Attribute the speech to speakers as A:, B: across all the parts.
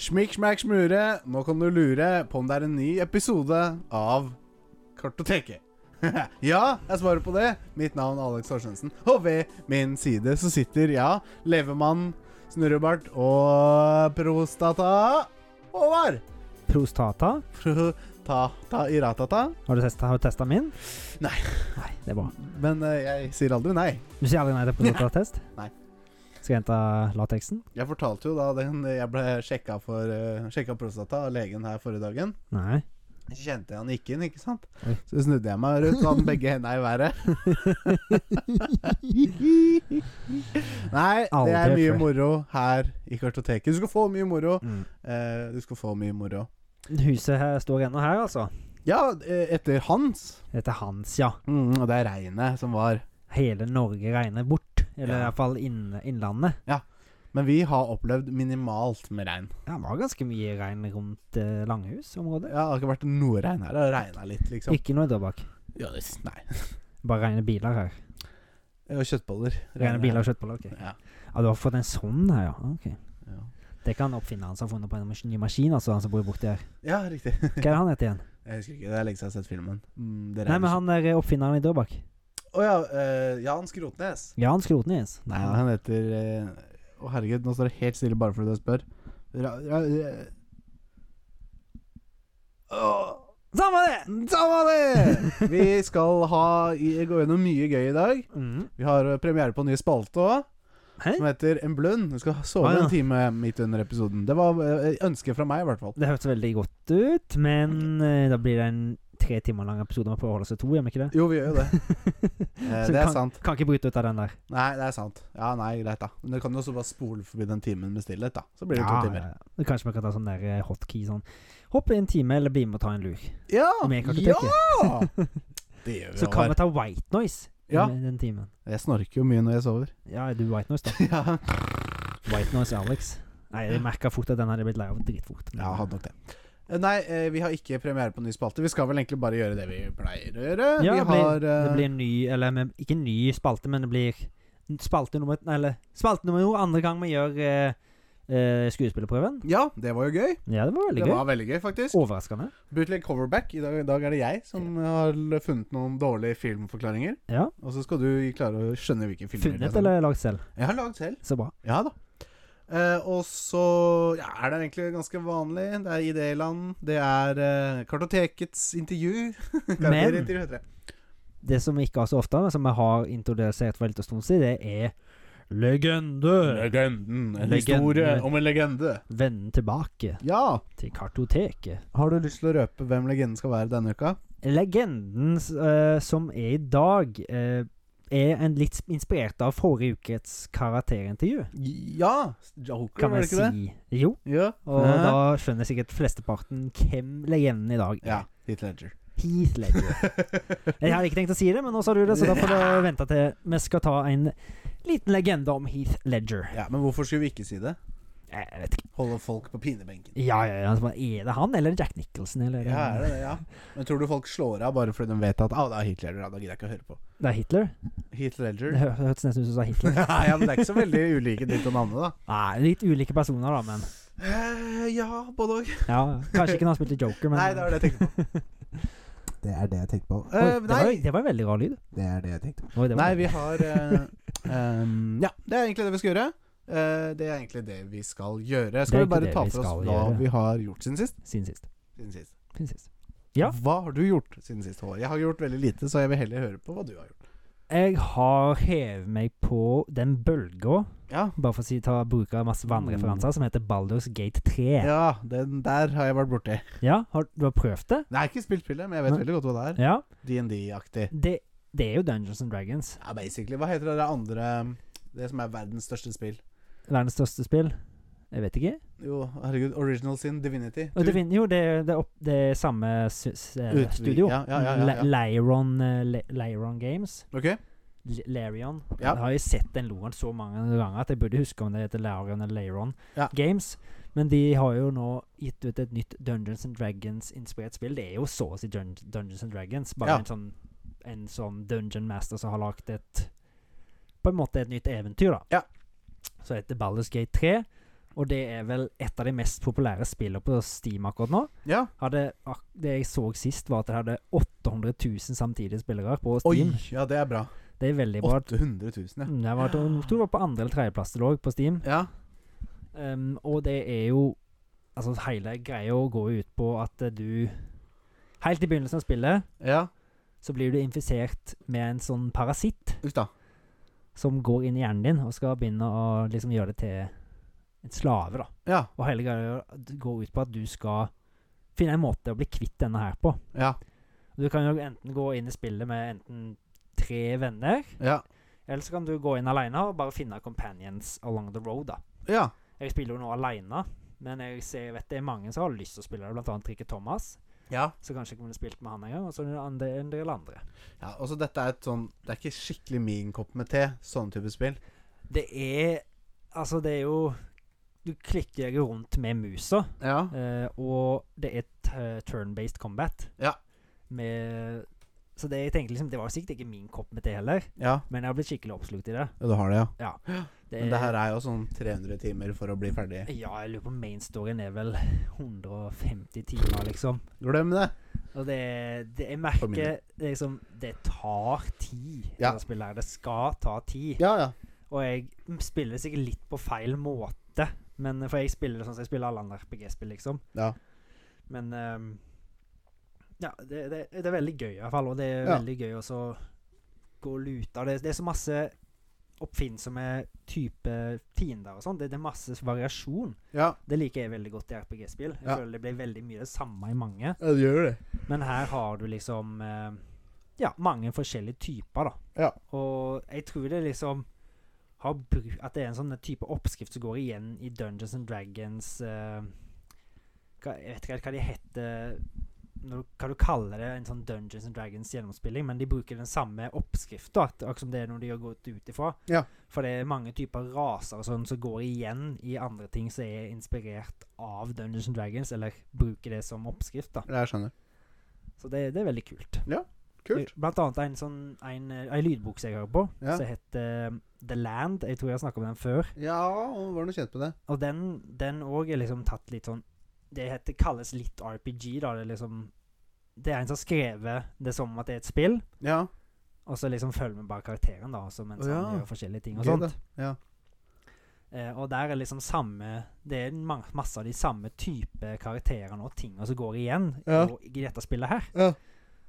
A: Smikk, smakk, smure. Nå kan du lure på om det er en ny episode av Kartoteket. ja, jeg svarer på det. Mitt navn er Alex Torstensen. Og ved min side så sitter, ja, levemann, snurrebart og prostata Håvard.
B: Prostata.
A: Prostata i ratata.
B: Har du testa, har du testa min?
A: Nei.
B: Nei, det er bra.
A: Men eh, jeg sier aldri nei.
B: Du sier aldri nei til prostatatest?
A: Nei.
B: Skal jeg hente lateksen?
A: Jeg fortalte jo da den jeg ble sjekka for eh, sjekka prostata av legen her forrige dagen.
B: Nei.
A: Så kjente jeg han gikk inn, ikke sant?
B: Oi.
A: Så snudde jeg meg rundt, hadde begge hendene i været. Nei, det er
B: Aldri
A: mye
B: før.
A: moro her i kartoteket. Du skal få mye moro.
B: Mm.
A: Eh, du skal få mye moro.
B: Huset her står ennå her, altså.
A: Ja, eh, etter Hans.
B: Det heter Hans, ja.
A: Mm, og det er regnet som var. hele
B: Hele Norge regner bort. Eller
A: Ja.
B: i hvert fall inn, Innlandet.
A: Men vi har opplevd minimalt med regn.
B: Ja, det var ganske mye regn rundt eh, Langhus-området.
A: Ja, det har ikke vært noe regn her. Det har regna litt, liksom.
B: Ikke noe der bak.
A: Ja, det, nei. Eh,
B: Bare rene biler her.
A: Og kjøttboller.
B: Rene biler og kjøttboller. ok.
A: Ja.
B: Ja, du har fått en sånn her, ja. Ok.
A: Ja.
B: Det kan oppfinneren som har funnet på en mas- ny maskin, altså, han som bor borti her.
A: ja, riktig.
B: Hva er det han heter igjen?
A: Jeg husker ikke. Det er lenge siden jeg har sett filmen. Mm, det
B: Nei,
A: regner
B: men han der eh, oppfinneren i Dørbak.
A: Å ja, eh, Jan Skrotnes.
B: Jan Skrotnes.
A: Nei, han heter eh, Å, herregud, nå står det helt stille bare fordi jeg spør. Ra, ra, ra. Åh,
B: Samme det!
A: samme det! Vi skal ha, i, gå gjennom mye gøy i dag.
B: Mm.
A: Vi har eh, premiere på en ny spalte òg,
B: Hæ?
A: som heter En blund. Du skal sove
B: Ah, ja.
A: en time midt under episoden. Det var eh, ønsket fra meg, i hvert fall.
B: Det hørtes veldig godt ut, men eh, da blir det en tre timer lang episode. Man prøver å holde seg to, gjør vi ikke det?
A: Jo, vi gjør jo det. Eh,
B: Så
A: det
B: kan-
A: er sant.
B: Kan ikke bryte ut av den der.
A: Nei, det er sant. Ja, nei, greit, da. Men du kan jo også bare spole forbi den timen med stillhet, da. Så blir det to timer.
B: ja, ja. Kanskje vi kan ta sånn der eh, hotkey sånn Hopp i en time, eller bli med og ta en lur.
A: Ja!
B: Med
A: ja!
B: kartoteket.
A: Det gjør vi
B: Så kan
A: Håvard.
B: vi ta white noise
A: Ja.
B: i den timen.
A: Jeg snorker jo mye når jeg sover.
B: Ja, er du white noise, da?
A: ja.
B: White noise Alex. Nei, jeg merka fort at den hadde blitt lei av dritfort.
A: ja, hadde nok det. Eh, Nei, eh, vi har ikke premiere på ny spalte. Vi skal vel egentlig bare gjøre det vi pleier å gjøre.
B: Ja,
A: vi
B: det blir-
A: har eh,
B: Det blir en ny, eller men, ikke en ny spalte, men det blir spalte nummer nei, Eller spalte nummer to, andre gang vi gjør eh, eh, skuespillerprøven.
A: Ja, det var jo gøy.
B: Ja, det var veldig
A: Det
B: gøy.
A: var veldig gøy, faktisk.
B: Overraskende.
A: Bootleg coverback. I dag, I dag er det jeg som har l- funnet noen dårlige filmforklaringer.
B: Ja.
A: Og så skal du klare å skjønne hvilke filmer det altså.
B: Funnet
A: er.
B: eller lagd selv.
A: Jeg har lagd selv.
B: Så bra.
A: Ja da. Eh, og så ja, er det egentlig ganske vanlig. Det er idéland, det er eh, Kartotekets intervju. Karakterintervju heter det.
B: Det som vi ikke har så ofte, men som vi har introdusert for en liten stund siden, det er Legende!
A: Legenden. En
B: Legenden.
A: historie om en legende.
B: Venden tilbake
A: Ja.
B: til kartoteket.
A: Har du lyst til å røpe hvem legenden skal være denne uka?
B: Legenden eh, som er i dag, eh, er en litt inspirert av forrige ukes karakterintervju.
A: Ja! Joker,
B: Kan
A: var
B: vi
A: det
B: si
A: ikke det?
B: Jo.
A: Ja. Eh,
B: Og
A: Hæ?
B: da skjønner sikkert flesteparten hvem legenden i dag er.
A: ja. Heath Ledger.
B: Heath Ledger. Jeg hadde ikke tenkt å si det, men nå sa du det, så da får du vente til vi skal ta en liten legende om Heath Ledger. Eh,
A: Ja, Men hvorfor skulle vi ikke si det?
B: Jeg vet ikke.
A: Holde folk på pinebenken.
B: Ja, ja, ja. så bare, Er det han, eller er det Jack Nicholson, eller er det,
A: Ja, er det det? ja Men tror du folk slår av bare fordi de vet at ah, det er Heath Ledger? Ja, da gidder jeg ikke å høre på.
B: det er Hitler?
A: Heath Ledger?
B: Det hø- hørtes nesten ut som du sa Hitler.
A: Nei, ja, men det er ikke så veldig ulike ditt og navnet, da.
B: Nei, litt ulike personer, da, men
A: Eh, ja, både òg.
B: ja, ja. Kanskje ikke når han spilte Joker, men
A: Nei, det var det jeg tenkte på.
C: Det er det jeg tenkte på.
B: Oi,
A: Eh,
B: det,
A: nei,
B: var, det var en veldig rar lyd.
C: Det er det jeg tenkte på.
B: Oi, det var
A: Nei,
B: veldig-
A: vi har eh, ehm, Ja, det er egentlig det vi skal gjøre. Eh, det er egentlig det vi skal gjøre.
B: Det
A: Skal
B: er
A: vi bare
B: ikke det
A: ta
B: vi
A: for
B: skal
A: oss hva
B: gjøre.
A: vi har gjort siden sist?
B: Siden sist.
A: Siden sist.
B: Siden sist. Ja.
A: Hva har du gjort siden sist, Håvard? Jeg har gjort veldig lite, så jeg vil heller høre på hva du har gjort.
B: Jeg har hevet meg på den bølga,
A: Ja,
B: bare for å si, ta, bruke masse vannreferanser, som heter Baldur's Gate 3. Ja,
A: Mm. ja den der har jeg vært borti.
B: har, du har prøvd det?
A: Nei, jeg har ikke spilt spillet, men jeg vet
B: Nei.
A: veldig godt hva det er.
B: Ja.
A: DND-aktig.
B: Det, det er jo Dungeons and Dragons.
A: Ja, basically. Hva heter det der andre Det som er verdens største spill?
B: Verdens største spill. Jeg vet ikke.
A: Jo, herregud. Original Sin Divinity.
B: Og
A: Du-
B: det, fin- jo, det, det, er opp, det er samme s s eh,
A: Utvi-
B: studio.
A: ja, ja, ja, ja, ja.
B: Le- Lyron, eh, Le Lyron Games.
A: Ok.
B: L- Larion.
A: Ja.
B: Jeg har jo sett den logoen så mange ganger at jeg burde huske om det heter Larion eller Larion
A: Ja.
B: Games. Men de har jo nå gitt ut et nytt Dungeons and Dragons-inspirert spill. Det er jo så å si Dun Dungeons and Dragons, bare
A: Ja.
B: en, sånn, en sånn Dungeon Master som har lagd et På en måte et nytt eventyr, da.
A: Ja.
B: Så heter Baldur's Gate 3. Og det er vel et av de mest populære spillene på Steam akkurat nå.
A: Ja.
B: Hadde, ak det jeg så sist, var at det hadde 800 000 samtidige spillere på
A: Oi!
B: Steam.
A: Ja, det er bra.
B: Det er veldig bra.
A: 800 000, ja.
B: Mm, Jeg var, jeg tror det var på andre- eller tredjeplass det lå på Steam.
A: Ja.
B: Um, og det er jo Altså, hele greia går jo ut på at eh, du Helt i begynnelsen av spillet
A: ja.
B: så blir du infisert med en sånn parasitt
A: Uff da.
B: som går inn i hjernen din og skal begynne å liksom gjøre det til en slave, da.
A: Ja.
B: Og hele greia går ut på at du skal finne en måte å bli kvitt denne her på.
A: Ja.
B: Du kan jo enten gå inn i spillet med enten tre venner,
A: Ja.
B: eller så kan du gå inn alene og bare finne companions along the road, da.
A: ja.
B: Jeg spiller jo nå alene, men jeg ser, jeg vet det er mange som har lyst til å spille det, blant annet Rikke Thomas.
A: ja.
B: Så kanskje jeg kunne spilt med han en gang, og så en andre- en del andre.
A: Ja, altså dette er et sånn Det er ikke skikkelig min kopp med te, sånn type spill.
B: Det er Altså, det er jo Du klikker jo rundt med musa.
A: Ja.
B: Eh, og det er t- eh, turn-based combat.
A: Ja.
B: Med, så det jeg tenkte liksom Det var sikkert ikke min kopp med det heller,
A: Ja,
B: men jeg har blitt skikkelig oppslukt i det.
A: ja du har det, ja.
B: det
A: Men det her er jo sånn 300 timer for å bli ferdig.
B: Ja, jeg lurer på mainstoryen er vel 150 timer, liksom.
A: Glem det!
B: Og det, det jeg
A: For min
B: merker
A: del.
B: det er liksom Det tar tid,
A: Ja.
B: det spillet her. Det skal ta tid.
A: Ja, ja.
B: Og jeg spiller det sikkert litt på feil måte, men for jeg spiller det sånn som jeg spiller alle andre RPG-spill, liksom.
A: Ja.
B: Men ehm, Ja, det, det, det er veldig gøy i hvert fall. Og det er
A: Ja.
B: veldig gøy også å gå og lute av det. Det er så masse oppfinnsomme type fiender og sånn. Det, det er masse variasjon.
A: Ja,
B: Det liker jeg veldig godt i RPG-spill. Jeg
A: Ja.
B: føler det blir veldig mye det samme i mange.
A: ja du gjør det.
B: Men her har du liksom eh, Ja, mange forskjellige typer, da.
A: Ja.
B: Og jeg tror det liksom har bru At det er en sånn type oppskrift som går igjen i Dungeons and Dragons eh, hva, Jeg vet ikke hva de heter når, du- Hva du kaller det, en sånn Dungeons and Dragons gjennomspilling, men de bruker den samme oppskrifta, akkurat som det er noe de har gått ut ifra.
A: Ja.
B: For det er mange typer raser og sånn som går igjen i andre ting som er inspirert av Dungeons and Dragons, eller bruker det som oppskrift, da.
A: Jeg skjønner.
B: Så det, det er veldig kult.
A: Kult.
B: Blant annet en sånn en, eh, ei lydbok som jeg hører på,
A: Ja.
B: som heter eh, The Land. Jeg tror jeg har snakka om den før.
A: Ja, og var noe kjent med det.
B: Og den den òg er liksom tatt litt sånn Det heter, kalles litt RPG, da. Det er liksom Det er en som har skrevet det som at det er et spill,
A: Ja.
B: og så liksom følger vi bare karakteren, da, også, mens
A: Å, ja.
B: han gjør forskjellige ting og
A: Gøy,
B: sånt.
A: da. Ja.
B: Eh, og der er liksom samme Det er ma- masse av de samme type karakterene og tingene som går igjen
A: Ja.
B: og, i dette spillet her.
A: Ja.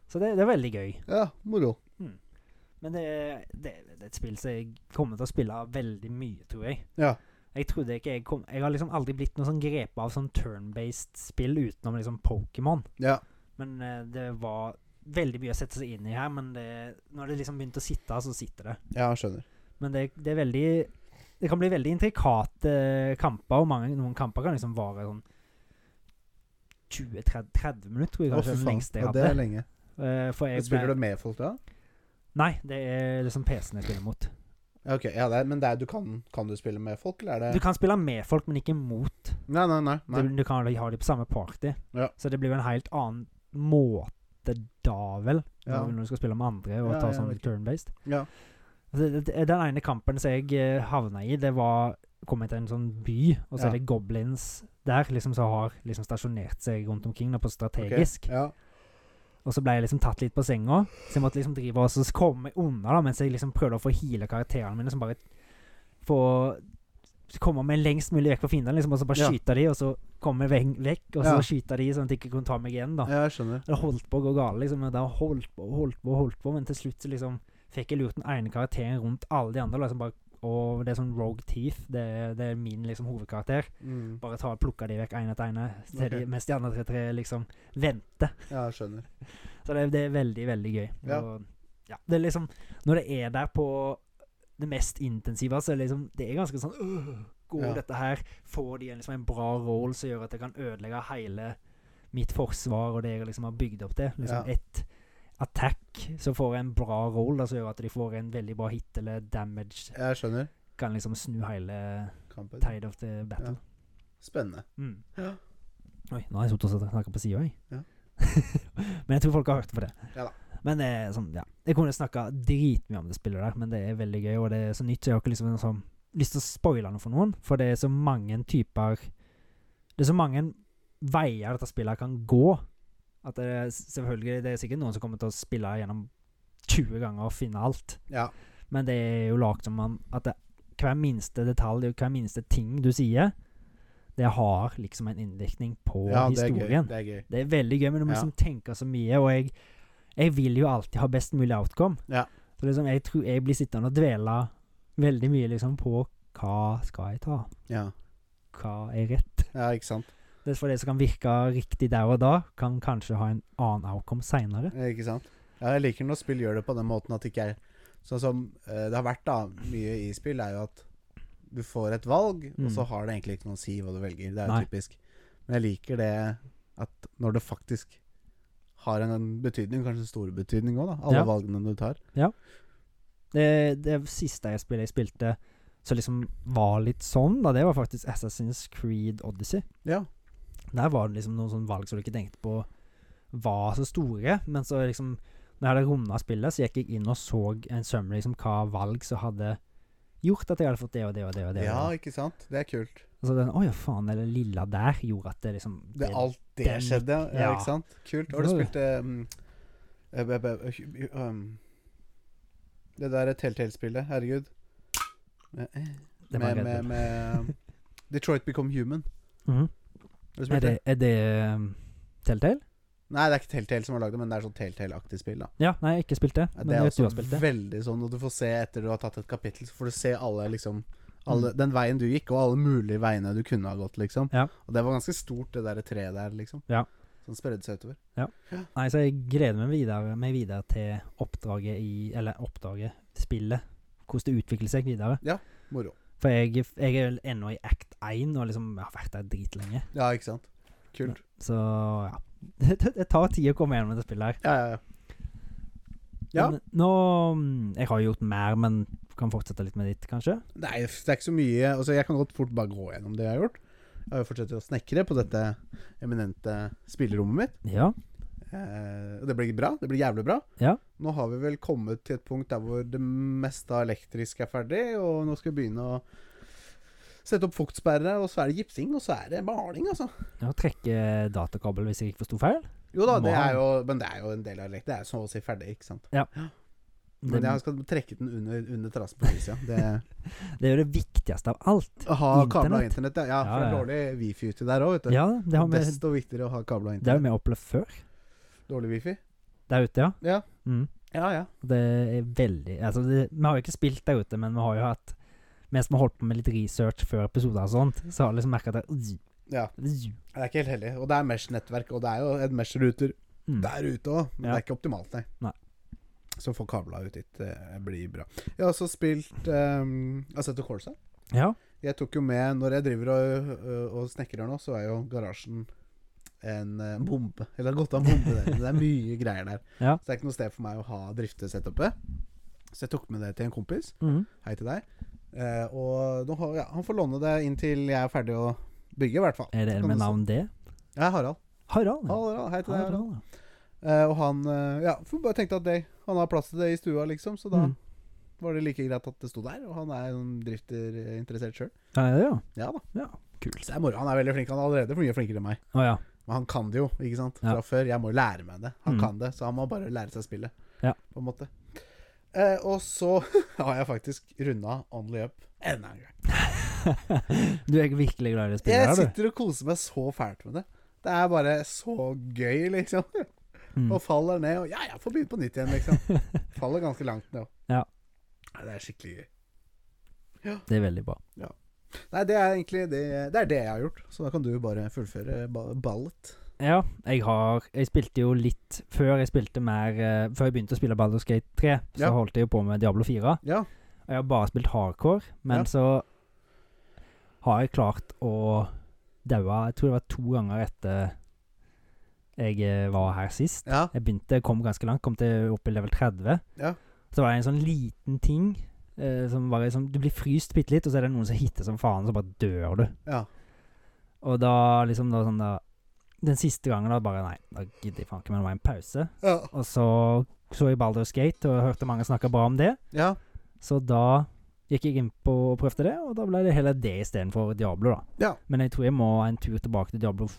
B: Så det, det er veldig gøy.
A: ja, moro.
B: Men det, det, det er et spill som jeg kommer til å spille veldig mye, tror jeg.
A: Ja.
B: Jeg trodde ikke jeg kom Jeg har liksom aldri blitt noe sånn grepet av sånn turn-based spill utenom liksom Pokémon.
A: Ja.
B: Men eh, det var veldig mye å sette seg inn i her, men det, når det liksom begynte å sitte, så sitter det.
A: ja, skjønner.
B: Men det, det er veldig Det kan bli veldig intrikate eh, kamper, og mange, noen kamper kan liksom vare sånn 20-30 minutter, tror jeg
A: Å, fy
B: kanskje er den
A: faen.
B: lengste jeg
A: Ja,
B: hadde.
A: det er lenge.
B: Eh, for jeg
A: Spiller
B: ble,
A: du med folk da?
B: Nei, det er liksom PC-en jeg spiller mot.
A: Ja, ok. Ja, det er, men det er, du kan, kan du spille med folk, eller er
B: Du
A: det
B: kan spille med folk, men ikke mot.
A: Nei, nei, nei. nei.
B: Du, du kan ha de på samme party.
A: Ja.
B: Så det blir jo en helt annen måte da, vel,
A: Ja.
B: når du skal spille med andre og
A: Ja,
B: ta
A: jeg
B: sånn
A: vet ikke.
B: turn-based.
A: Ja.
B: Altså, det- det- Den ene kampen som jeg eh, havna i, det var kom jeg til en sånn by, og så
A: Ja.
B: er det goblins der liksom som har liksom stasjonert seg rundt omkring da, på strategisk.
A: Ja.
B: Og så ble jeg liksom tatt litt på senga, så jeg måtte liksom drive og så komme meg unna da, mens jeg liksom prøvde å få heale karakterene mine, som bare få komme meg lengst mulig vekk fra fiendene, liksom, og så bare
A: Ja.
B: skyte de, og så komme meg veng- vekk, og så
A: Ja.
B: skyte de, sånn at de ikke kunne ta meg igjen, da.
A: ja, jeg skjønner.
B: Det holdt på å gå galt, liksom, og det holdt på og holdt på og holdt på, men til slutt så liksom fikk jeg lurt den ene karakteren rundt alle de andre, da, liksom bare og det er sånn Rogue Teeth, det, er- det er min liksom hovedkarakter.
A: Mm.
B: Bare ta, plukke de vekk en etter en, til
A: Ok.
B: de, mens de andre tre, tre liksom venter.
A: Ja, jeg skjønner.
B: Så det, det er veldig, veldig gøy.
A: Ja.
B: Og, ja, det er liksom Når det er der på det mest intensive, så er det liksom Det er ganske sånn øh, Går
A: Ja.
B: dette her? Får de en- liksom en bra roll som gjør at jeg kan ødelegge hele mitt forsvar og det jeg liksom har bygd opp til? Liksom
A: Ja.
B: ett attack, så får jeg en bra roll da, som gjør at de får en veldig bra hit eller damage.
A: Jeg skjønner.
B: Kan liksom snu hele
A: Kampen.
B: tide of the battle.
A: Spennende.
B: Mm.
A: Ja.
B: Oi, nå har jeg sittet og snakka på sida, jeg.
A: Ja.
B: men jeg tror folk har hørt på det.
A: Ja da.
B: Men det er sånn, ja. Jeg kunne snakka dritmye om det spillet der, men det er veldig gøy, og det er så nytt, så jeg har ikke liksom en sånn lyst til å spoile noe for noen, for det er så mange typer Det er så mange veier dette spillet kan gå. At det er, selvfølgelig, det er sikkert noen som kommer til å spille gjennom 20 ganger og finne alt.
A: Ja.
B: Men det er jo lagd som man, at det, hver minste detalj og hver minste ting du sier, det har liksom en innvirkning på
A: ja, det er gøy.
B: historien.
A: Det er gøy.
B: Det er veldig gøy, men du må
A: Ja.
B: liksom tenke så mye, og jeg, jeg vil jo alltid ha best mulig outcome.
A: Ja.
B: Så liksom, jeg tror jeg blir sittende og dvele veldig mye liksom på hva skal jeg ta?
A: Ja.
B: Hva er rett?
A: ja, ikke sant?
B: Det er for det som kan virke riktig der og da, kan kanskje ha en annen outcome seinere.
A: Eh, Ikke sant? Ja, jeg liker når spill gjør det på den måten at det ikke er Sånn som eh, det har vært da mye i spill, er jo at du får et valg, og
B: Mm.
A: så har det egentlig ikke noe å si hva du velger. Det er jo
B: Nei.
A: typisk. Men jeg liker det at når det faktisk har en, en betydning, kanskje en stor betydning òg, da. Alle
B: Ja.
A: valgene du tar.
B: Det, det siste jeg spillet jeg spilte som liksom var litt sånn, da, det var faktisk Assassin's Creed Odyssey.
A: Ja.
B: Der var det liksom noen sånne valg som du ikke tenkte på var så store, men så liksom Når jeg hadde runda spillet, så gikk jeg inn og så en summary liksom hva valg som hadde gjort at jeg hadde fått det og det og det. og det. og
A: ja,
B: det.
A: ikke sant? Det er kult.
B: Og så den Å ja, faen, det lilla der gjorde at det liksom
A: Det, alt det,
B: den-
A: skjedde, ja,
B: ja.
A: ikke sant? Kult. Har du
B: Ja, det-
A: spilt um, eh, b- b- eh, um, Det der Telltale-spillet, herregud. Med,
B: det var
A: med,
B: Red
A: med,
B: Bull.
A: med Detroit Become Human.
B: Mhm.
A: Har du
B: Er
A: spilt det?
B: det, er det um, Telltale?
A: Nei, det er ikke Telltale som har lagd det, men det er sånn Telltale-aktig spill. da
B: Ja, nei, jeg har ikke spilt det. Men
A: Det
B: jeg
A: er
B: vet du
A: også
B: har spilt det.
A: veldig sånn, og du får se etter du har tatt et kapittel, så får du se alle liksom alle, Den veien du gikk, og alle mulige veiene du kunne ha gått, liksom.
B: Mm. Ja.
A: Og det var ganske stort, det derre treet der, liksom.
B: Ja.
A: Som spredde seg utover.
B: Nei, så jeg gleder meg videre, meg videre til oppdraget i Eller oppdraget, spillet. Hvordan det utvikler seg videre.
A: Moro.
B: For jeg, jeg er vel ennå i act 1 og liksom har vært der dritlenge.
A: Ja, ikke sant? Kult.
B: Så ja. Det, det tar tid å komme gjennom det spillet her.
A: Ja, ja, ja. Ja.
B: Men Nå mm, Jeg har jo gjort mer, men kan fortsette litt med ditt, kanskje?
A: Nei, f- det er ikke så mye Altså, jeg kan godt fort bare gå gjennom det jeg har gjort. Jeg har jo fortsatt å snekre på dette eminente spillerommet mitt.
B: Ja.
A: Eh, og det blir bra. Det blir jævlig bra.
B: Ja.
A: Nå har vi vel kommet til et punkt der hvor det meste av elektrisk er ferdig, og nå skal vi begynne å sette opp fuktsperre, og så er det gipsing, og så er det maling, altså.
B: Nå trekker datakabel hvis jeg ikke forsto feil.
A: Jo da, det
B: Maling.
A: er jo Men det er jo en del av elektrisk. Det er jo så å si ferdig, ikke sant. Men jeg skal trekke den under, under terrassen på huset, ja. Det
B: det er jo det viktigste av alt.
A: Å Ha kabla internett, ja. ja.
B: Ja,
A: For det er
B: ja.
A: dårlig wifi uti der òg, vet du.
B: Ja, det har vi,
A: Desto viktigere å ha kabla
B: det har
A: internett.
B: vi opplevd før.
A: Dårlig wifi.
B: Der ute, ja.
A: Ja.
B: Mm.
A: Ja, ja.
B: Det er veldig altså det, Vi har jo ikke spilt der ute, men vi har jo hatt Mens vi har holdt på med litt research før episoder og sånt, så har jeg liksom merka at det,
A: ja. Det er ikke helt heldig. Og det er Mesh-nettverk, og det er jo en Mesh-ruter
B: mm.
A: der ute òg, men
B: Ja.
A: det er ikke optimalt, nei.
B: Nei.
A: Så å få kabla ut dit eh, blir bra. Jeg har også spilt um, Assetto Corsa.
B: Mm. Ja.
A: Jeg tok jo med Når jeg driver og, og- og snekrer nå, så er jo garasjen en eh, bombe. Eller det har gått av en bombe der. Det er mye greier der.
B: Ja.
A: Så det er ikke noe sted for meg å ha driftesetupet. Så jeg tok med det til en kompis.
B: Mm.
A: Hei til deg. Eh, og nå har, ja, han får låne det inntil jeg er ferdig å bygge, i hvert fall.
B: Er det en
A: Kan
B: med
A: du-
B: navn D?
A: Ja, Harald.
B: Harald. ja.
A: Harald, Hei til deg, Harald.
B: Harald,
A: Eh, og han eh, Ja, for bare tenkte at det, han har plass til det i stua, liksom, så
B: ja.
A: da
B: Mm.
A: var det like greit at det sto der. Og han er en drifterinteressert sjøl.
B: Ja, er det, ja.
A: Ja da.
B: Ja,
A: kult. Så det er moro. Han er veldig flink. Han er allerede mye flinkere enn meg.
B: Å ja.
A: Men han kan det jo, ikke sant? Fra
B: Ja.
A: før. Jeg må jo lære meg det. Han
B: Mm.
A: kan det, så han må bare lære seg spillet,
B: Ja.
A: på en måte. Eh, og så har jeg faktisk runda Only Up enda en gang.
B: Du er virkelig glad i det spillet
A: Jeg
B: her, du.
A: sitter og koser meg så fælt med det. Det er bare så gøy, liksom.
B: Mm.
A: Og faller ned, og ja, jeg får begynne på nytt igjen, liksom. Faller ganske langt ned.
B: Ja.
A: Nei, det er skikkelig gøy.
B: Det er veldig bra.
A: Nei, det er egentlig det, det er det jeg har gjort. Så da kan du bare fullføre ba- ballet.
B: Ja, jeg har Jeg spilte jo litt før jeg spilte mer eh, Før jeg begynte å spille Baldur's Gate 3, så
A: Ja.
B: holdt jeg jo på med Diablo 4.
A: Ja.
B: Og jeg har bare spilt hardcore, men
A: Ja.
B: så har jeg klart å daue Jeg tror det var to ganger etter jeg eh, var her sist.
A: Ja.
B: Jeg begynte, kom ganske langt, kom til opp i level 30.
A: Ja.
B: Så var det en sånn liten ting eh, som var liksom Du blir fryst bitte litt, og så er det noen som hitter som faen, så bare dør du.
A: ja.
B: Og da liksom da sånn da Den siste gangen da bare Nei, da gidder jeg faen ikke, men det var en pause.
A: ja.
B: Og så så jeg Baldur's Gate og hørte mange snakke bra om det.
A: ja.
B: Så da gikk jeg inn på og prøvde det, og da ble det heller det istedenfor Diablo, da.
A: Ja.
B: Men jeg tror jeg må en tur tilbake til Diablo f-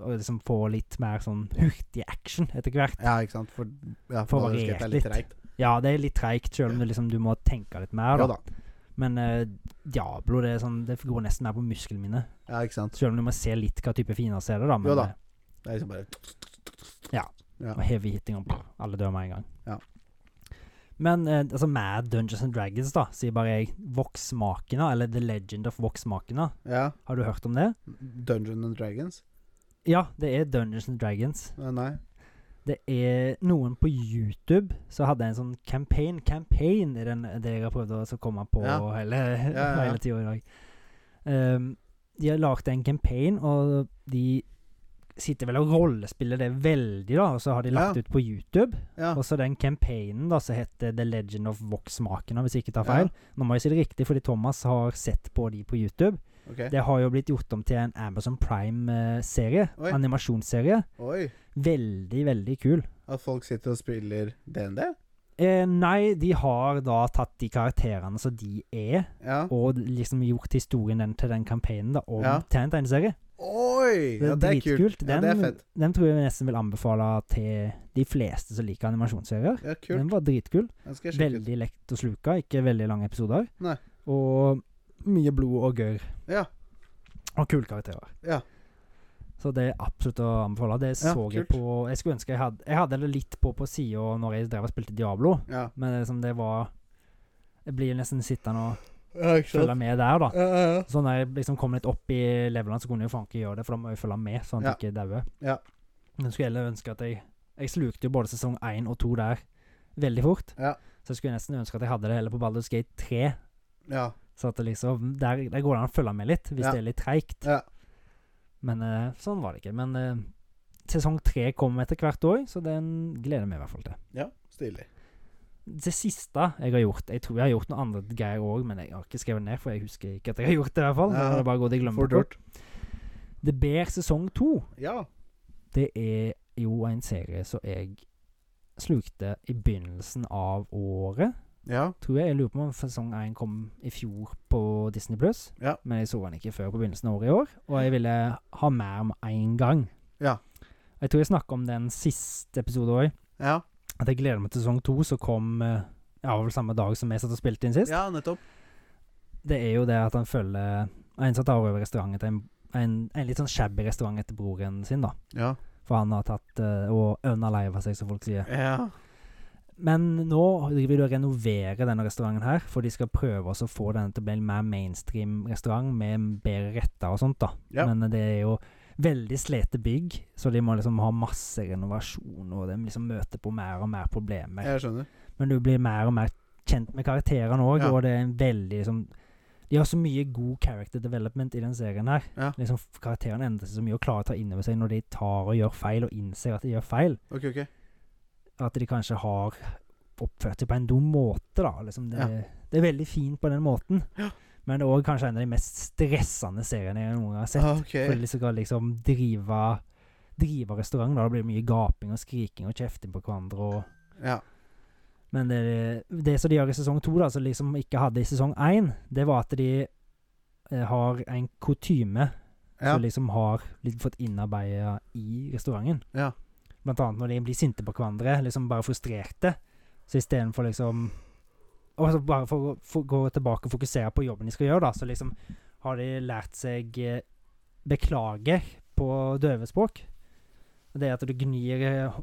B: og liksom få litt mer sånn hurtig action etter hvert.
A: Ja, ikke sant? For, ja,
B: For å
A: Baldur's Gate
B: variere
A: er litt
B: litt.
A: treigt.
B: Ja, det er litt treigt, sjøl om det liksom, du må tenke litt mer.
A: Jo
B: Da.
A: da.
B: Men eh, Diablo det, er sånn, det går nesten mer på musklene mine.
A: Ja, ikke sant.
B: Sjøl om du må se litt hva type fiender ser det, da. Men
A: Jo da.
B: eh,
A: Det er liksom bare Ja.
B: Og heavy hitting og brr, alle dør med en gang.
A: Ja.
B: Men eh, altså med Dungeons and Dragons, da, sier bare jeg Vox-makena, eller The Legend of Vox-makena.
A: Ja.
B: Har du hørt om det?
A: Dungeon and Dragons?
B: Ja, det er Dungeons and Dragons.
A: Eh, Nei.
B: Det er noen på YouTube som hadde en sånn campaign. Campaign er den, det jeg har prøvd å altså komme på
A: Ja.
B: hele,
A: ja, ja.
B: hele tida i dag. Ehm, de har lagd en campaign, og de sitter vel og rollespiller det veldig, da. Og så har de lagt
A: Ja.
B: ut på YouTube.
A: Ja.
B: Og så den campaignen da som heter The Legend of Vox-makena, hvis jeg ikke tar feil. Nå må jeg si det riktig, fordi Thomas har sett på de på YouTube.
A: Ok.
B: Det har jo blitt gjort om til en Amazon Prime-serie.
A: Oi.
B: Animasjonsserie.
A: Oi.
B: Veldig, veldig kul.
A: At folk sitter og spiller DND?
B: Eh, nei, de har da tatt de karakterene som de er,
A: Ja.
B: og liksom gjort historien den til den campaignen da, om
A: Ja.
B: til en tegneserie.
A: Oi! Ja, det er kult.
B: dritkult.
A: Ja,
B: Den,
A: det er fett.
B: den tror jeg vi nesten vil anbefale til de fleste som liker animasjonsserier.
A: Ja,
B: Den
A: kult.
B: var dritkul.
A: Den skal jeg sjekke ut.
B: Veldig lett å sluke, ikke veldig lange episoder.
A: Nei.
B: Og mye blod og gørr.
A: Ja.
B: Og kule karakterer.
A: Ja.
B: Så det er absolutt å anbefale. Det
A: Ja,
B: så jeg
A: kult.
B: på Jeg skulle ønske jeg hadde Jeg hadde det litt på på sida når jeg drev og spilte Diablo,
A: Ja.
B: men det, som det var Jeg blir nesten sittende og
A: ja, ikke
B: følge
A: sant?
B: med der, da.
A: Ja, ja, ja.
B: Så når jeg liksom kom litt opp i levelene, så kunne jeg jo faen ikke gjøre det, for da må jeg følge med, sånn at jeg ikke dauer.
A: Ja.
B: Men jeg skulle heller ønske at jeg Jeg slukte jo både sesong én og to der veldig fort.
A: Ja.
B: Så jeg skulle nesten ønske at jeg hadde det heller på Baldur's Gate 3.
A: ja.
B: Så at det liksom Der, der går det an å følge med litt, hvis
A: Ja.
B: det er litt treigt.
A: Ja.
B: Men eh, sånn var det ikke. Men eh, sesong tre kommer etter hvert år, så den gleder jeg meg i hvert fall til.
A: ja. Stilig.
B: Det siste jeg har gjort Jeg tror jeg har gjort noe annet greier òg, men jeg har ikke skrevet ned, for jeg husker ikke at jeg har gjort det, i hvert fall.
A: Ja.
B: Det er bare å gå til
A: Fort
B: glemmeboka.
A: gjort.
B: The Bear sesong to,
A: Ja.
B: det er jo en serie som jeg slukte i begynnelsen av året.
A: Ja.
B: Tror jeg jeg lurer på om sesong én kom i fjor på Disney Pluss.
A: Ja.
B: Men jeg så den ikke før på begynnelsen av året i år, og jeg ville ha mer med én gang.
A: Ja.
B: Jeg tror jeg snakka om den siste episoden òg,
A: Ja.
B: at jeg gleder meg til sesong to, som kom eh, ja, vel samme dag som jeg satt og spilte inn sist.
A: ja, nettopp.
B: Det er jo det at han følger en som tar over restauranten til en, en, en litt sånn shabby restaurant etter broren sin, da.
A: Ja.
B: For han har tatt eh, og unaliva seg, som folk sier.
A: Ja.
B: Men nå driver de og renoverer denne restauranten her, for de skal prøve også å få denne til å bli en mer mainstream restaurant med bedre retter og sånt, da.
A: Ja.
B: Men eh, det er jo veldig slete bygg, så de må liksom ha masse renovasjon, og de liksom møter på mer og mer problemer.
A: Jeg skjønner.
B: Men du blir mer og mer kjent med karakterene òg,
A: Ja.
B: og det er en veldig liksom De har så mye god character development i den serien her.
A: Ja.
B: Liksom f- Karakterene endrer seg så mye og klarer å ta inn over seg når de tar og gjør feil, og innser at de gjør feil.
A: Ok, ok.
B: At de kanskje har oppført seg på en dum måte, da. Liksom det,
A: Ja.
B: det er veldig fint på den måten.
A: Ja.
B: Men det er òg kanskje en av de mest stressende seriene jeg noen gang har sett.
A: Ah, ok.
B: For de skal liksom drive Drive restaurant. Da blir det mye gaping og skriking og kjefting på hverandre. og
A: Ja.
B: men det, det som de gjør i sesong to, da, som liksom ikke hadde i sesong én, det var at de eh, har en kutyme
A: Ja.
B: som liksom har litt fått innarbeida i restauranten.
A: Ja.
B: Blant annet når de blir sinte på hverandre, liksom bare frustrerte. Så istedenfor liksom Og så bare for, å- for å gå tilbake og fokusere på jobben de skal gjøre, da, så liksom har de lært seg eh, beklager på døvespråk. Det er at du gnir eh,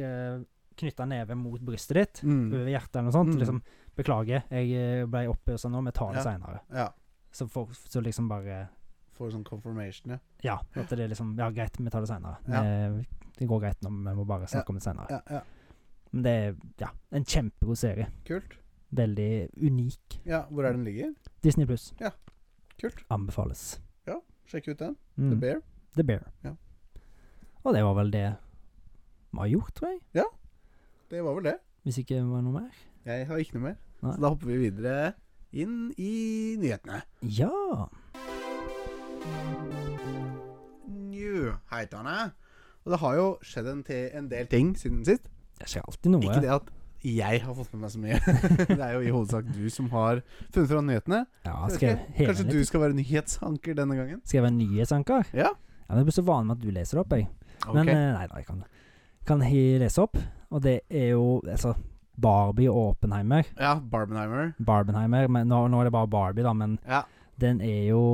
B: eh, knytta neve mot brystet ditt
A: Mm.
B: over hjertet eller noe sånt.
A: Mm.
B: Liksom, beklager, jeg eh, ble oppøsa nå, vi tar det
A: Ja.
B: senere
A: ja.
B: Så, for, så liksom bare
A: Får sånn confirmation, ja.
B: Ja, at det er liksom Ja, greit, vi tar det senere
A: Ja.
B: Eh, Det går greit nå, vi må bare snakke om det senere
A: Ja, ja.
B: Men det er ja, en kjempegod serie.
A: Kult.
B: Veldig unik.
A: Ja, hvor er den ligger?
B: Disney pluss.
A: Ja. Kult.
B: Anbefales.
A: Sjekk ut den.
B: Mm.
A: The Bear.
B: The Bear.
A: Ja.
B: Og det var vel det vi har gjort, tror jeg.
A: Det var vel det.
B: Hvis ikke det var noe mer.
A: Jeg har ikke noe mer.
B: Nei.
A: Så da hopper vi videre inn i nyhetene.
B: Ja.
A: Nyhetene. Og det har jo skjedd en, te- en del ting siden sist.
B: Det skjer alltid noe.
A: Ikke det at jeg har fått med meg så mye. det er jo i hovedsak du som har funnet fram nyhetene.
B: Ja,
A: Jeg vet
B: skal jeg heve
A: Kanskje
B: den
A: du
B: litt?
A: skal være nyhetsanker denne gangen?
B: Skal jeg være nyhetsanker?
A: Ja.
B: ja men jeg blir så vanlig med at du leser det opp, jeg.
A: Ok.
B: Men eh, nei da, jeg kan det. Kan jeg lese opp? Og det er jo altså Barbie og Oppenheimer.
A: ja, Barbenheimer.
B: Barbenheimer, men nå, nå er det bare Barbie, da, men
A: Ja.
B: den er jo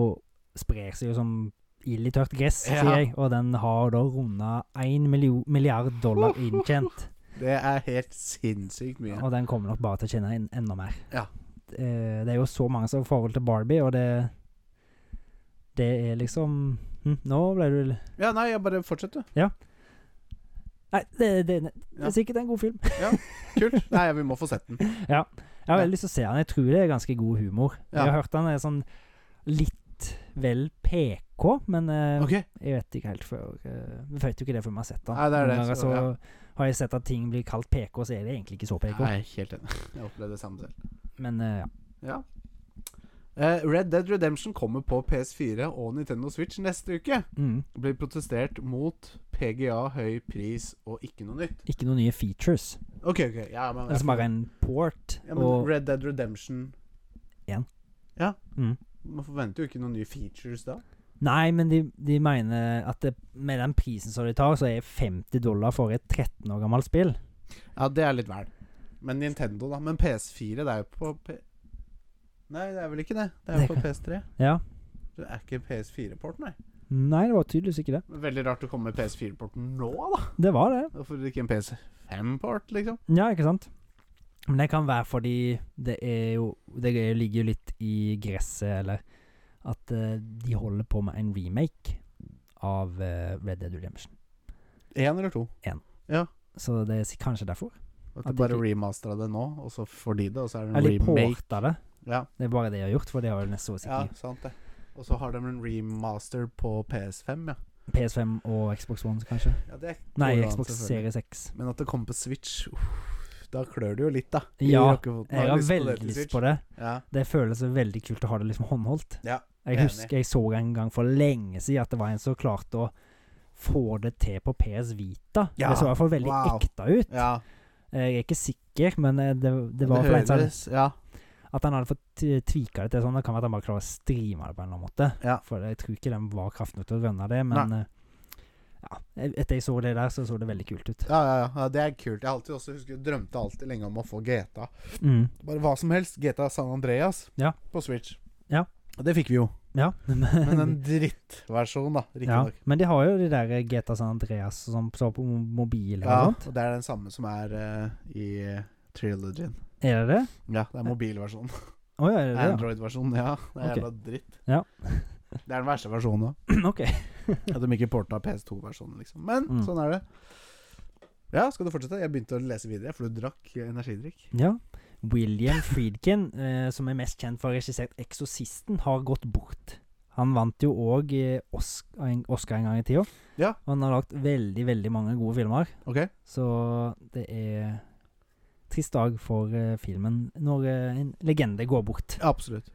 B: Sprer seg jo som ild i tørt gress,
A: Ja.
B: sier jeg. Og den har da runda én milliard dollar inntjent.
A: Det er helt sinnssykt mye.
B: Og den kommer nok bare til å tjene inn enda mer.
A: Ja.
B: Eh, Det er jo så mange som har forhold til Barbie, og det Det er liksom hm, Nå ble du
A: Ja, nei, jeg bare fortsetter.
B: Nei, det, det, det,
A: Ja.
B: er sikkert en god film.
A: Kult. Nei, vi må få sett den.
B: Jeg har veldig lyst til å se den. Jeg tror det er ganske god humor.
A: Ja.
B: Jeg har hørt den er sånn litt vel PK, men eh,
A: Ok.
B: jeg vet ikke helt før eh, Vi vet jo ikke det før vi har sett den.
A: Nei, det er det,
B: Noen ganger
A: så,
B: så har jeg sett at ting blir kalt PK, så er det egentlig ikke så PK.
A: Nei, helt enig. Jeg opplevde det samme selv.
B: Men eh, ja.
A: Ja. Eh, Red Dead Redemption kommer på PS4 og Nintendo Switch neste uke.
B: Mm.
A: Det blir protestert mot PGA, høy pris og ikke noe nytt.
B: Ikke noen nye features.
A: Ok, ok. Ja, men,
B: Det er som bare en port.
A: ja, men
B: og
A: Red Dead Redemption
B: mm.
A: Man forventer jo ikke noen nye features da.
B: Nei, men de, de mener at det, med den prisen som de tar, så er 50 dollar for et 13 år gammelt spill.
A: Ja, det er litt vel. Men Nintendo, da. Men PS4, det er jo på P... Nei, det er vel ikke det. Det er
B: Det
A: jo på
B: kan-
A: PS3.
B: Ja.
A: Det er ikke PS4-port, nei.
B: Nei, det var tydeligvis ikke det.
A: Men Veldig rart å komme med PS4-porten nå, da.
B: Det var det.
A: Hvorfor ikke en PS5-port, liksom?
B: Ja, ikke sant? Men det kan være fordi det er jo Det er jo- ligger jo litt i gresset, eller At eh, de holder på med en remake av eh, Red Dead Redemption.
A: Én eller to?
B: Så det er sik- kanskje derfor.
A: At
B: At
A: de
B: det
A: bare
B: ikke-
A: remastera det nå, og så får de det, og så er det en
B: Eller de
A: remake.
B: porta det.
A: Ja,
B: Det er bare det de har gjort, for det har vel nesten
A: ja,
B: sikkert
A: sant det. Og så har de en remaster på PS5, ja.
B: PS5 og Xbox One, kanskje.
A: ja det
B: Nei,
A: går jo an,
B: Xbox
A: selvfølgelig.
B: Series X.
A: Men at det kommer på Switch uff, Da klør det jo litt, da. i
B: Ja,
A: rakkefoten.
B: Jeg har
A: på det
B: veldig
A: til
B: lyst
A: Switch.
B: på det.
A: Ja.
B: Det føles veldig kult å ha det liksom håndholdt.
A: Ja,
B: jeg
A: enig.
B: husker jeg så en gang for lenge siden at det var en som klarte å få det til på PS Vita.
A: Ja,
B: Det så i hvert fall veldig
A: wow.
B: ekte ut. Eh,
A: ja.
B: Jeg er ikke sikker, men eh, det, det var for en som hadde-
A: høres, ja.
B: at han hadde fått eh, tweaka det til sånn. Det kan være at han bare klarer å streame det på en eller annen måte.
A: Ja.
B: For jeg tror ikke den var kraftig nok til å rønne det, men eh, ja, etter jeg så det der, så så det veldig kult ut.
A: Ja, ja, ja, ja, det er kult. Jeg har alltid også husker, drømte alltid lenge om å få GTA.
B: Mm.
A: Bare hva som helst. GTA San Andreas
B: Ja.
A: på Switch.
B: Ja.
A: Og det fikk vi jo.
B: Ja.
A: Men en drittversjon, da.
B: ja.
A: Riktignok.
B: Men de har jo de der eh, GTA San Andreas og sånn så på mo- mobil
A: Ja.
B: og sånt.
A: og det er den samme som er eh, i eh, Trilogien.
B: Er det det?
A: Ja, det er mobilversjonen.
B: Å ja, er det det?
A: Android-versjonen, ja. Det er
B: Ok.
A: jævla dritt.
B: Ja.
A: Det er den verste versjonen òg.
B: ja? ok.
A: At de ikke porta PS2-versjonen, liksom. Men
B: Mm.
A: sånn er det. Ja, skal du fortsette? Jeg begynte å lese videre, for du drakk eh, energidrikk.
B: Ja. William Friedkin, eh, som er mest kjent for å ha regissert 'Eksorsisten', har gått bort. Han vant jo òg eh, Os- en- Oscar en gang i tida.
A: Ja.
B: Og han har lagd veldig, veldig mange gode filmer.
A: Ok?
B: Så det er trist dag for eh, filmen når eh, en legende går bort.
A: Absolutt.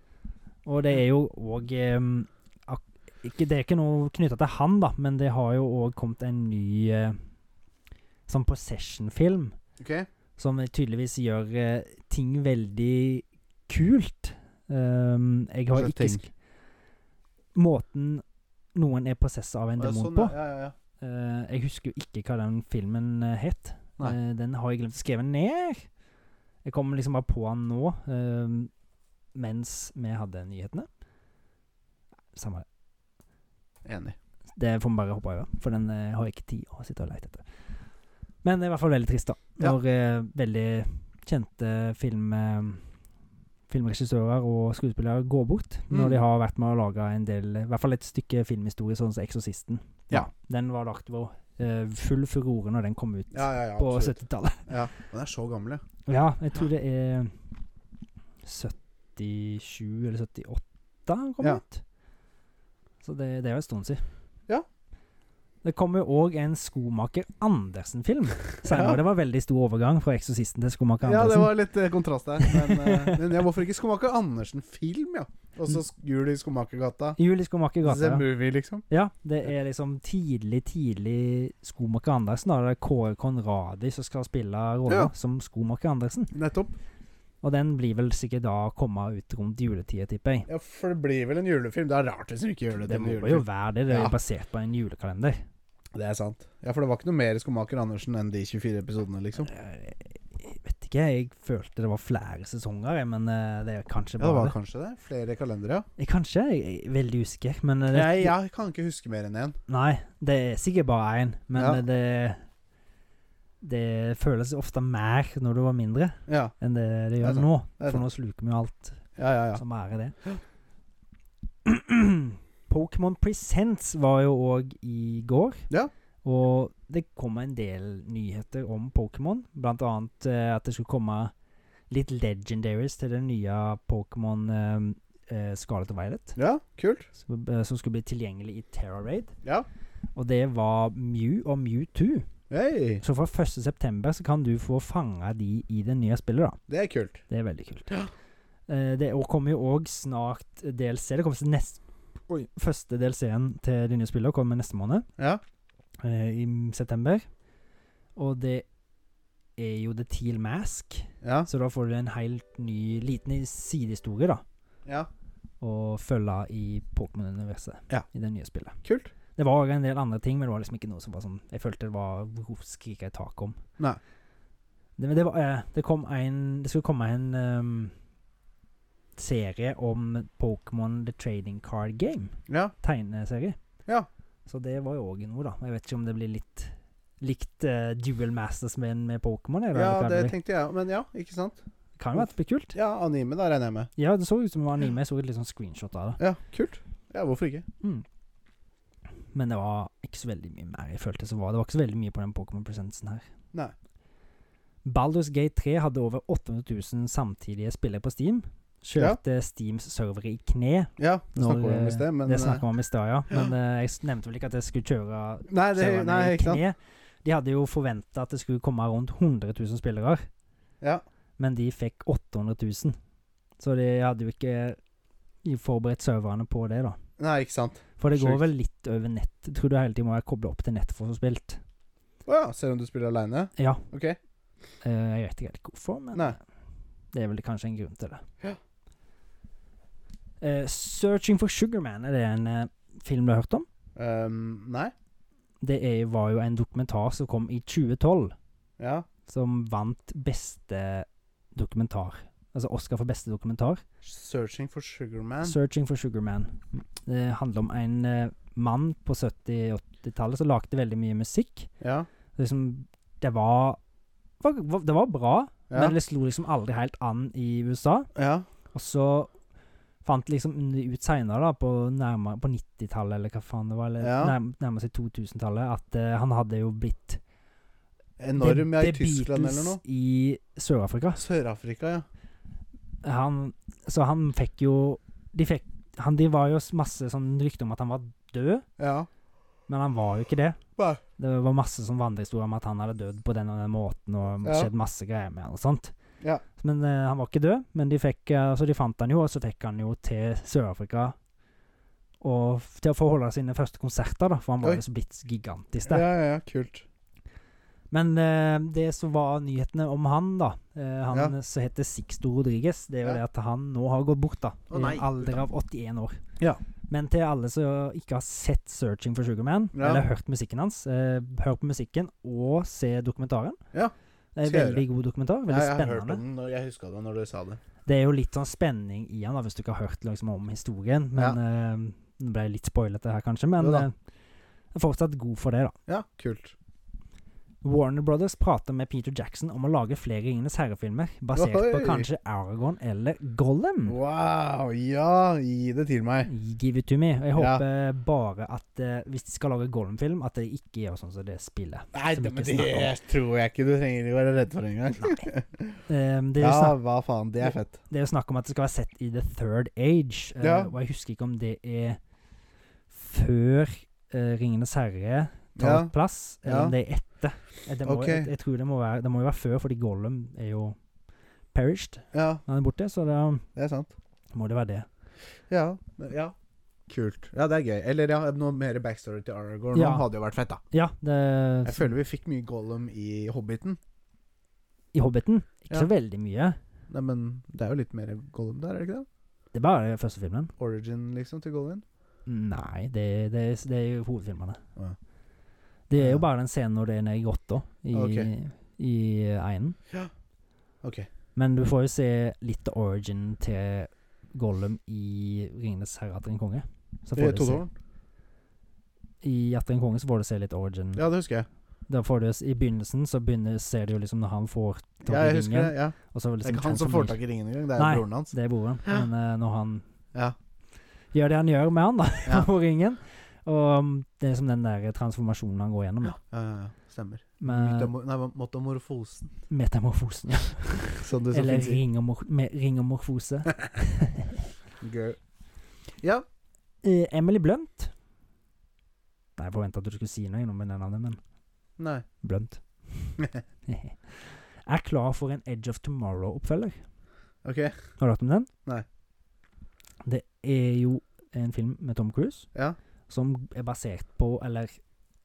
B: Og det er jo òg ehm, ak- ikke, Det er ikke noe knytta til han, da, men det har jo òg kommet en ny eh, sånn possession-film.
A: Ok?
B: som tydeligvis gjør eh, ting veldig kult. Ehm, jeg har
A: Hva slags
B: ikke sk Måten noen er possessa av en
A: Ja,
B: demon
A: sånn,
B: på.
A: ja, ja, ja.
B: Eh, jeg husker jo ikke hva den filmen eh, het.
A: Nei.
B: Eh, den har jeg glemt å skrive ned. Jeg kommer liksom bare på den nå, ehm, mens vi hadde nyhetene. Samme det.
A: Enig.
B: Det får vi bare hoppe over, for den eh, har jeg ikke tid å sitte og lete etter. Men det er i hvert fall veldig trist, da.
A: Ja.
B: Når eh, veldig kjente film, eh, filmregissører og skuespillere går bort.
A: Mm.
B: Når de har vært med å lage en del, i hvert fall et stykke filmhistorie, sånn som 'Eksorsisten'.
A: Ja.
B: Den var lagt på eh, full furore når den kom ut
A: Ja, ja, ja,
B: på
A: absolutt.
B: 70-tallet.
A: Ja. Den er så gammel, ja.
B: Ja, jeg tror det er 77 eller 78 han kom
A: Ja.
B: ut. Så det, det er jo en stund siden.
A: Ja.
B: Det kommer òg en Skomaker Andersen-film senere. og Det var veldig stor overgang fra 'Eksorsisten' til Skomaker
A: Ja, det
B: Andersen.
A: var litt eh, kontrast der. Men, eh, men ja, hvorfor ikke Skomaker Andersen-film, ja? Og så jul i Skomakergata.
B: Jul Mm. i Skomaker
A: The
B: gata. Ja.
A: Movie, liksom.
B: ja, det er liksom tidlig, tidlig Skomaker Andersen. Da Det er Kåre Conradi som skal spille rollen
A: Ja.
B: som Skomaker Andersen.
A: Nettopp.
B: Og den blir vel sikkert da komme ut rundt juletida, tipper jeg.
A: Ja, For det blir vel en julefilm? Det er rart hvis du ikke gjør det.
B: Det
A: til en
B: må jo
A: julefilm.
B: være det. Det er
A: Ja.
B: jo basert på en julekalender.
A: Det er sant. Ja, for det var ikke noe mer Skomaker Andersen enn de 24 episodene, liksom.
B: Eh, Jeg vet ikke, jeg følte det var flere sesonger, jeg, men eh, det er
A: Ja,
B: kanskje
A: det
B: bare
A: var
B: det.
A: kanskje det. Flere kalendere, ja.
B: Jeg- Kanskje, jeg jeg er veldig usikker, men eh, det,
A: Jeg, jeg kan ikke huske mer enn én.
B: Nei, det er sikkert bare én, men
A: Ja.
B: eh, det det føles ofte mer når du var mindre,
A: Ja.
B: enn det det
A: Det er
B: gjør
A: sant.
B: nå.
A: Det er
B: For nå sluker vi jo alt
A: ja, ja, ja.
B: som er i det. Pokémon Presents var jo òg i går.
A: Ja.
B: Og det kom en del nyheter om Pokémon. Blant annet eh, at det skulle komme litt legendaries til den nye Pokémon eh, eh, Scarlet og Violet.
A: Ja, kult.
B: Som, eh, som skulle bli tilgjengelig i Terra Raid.
A: Ja.
B: Og det var Mew og Mewtwo.
A: Hei,
B: Så fra 1.9. så kan du få fanga de i det nye spillet, da.
A: det er kult.
B: Det er veldig kult. Eh, det og kommer jo òg snart DLC. Det kommer til nest, oi, første DLC-en til det nye spillet kommer neste måned,
A: Ja.
B: eh, i m- september. Og det er jo The Teal Mask,
A: Ja.
B: så da får du en helt ny, liten i- sidehistorie, da.
A: ja.
B: Å følge i Pokémon-universet
A: Ja.
B: i det nye spillet.
A: Kult.
B: Det var en del andre ting, men det var liksom ikke noe som var sånn Jeg følte det var Hvorfor skriker jeg tak om?
A: Nei.
B: Det, men det, var, eh, det kom en Det skulle komme en ehm, serie om Pokémon The Trading Card Game.
A: Ja.
B: Tegneserie.
A: Ja.
B: Så det var jo òg noe, da. Jeg vet ikke om det blir litt likt eh, Duel Masters med, med Pokémon. eller
A: ja,
B: hva
A: det
B: det blir.
A: tenkte jeg Men ja, ikke sant?
B: kan jo være at det blir kult.
A: Ja, anime, da regner jeg med.
B: Ja, det så ut som det var anime. Jeg så et litt sånn screenshot av det.
A: Ja, kult. Ja, hvorfor ikke?
B: Mm. Men det var ikke så veldig mye mer jeg følte som var. Det var ikke så veldig mye på den Pokémon Presentsen her.
A: Nei.
B: Baldur's Gate 3 hadde over 800 000 samtidige spillere på Steam. Kjørte Steams servere i kne.
A: Ja, det
B: Når,
A: snakker
B: eh,
A: vi om i sted, men
B: det snakket vi om i stad, ja. Men eh, jeg s- nevnte vel ikke at jeg skulle kjøre
A: eh, Nei, det,
B: serverne
A: nei,
B: i
A: ikke sant?
B: kne. De hadde jo forventa at det skulle komme rundt 100 000 spillere,
A: Ja.
B: men de fikk 800 000. Så de hadde jo ikke forberedt serverne på det, da.
A: Nei, ikke sant.
B: For det går
A: Sjukt.
B: vel litt over nett. Tror du hele tiden må være kobla opp til nett for å få spilt?
A: Å ja, selv om du spiller aleine?
B: Ja.
A: Ok.
B: Eh, jeg vet ikke helt hvorfor, men
A: Nei.
B: det er vel kanskje en grunn til det.
A: Ja.
B: Eh, 'Searching for Sugarman' er det en eh, film du har hørt om?
A: Ehm, nei.
B: Det er, var jo en dokumentar som kom i 2012,
A: Ja.
B: som vant beste dokumentar. Altså Oscar for beste dokumentar.
A: Searching for Sugarman.
B: 'Searching for Sugarman'. Det handler om en eh, mann på 70-80-tallet som lagde veldig mye musikk.
A: Ja.
B: liksom, det var, var Det var bra,
A: Ja.
B: men det slo liksom aldri helt an i USA.
A: ja.
B: Og så fant liksom de ut seinere, på, nærmere- på 90-tallet eller hva faen det var, eller
A: Ja.
B: nærm, nærmer seg 2000-tallet, at eh, han hadde jo blitt
A: Enorm ja,
B: The-
A: i
B: The
A: Tyskland eller noe.
B: Beatles i Sør-Afrika.
A: Sør-Afrika, ja.
B: Han, så han fikk jo De fikk han, De var jo s- masse sånn rykter om at han var død,
A: Ja.
B: men han var jo ikke det.
A: Nei.
B: Det var masse sånn vandrehistorier om at han hadde dødd på den og den måten, og
A: Ja.
B: skjedd masse greier med han og sånt.
A: Ja.
B: Men eh, han var ikke død, men de fikk, eh, så de fant han jo, og så fikk han jo til Sør-Afrika og f- til å få holde sine første konserter, da, for han
A: Oi.
B: var jo så blitt gigantisk
A: ja,
B: der.
A: ja, ja, kult.
B: Men eh, det som var nyhetene om han, da eh, Han
A: Ja.
B: som heter Sixto Rodriguez, det er
A: Ja.
B: jo det at han nå har gått bort, da.
A: Å,
B: I
A: nei.
B: en alder av 81 år.
A: Ja.
B: Men til alle som ikke har sett 'Searching for Sugarman',
A: Ja.
B: eller hørt musikken hans, eh, hør på musikken og se dokumentaren.
A: Ja.
B: Det er
A: Skal
B: en
A: jeg
B: veldig god dokumentar. Veldig
A: ja, jeg har hørt
B: spennende.
A: om den, og jeg huska det når du sa det.
B: Det er jo litt sånn spenning i han, da, hvis du ikke har hørt liksom, om historien. Men eh, Nå ble jeg litt spoilete her, kanskje, men
A: Jo da.
B: eh, jeg er fortsatt god for det, da.
A: Ja, kult.
B: Warner Brothers prater med Peter Jackson om å lage flere Ringenes herre-filmer, basert på
A: Ohoi!
B: kanskje Aragon eller Gollum.
A: Wow, ja, gi det til meg.
B: Give it to me. Og Jeg
A: Ja.
B: håper bare at eh, hvis de skal lage Gollum-film, at de ikke gjør sånn som det spillet.
A: Nei,
B: Som
A: det, men
B: ikke snakker om.
A: det tror jeg ikke du trenger å være redd for engang.
B: Eh, det, er jo
A: Ja,
B: snakk,
A: hva faen, det er fett.
B: det er jo snakk om at det skal være sett i The Third Age, eh,
A: Ja.
B: og jeg husker ikke om det er før eh, Ringenes herre
A: Ja.
B: plass, eller
A: Ja.
B: om det er etter. Eh, Det må,
A: Ok.
B: jeg, jeg tror det må, være, det må jo være før, fordi Gollum er jo perished
A: Ja,
B: når han er borte, så da
A: det er sant.
B: må det være det.
A: Ja. men- ja. Kult. Ja, det er gøy. Eller ja, noe mer backstory til Aragorn.
B: Ja.
A: Han hadde jo vært fett, da.
B: Ja, det,
A: Jeg føler vi fikk mye Gollum i Hobbiten.
B: i Hobbiten ikke
A: Ja.
B: så veldig mye.
A: Nei, men det er jo litt mer Gollum der, er det ikke det?
B: Det er bare den første filmen.
A: Origin, liksom, til Gollum.
B: Nei, det, det, er- det er jo hovedfilmene.
A: Ja.
B: Det er
A: Ja.
B: jo bare den scenen når det er nede i grotta i,
A: Ok.
B: i einen.
A: Ok.
B: Men du får jo se litt av origin til Gollum i 'Ringenes herre atter en konge'. Så
A: Eh,
B: får du se,
A: Totårn?
B: I 'Atter en konge' så får du se litt origin.
A: Ja, det husker jeg.
B: Da får du, s- I begynnelsen så begynner, ser du jo liksom når han får tak
A: Ja,
B: i
A: jeg husker
B: ringen.
A: det. Ja.
B: Og så
A: Det
B: liksom
A: er ikke han som får
B: transformer-
A: tak i ringen engang, det er
B: Nei.
A: broren hans.
B: Det er broren.
A: Ja.
B: Men eh, når han
A: Ja.
B: gjør det han gjør med han, da,
A: Ja.
B: på ringen Og mm, det er liksom den der transformasjonen han går gjennom. Da.
A: Ja, ja, ja. Stemmer.
B: Med
A: Mytomo- nei, metamorfosen.
B: metamorfosen. Eh. Ja.
A: Som det så
B: Eller
A: fint sier.
B: ringomor- me- ringomorfose.
A: Gøy. Ja.
B: Eh, Emily Blunt. Nei, jeg forventa at du skulle si noe innom det navnet, men
A: Nei.
B: Blunt. er klar for en Edge of Tomorrow-oppfølger.
A: OK.
B: Har du hørt om den?
A: Nei.
B: Det er jo en film med Tom Cruise
A: Ja.
B: som er basert på, eller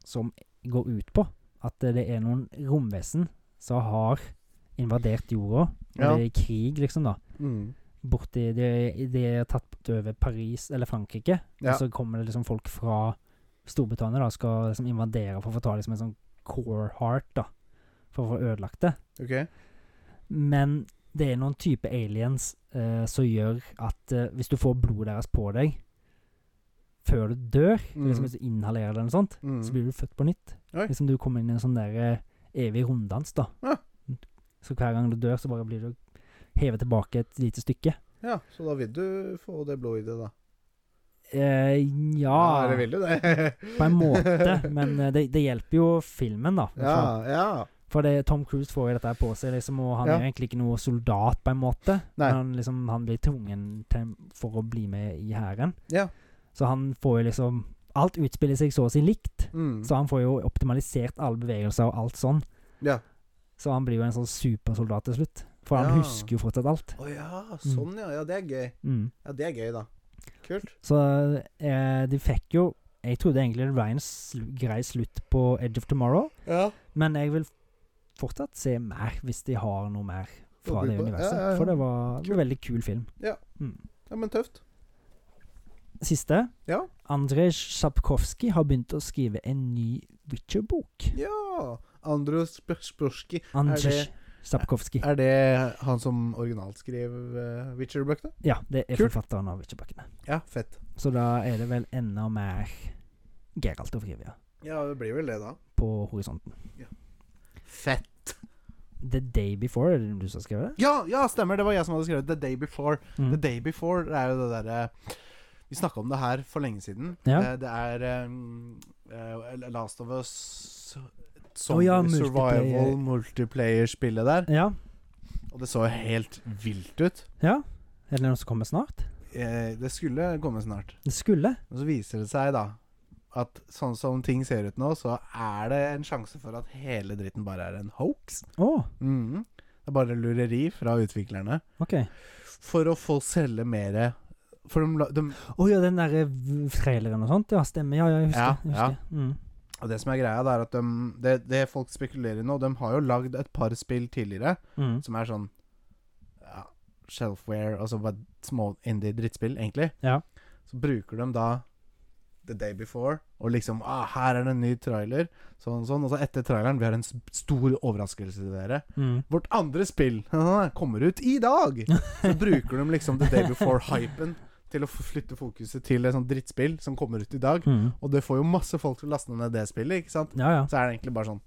B: som går ut på, at det er noen romvesen som har invadert jorda. Og
A: Ja.
B: det er i krig, liksom, da.
A: Mm.
B: Borti De de har tatt over Paris, eller Frankrike.
A: Ja.
B: Og så kommer det liksom folk fra Storbritannia da, skal liksom invadere for å få ta liksom en sånn core heart, da. For å få ødelagt det.
A: OK.
B: Men det er noen type aliens eh, som gjør at eh, hvis du får blodet deres på deg før du dør,
A: Mm.
B: liksom hvis du inhalerer det eller noe sånt,
A: Mm.
B: så blir du født på nytt.
A: Oi.
B: Liksom du kommer inn i en sånn der eh, evig runddans, da.
A: Ja.
B: Så hver gang du dør, så bare blir du hevet tilbake et lite stykke.
A: Ja, så da vil du få det blodet i det, da.
B: Eh,
A: Ja,
B: ja
A: det vil du det.
B: På en måte, men eh, det, det hjelper jo filmen, da. Altså,
A: Ja, ja.
B: For det, Tom Cruise får jo dette her på seg, liksom, og han
A: Ja.
B: er jo egentlig ikke noe soldat, på en måte.
A: Nei.
B: Men han, liksom, han blir tvungen til, for å bli med i hæren.
A: Ja.
B: Så han får jo liksom Alt utspiller seg så å si likt.
A: Mm.
B: Så han får jo optimalisert alle bevegelser og alt sånn.
A: Ja.
B: Så han blir jo en sånn supersoldat til slutt. For han
A: Ja.
B: husker jo fortsatt alt.
A: Å ja, sånn ja. Ja, det er gøy.
B: Mm.
A: Ja, det er gøy, da. Kult.
B: Så eh, de fikk jo Jeg trodde egentlig det var en sl grei slutt på Edge of Tomorrow,
A: Ja.
B: men jeg vil fortsatt se mer hvis de har noe mer fra
A: Å by
B: det
A: på.
B: universet.
A: Ja, ja, ja.
B: For det var en veldig kul film.
A: ja, men tøft.
B: Siste.
A: Ja.
B: Andrej Sapkowski har begynt å skrive en ny Witcher-bok.
A: Ja. Andros Sprosjki.
B: Andrzej Sapkowski.
A: Er det han som originalt skrev eh, Witcher-bøkene?
B: Ja, det er
A: Kult.
B: forfatteren av Witcher-bøkene.
A: Ja, fett.
B: Så da er det vel enda mer Geralt og Frivia
A: Ja, det blir vel det, da.
B: på horisonten.
A: Fett.
B: The Day Before, er det du som har skrevet det?
A: Ja, ja, stemmer. Det var jeg som hadde skrevet The Day Before.
B: Mm.
A: The Day Before det er jo det derre Vi snakka om det her for lenge siden.
B: Ja.
A: Eh, Det er um, eh, Last of Us
B: Å
A: Zombie
B: ja,
A: Survival
B: multiplayer.
A: Multiplayer-spillet der.
B: Ja.
A: Og det så jo helt vilt ut.
B: ja. Er det noe som kommer snart?
A: Eh, Det skulle komme snart.
B: Det skulle.
A: Men så viser det seg, da, at sånn som ting ser ut nå, så er det en sjanse for at hele dritten bare er en hoax.
B: Å,
A: Mhm. Det er bare lureri fra utviklerne.
B: OK.
A: For å få selge mer For de, la- de
B: Å ja, den derre traileren og sånt. Ja, stemmer. Ja, ja, jeg
A: Ja,
B: husker. jeg
A: ja.
B: husker. Mm.
A: Og det som er greia, det er at de, det, det folk spekulerer i nå De har jo lagd et par spill tidligere
B: Mm.
A: som er sånn ja, Shelfware, altså bare små indie drittspill, egentlig.
B: Ja.
A: Så bruker de da The Day Before og liksom ah, 'Her er det en ny trailer.' Sånn og sånn. Og så etter traileren Vi har en s- stor overraskelse til dere.
B: Mm.
A: Vårt andre spill kommer ut i dag! Så bruker de liksom The Day Before-hypen til å f- flytte fokuset til et sånt drittspill som kommer ut i dag.
B: Mm.
A: Og det får jo masse folk til å laste ned det spillet, ikke sant?
B: Ja, ja.
A: Så er det egentlig bare sånn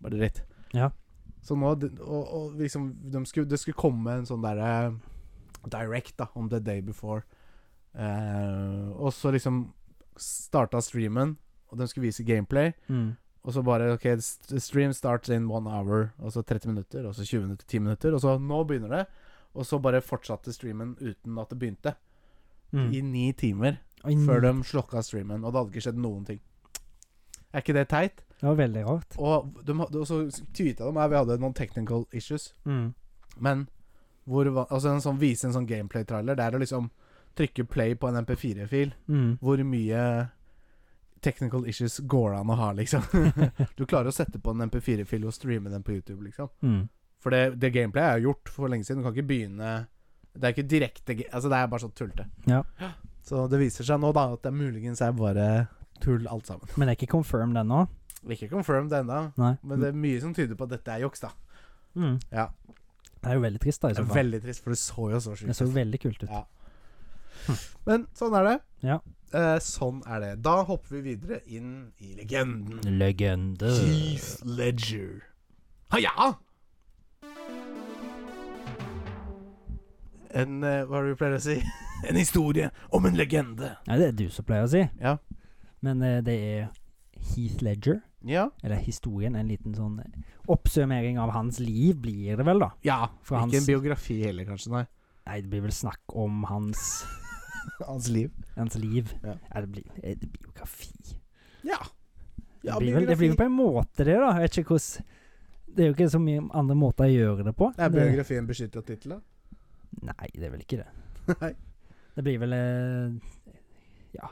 A: Bare dritt.
B: Ja.
A: Så nå og, og liksom de skulle, Det skulle komme en sånn derre direct da om the day before. Eh, og så liksom starta streamen, og de skulle vise gameplay.
B: Mm.
A: Og så bare OK, st- stream starts in one hour. Og så 30 minutter, og så 20 minutter, 10 minutter. Og så nå begynner det. Og så bare fortsatte streamen uten at det begynte.
B: Mm.
A: I ni timer
B: Og inn-
A: før de slokka streamen, og det hadde ikke skjedd noen ting. Er ikke det teit?
B: Det var veldig rart.
A: Og, de, hadde- og så tyta de her, vi hadde noen technical issues.
B: Mm.
A: Men hvor, va- altså en sånn, vise en sånn gameplay-trailer der det liksom trykke play på en MP4-fil.
B: Mm.
A: Hvor mye technical issues går det an å ha, liksom? du klarer å sette på en MP4-fil og streame den på YouTube, liksom.
B: Mm.
A: For det, det gameplayet er jo gjort for lenge siden. Du kan ikke begynne Det er ikke direkte ga- Altså, det er bare sånn tullete.
B: Ja.
A: Så det viser seg nå, da, at det muligens er bare tull alt sammen.
B: Men det er ikke confirmed ennå.
A: Ikke confirmed ennå,
B: Nei.
A: men det er mye som tyder på at dette er juks, da.
B: Mm.
A: Ja.
B: Det er jo veldig trist, da.
A: Det
B: i så
A: er
B: fall.
A: veldig trist, for det så jo så sjukt
B: Det så veldig kult ut.
A: Ja. Men sånn er det.
B: Ja.
A: Eh, sånn er det. Da hopper vi videre inn i legenden.
B: Legende.
A: Keith Ledger. Ah, Haja! En eh, Hva er det vi pleier å si? En historie om en legende.
B: Nei, det er du som pleier å si.
A: Ja.
B: Men eh, det er Heath Ledger,
A: Ja.
B: eller historien. En liten sånn oppsummering av hans liv blir det vel, da.
A: ja.
B: Fra
A: Ikke
B: hans-
A: en biografi heller, kanskje. Nei.
B: Nei, det blir vel snakk om hans
A: Hans liv.
B: Hans liv.
A: Ja.
B: Er det, blir, er det biografi?
A: Ja.
B: det, blir vel, det blir vel på en måte det, da. Jeg vet ikke hvordan Det er jo ikke så mye andre måter å gjøre det på.
A: Er
B: det,
A: biografien beskyttet av tittelen?
B: nei, det er vel ikke det.
A: Nei.
B: Det blir vel eh, ja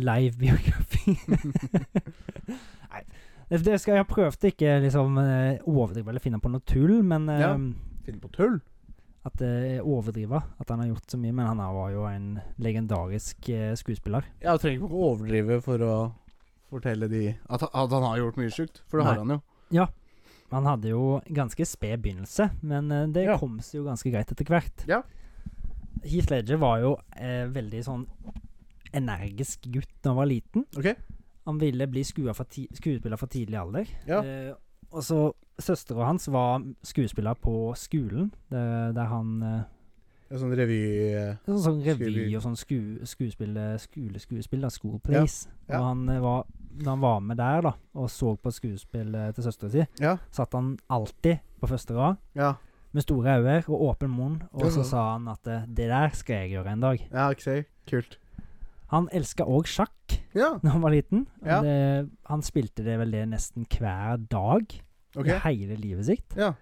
B: live biografi. nei. Det, det skal jeg ha prøvd å ikke liksom, eh, overdrive eller finne på noe tull, men eh,
A: Ja. Finn på tull?
B: at det er overdriva. At han har gjort så mye. Men han var jo en legendarisk eh, skuespiller.
A: Ja, du trenger ikke å overdrive for å fortelle de at, han- at han har gjort mye sjukt, for det
B: Nei.
A: har han jo.
B: Han hadde jo ganske sped begynnelse, men eh, det
A: Ja.
B: kom seg jo ganske greit etter hvert.
A: Ja.
B: Heath Ledger var jo eh, veldig sånn energisk gutt da han var liten.
A: Ok.
B: Han ville bli skua fra ti skuespiller fra tidlig alder.
A: Ja.
B: Eh, og så Søstera hans var skuespiller på skolen, eh, der han eh,
A: En sånn revy... eh,
B: Sånn, sånn revy
A: Skuespill.
B: og sånn sku, skuespill, eh, skoleskuespill, da, school plays.
A: Ja, ja.
B: Og han eh, var, da han var med der da, og så på skuespillet til søstera si,
A: Ja.
B: satt han alltid på første rad
A: Ja,
B: med store øyne og åpen munn, og
A: Ja.
B: så sa han at eh, 'det der skal jeg gjøre en dag'.
A: ja ikke sant? Kult.
B: Han elska òg sjakk
A: Ja,
B: da han var liten.
A: Ja.
B: Det, han spilte det vel det nesten hver dag
A: ok.
B: i hele livet sitt.
A: Ja,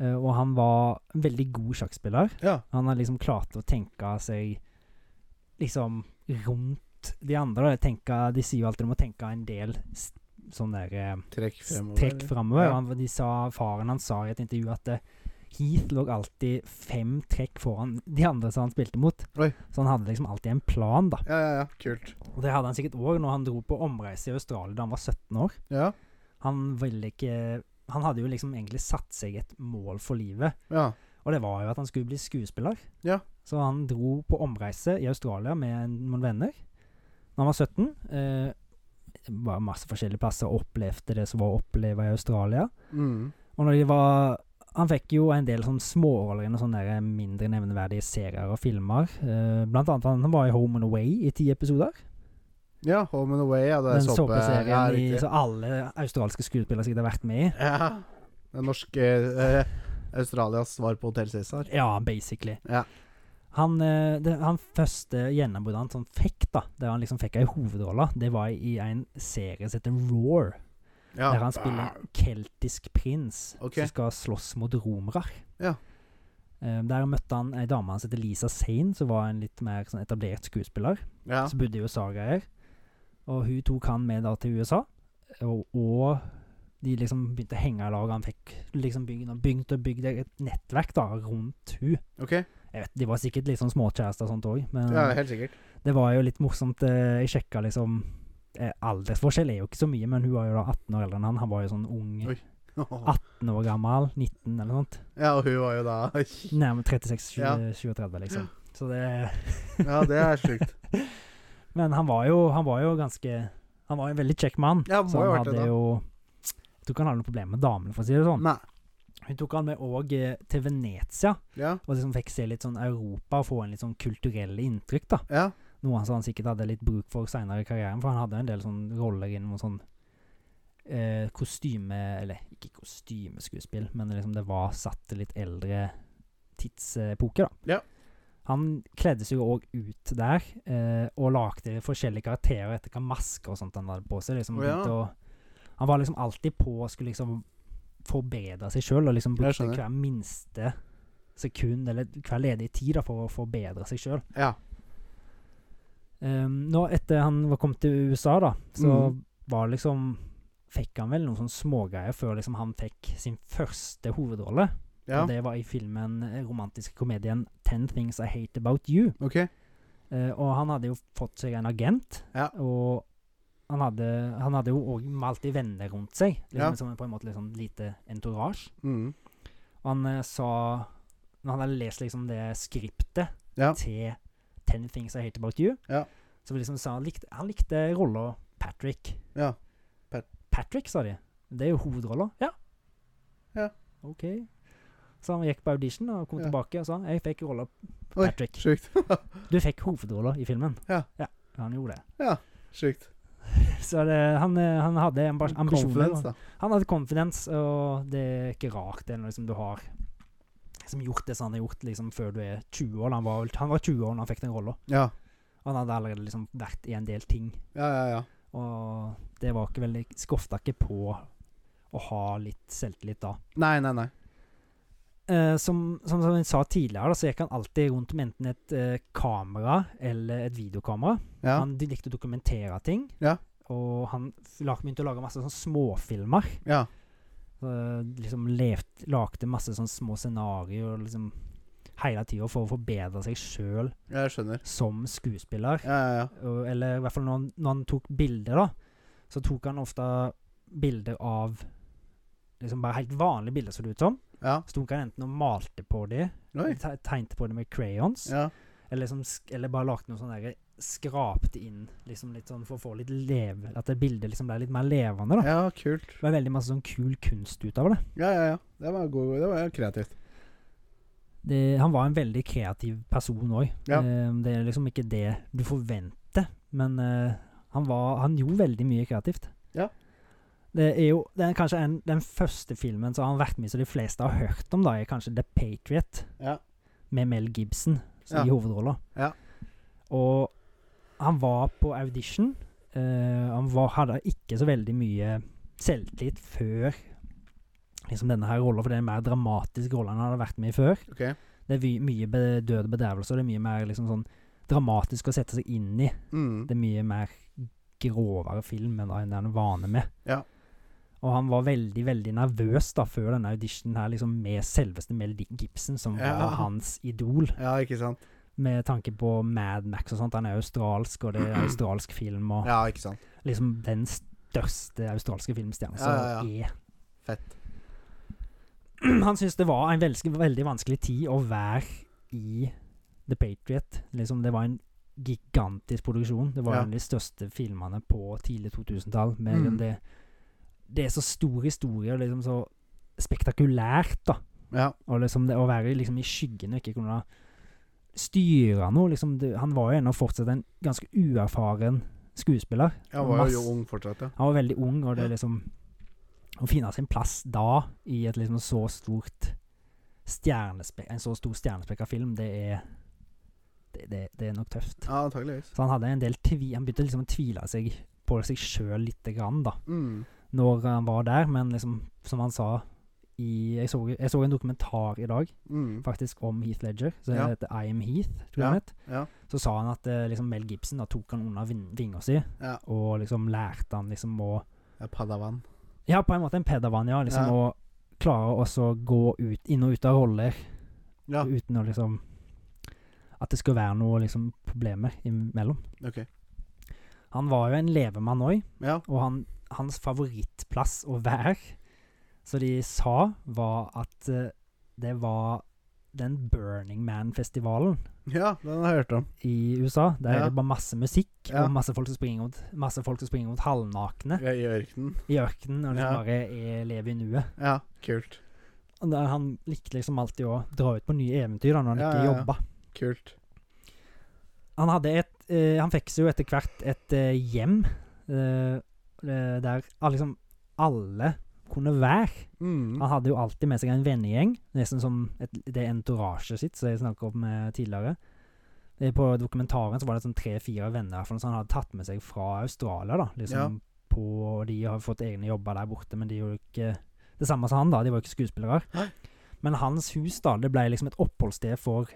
B: Eh, og han var en veldig god sjakkspiller.
A: ja.
B: Han har liksom klart å tenke seg liksom rundt de andre. da. Tenke, de sier jo alltid du må tenke en del s- sånn der eh,
A: Trekk
B: s-
A: fremover.
B: trekk framover.
A: Ja.
B: Han- De sa, faren hans sa i et intervju at eh, Heath lå alltid fem trekk foran de andre som han spilte mot.
A: Oi.
B: Så han hadde liksom alltid en plan, da.
A: Ja, ja, ja. Kult.
B: Og det hadde han sikkert òg når han dro på omreise i Australia da han var 17 år.
A: Ja,
B: Han ville ikke Han hadde jo liksom egentlig satt seg et mål for livet.
A: ja.
B: Og det var jo at han skulle bli skuespiller.
A: Ja.
B: Så han dro på omreise i Australia med en- noen venner da han var 17. Eh, var masse forskjellige plasser og opplevde det som var å oppleve i Australia.
A: Mm.
B: Og når de var Han fikk jo en del sånn småroller i noen sånne der mindre nevneverdige serier og filmer. Eh, blant annet han var i Home and Away i ti episoder.
A: Ja, Home and Away, ja, det er
B: Den
A: såpe.
B: såpeserien
A: Ja,
B: i-
A: riktig.
B: som alle australske skuespillere sikkert har vært med i.
A: Ja. Den norske eh, Australias svar på Hotel Cæsar.
B: Ja, basically.
A: Ja.
B: Han, eh, det, han første gjennombruddet han sånn fikk, da, der han liksom fikk ei hovedrolle, det var i en serie som heter Roar.
A: Ja.
B: Der han spiller en keltisk prins
A: Ok.
B: som skal slåss mot romere.
A: Ja.
B: Eh, Der møtte han ei dame som heter Lisa Sane, som var en litt mer sånn etablert skuespiller.
A: Ja.
B: Som bodde i USA-greier. Og hun tok han med da til USA. Og, og de liksom begynte å henge i lag. Han fikk liksom bygd og bygd og bygd et nettverk da rundt hun.
A: Ok.
B: Jeg vet, De var sikkert litt sånn småkjærester og sånt òg, men
A: Ja, helt sikkert.
B: det var jo litt morsomt. eh, Jeg sjekka liksom eh, Aldersforskjell er jo ikke så mye, men hun var jo da 18 år eldre enn han. Han var jo sånn ung,
A: Oi.
B: 18 år gammel, 19 eller noe sånt.
A: Ja, og hun var jo da
B: Nærmere 36-37,
A: Ja.
B: liksom. Så det
A: Ja, det er sjukt.
B: Men han var jo, han var jo ganske Han var jo en veldig kjekk mann,
A: Ja, må
B: så
A: jo
B: han
A: ha vært det,
B: hadde
A: da.
B: jo Jeg tror ikke han hadde noe problem med damene, for å si det sånn.
A: Nei.
B: Hun tok han med òg til Venezia,
A: Ja,
B: og liksom fikk se litt sånn Europa og få en litt sånn kulturelle inntrykk, da.
A: ja.
B: Noe som han sikkert hadde litt bruk for seinere i karrieren, for han hadde en del sånne roller inn mot sånn eh, kostyme Eller ikke kostymeskuespill, men liksom det var satt til litt eldre tidsepoker, da.
A: Ja.
B: Han kledde seg jo òg ut der, eh, og lagde forskjellige karakterer etter hva masker og sånt han hadde på seg. Liksom,
A: Å, ja.
B: begynte å, han var liksom alltid på og skulle liksom forbedre seg sjøl, og
A: Jeg
B: liksom brukte
A: skjønner.
B: hver minste sekund, eller hver ledige tid, da, for å forbedre seg sjøl.
A: Ja.
B: Um, nå etter han var kommet til USA, da, så
A: Mhm.
B: var liksom Fikk han vel noen sånne smågreier før liksom han fikk sin første hovedrolle.
A: ja.
B: Og det var i filmen eh, romantiske komedien 'Ten Things I Hate About You'.
A: OK.
B: Eh, og han hadde jo fått seg en agent,
A: Ja.
B: og han hadde, han hadde jo òg alltid venner rundt seg, liksom,
A: Ja.
B: som på en måte liksom lite entourage.
A: Mm.
B: Og han eh, sa Når han hadde lest liksom det skriptet
A: Ja.
B: til 'Ten Things I Hate About You',
A: Ja.
B: så liksom sa han likte, han likte rolla Patrick.
A: Ja.
B: Patrick, sa de. Det er jo hovedrolla. Ja.
A: Ja.
B: OK. Så han gikk på audition og kom
A: Ja.
B: tilbake og sa 'Jeg fikk rolla
A: Oi.
B: Patrick'.
A: Sjukt.
B: Du fikk hovedrolla i filmen.
A: Ja.
B: ja. Han gjorde det.
A: Sjukt.
B: Så det, han, eh, han hadde amb- ambisjoner.
A: Confidence, da.
B: Han hadde confidence, og det er ikke rart det er noe liksom, du har liksom, gjort det som han har gjort liksom, før du er 20 år. Han var, vel- han var 20 år da han fikk den rolla.
A: Ja.
B: Han hadde allerede liksom, vært i en del ting,
A: Ja, ja, ja.
B: og det var ikke veldig Skofta ikke på å ha litt selvtillit da.
A: Nei, nei, nei.
B: Eh, som, som, som jeg sa tidligere, da, så gikk han alltid rundt med enten et eh, kamera eller et videokamera.
A: Ja.
B: Han de likte å dokumentere ting,
A: Ja.
B: og han f- lag- begynte å lage masse sånn småfilmer.
A: Ja.
B: Så liksom levt, lagde masse sånn små scenarioer liksom, hele tida for å forbedre seg sjøl
A: Jeg skjønner.
B: som skuespiller.
A: Ja, ja, ja.
B: Og- Eller i hvert fall når han, når han tok bilder, da, så tok han ofte bilder av liksom bare helt vanlige bilder, så det ut som.
A: Ja.
B: Så tok han enten og malte på de,
A: Oi.
B: te- tegnte på de med crayons,
A: Ja.
B: eller, liksom, sk- eller bare lagde noe sånn der Skrapte inn liksom litt sånn for å få litt leve At det bildet liksom ble litt mer levende, da.
A: ja, kult.
B: Det ble veldig masse sånn kul kunst ut av det.
A: Ja, ja, ja. Det var, god, det var kreativt.
B: det, han var en veldig kreativ person òg.
A: Ja.
B: det er liksom ikke det du forventer, men eh, han, var, han gjorde veldig mye kreativt.
A: Ja.
B: Det er jo det er kanskje en, den første filmen som han har vært med i som de fleste har hørt om, da, er kanskje The Patriot
A: Ja.
B: med Mel Gibson som
A: Ja.
B: i hovedrolla.
A: Ja.
B: Og han var på audition. eh, han var, hadde ikke så veldig mye selvtillit før liksom denne her rolla, for det er en mer dramatisk rolle han hadde vært med i før.
A: OK.
B: Det er vy- mye be død og bedøvelse, og det er mye mer liksom sånn dramatisk å sette seg inn i.
A: Mm.
B: Det er mye mer grovere film enn enn han er vane med.
A: Ja.
B: Og han var veldig, veldig nervøs da før denne auditionen her liksom med selveste Mel Gibson, som
A: Ja.
B: var hans idol,
A: Ja, ikke sant?
B: med tanke på Mad Max og sånt. Han er australsk, og det er australsk film, og
A: Ja, ikke sant.
B: liksom den største australske filmstjerna som
A: Ja, ja,
B: er
A: Fett.
B: han syntes det var en veldig, veldig vanskelig tid å være i The Patriot. Liksom, det var en gigantisk produksjon. Det var
A: Ja.
B: en av de største filmene på tidlig 2000-tall. med
A: Mm.
B: liksom Det, det er så stor historie, og liksom så spektakulært, da.
A: Ja.
B: Og liksom det å være liksom i skyggen og ikke kunne styre noe liksom det, Han var jo ennå fortsatt en ganske uerfaren skuespiller.
A: Jeg var jo
B: Mass-
A: ung fortsatt, ja.
B: Han var veldig ung, og det er liksom Å finne sin plass da, i et liksom så stort stjernespe en så stor stjernespekka film, det er det, det, det er nok tøft.
A: Ja, antageligvis.
B: Så han hadde en del tvi Han begynte liksom å tvile seg på seg sjøl lite grann, da,
A: Mm.
B: når han var der, men liksom, som han sa i, jeg, så, jeg så en dokumentar i dag,
A: Mm.
B: faktisk, om Heath Ledger, som
A: Ja.
B: heter I Am Heath, tror jeg han het.
A: Ja.
B: Så sa han at eh, liksom Mel Gibson da tok han under vin- vinga si,
A: Ja.
B: og liksom lærte han liksom å
A: ja Padawan.
B: Ja, på en måte en pedavan, ja. Liksom
A: Ja.
B: å klare å så gå ut, inn og ut av roller
A: Ja.
B: uten å liksom At det skulle være noe liksom problemer imellom.
A: Ok.
B: Han var jo en levemann òg,
A: Ja.
B: og han, hans favorittplass å være, så de sa, var at eh, det var den Burning Man-festivalen
A: ja, den har jeg hørt om.
B: i USA. Der
A: Ja.
B: er det bare masse musikk,
A: Ja.
B: og masse folk som springer rundt, masse folk som springer rundt halvnakne
A: I i ørkenen.
B: i ørkenen og liksom
A: Ja.
B: bare er, lever i nuet.
A: Ja, kult.
B: Og da, han likte liksom alltid å dra ut på nye eventyr da, når han
A: Ja,
B: ikke
A: ja, ja.
B: jobba.
A: Kult.
B: Han, hadde et, eh, han fikk seg jo etter hvert et eh, hjem eh, eh, der alle- liksom alle kunne være.
A: Mm.
B: Han hadde jo alltid med seg en vennegjeng, nesten som et, det entouraget sitt som jeg snakket om eh, tidligere. Det er På dokumentaren så var det sånn tre-fire venner for noe sånt han hadde tatt med seg fra Australia. da, liksom på, og De har fått egne jobber der borte, men de er jo ikke det samme som han. da, De var jo ikke skuespillere.
A: Nei.
B: Men hans hus da, det ble liksom et oppholdssted for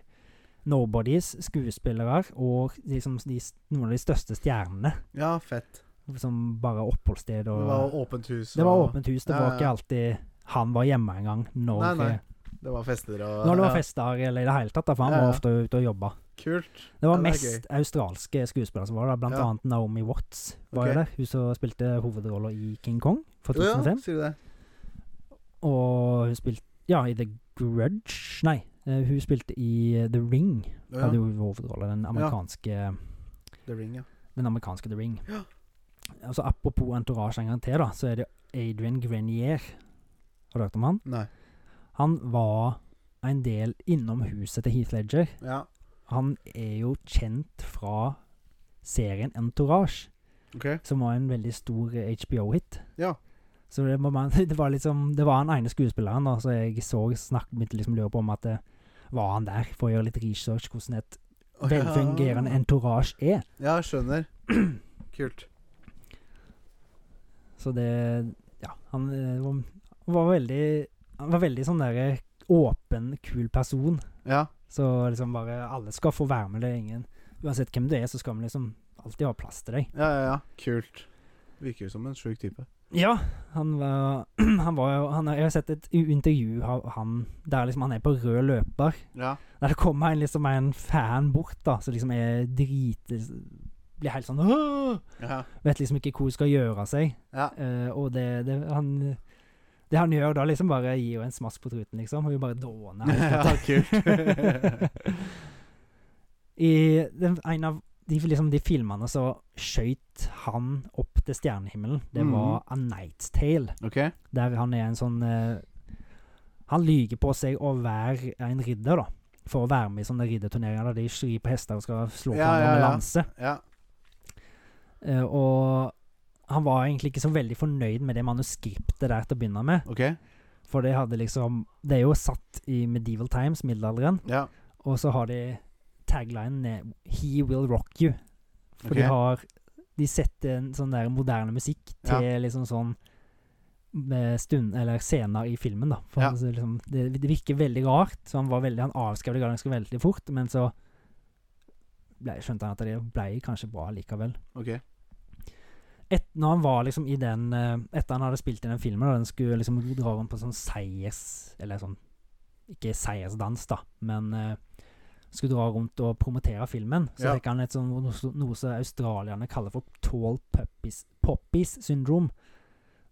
B: nobodies, skuespillere og liksom de, noen av de største stjernene.
A: Ja, fett.
B: Som bare oppholdssted.
A: Det
B: Og,
A: var åpent hus.
B: det var
A: og-
B: åpent hus. Det
A: Ja,
B: var
A: ja,
B: ikke
A: ja.
B: alltid han var hjemme engang når,
A: Nei, nei. Det var fester og
B: når det
A: ja.
B: var fester eller i det hele tatt. Da, for han
A: Ja, ja.
B: var ofte ute og jobba.
A: Kult.
B: Det var
A: Ja, det er
B: mest australske skuespillere som var der, blant
A: Ja.
B: annet Naomi Watts. var
A: Ok.
B: jo der. Hun som spilte hovedrolla i King Kong fra
A: Ja,
B: 2005.
A: sier du det?
B: Og hun spilte Ja, i The Grudge Nei, eh, hun spilte i eh, The Ring.
A: Ja,
B: Hadde jo hovedrolla. Den amerikanske
A: The Ring, ja.
B: Den amerikanske The Ring.
A: Ja.
B: Altså Apropos entourage en gang til, da, så er det Adrian Grenier. Har du hørt om han?
A: Nei.
B: Han var en del innom huset til Heath Ledger.
A: Ja,
B: Han er jo kjent fra serien Entourage,
A: OK.
B: som var en veldig stor HBO-hit.
A: Ja.
B: Så det, må man, det var liksom Det var den ene skuespilleren, da, så jeg så snakk mitt liksom lurer på om at eh, Var han der, for å gjøre litt research hvordan et
A: Å, ja.
B: velfungerende entourage er.
A: Ja, skjønner. Kult.
B: Så det Ja, han eh, var, var veldig Han var veldig sånn derre åpen, kul person.
A: Ja.
B: Så liksom bare Alle skal få være med, det er ingen Uansett hvem du er, så skal vi liksom alltid ha plass til deg.
A: Ja, ja, ja. Kult. Virker jo som en sjuk type.
B: Ja, han var, han var jo han, Jeg har sett et u- intervju av han der liksom han er på rød løper.
A: Ja.
B: Der det kommer en, liksom, en fan bort, da, som liksom er drit... Blir helt sånn «Åh!»
A: Ja.
B: Vet liksom ikke hvor hun skal gjøre av seg.
A: Ja.
B: Eh, og det, det han Det han gjør da, liksom bare gir henne en smask på truten, liksom. Og hun bare dåner.
A: Ja, kult.
B: I den, en av de, liksom, de filmene så skøyt han opp til stjernehimmelen. Det
A: Mm.
B: var A Night's Tale.
A: OK.
B: Der han er en sånn eh, Han lyger på seg å være en ridder, da. For å være med i sånne ridderturneringer der de skyr på hester og skal slå
A: Ja,
B: hverandre
A: ja,
B: med
A: ja.
B: lanse.
A: Ja.
B: Eh, og han var egentlig ikke så veldig fornøyd med det manuskriptet der til å begynne med.
A: OK.
B: For det hadde liksom Det er jo satt i medieval times, middelalderen,
A: Ja.
B: og så har de taglinen ned, 'He will rock you'. For
A: Ok.
B: de har De setter en sånn der moderne musikk til liksom sånn eh, stund, eller scener i filmen, da. For
A: Ja.
B: han så liksom, det, det virker veldig rart, så han var veldig Han avskrev det ganske veldig fort, men så ble, skjønte han at det ble kanskje bra likevel.
A: OK.
B: Et, når han var liksom i den eh, Etter han hadde spilt i den filmen, og den skulle liksom dra rundt på sånn seiers... Eller sånn Ikke seiersdans, da, men eh, skulle dra rundt og promotere filmen. Så
A: Ja.
B: fikk han et sånn noe, som- noe som australierne kaller for tall puppies, poppies syndrom.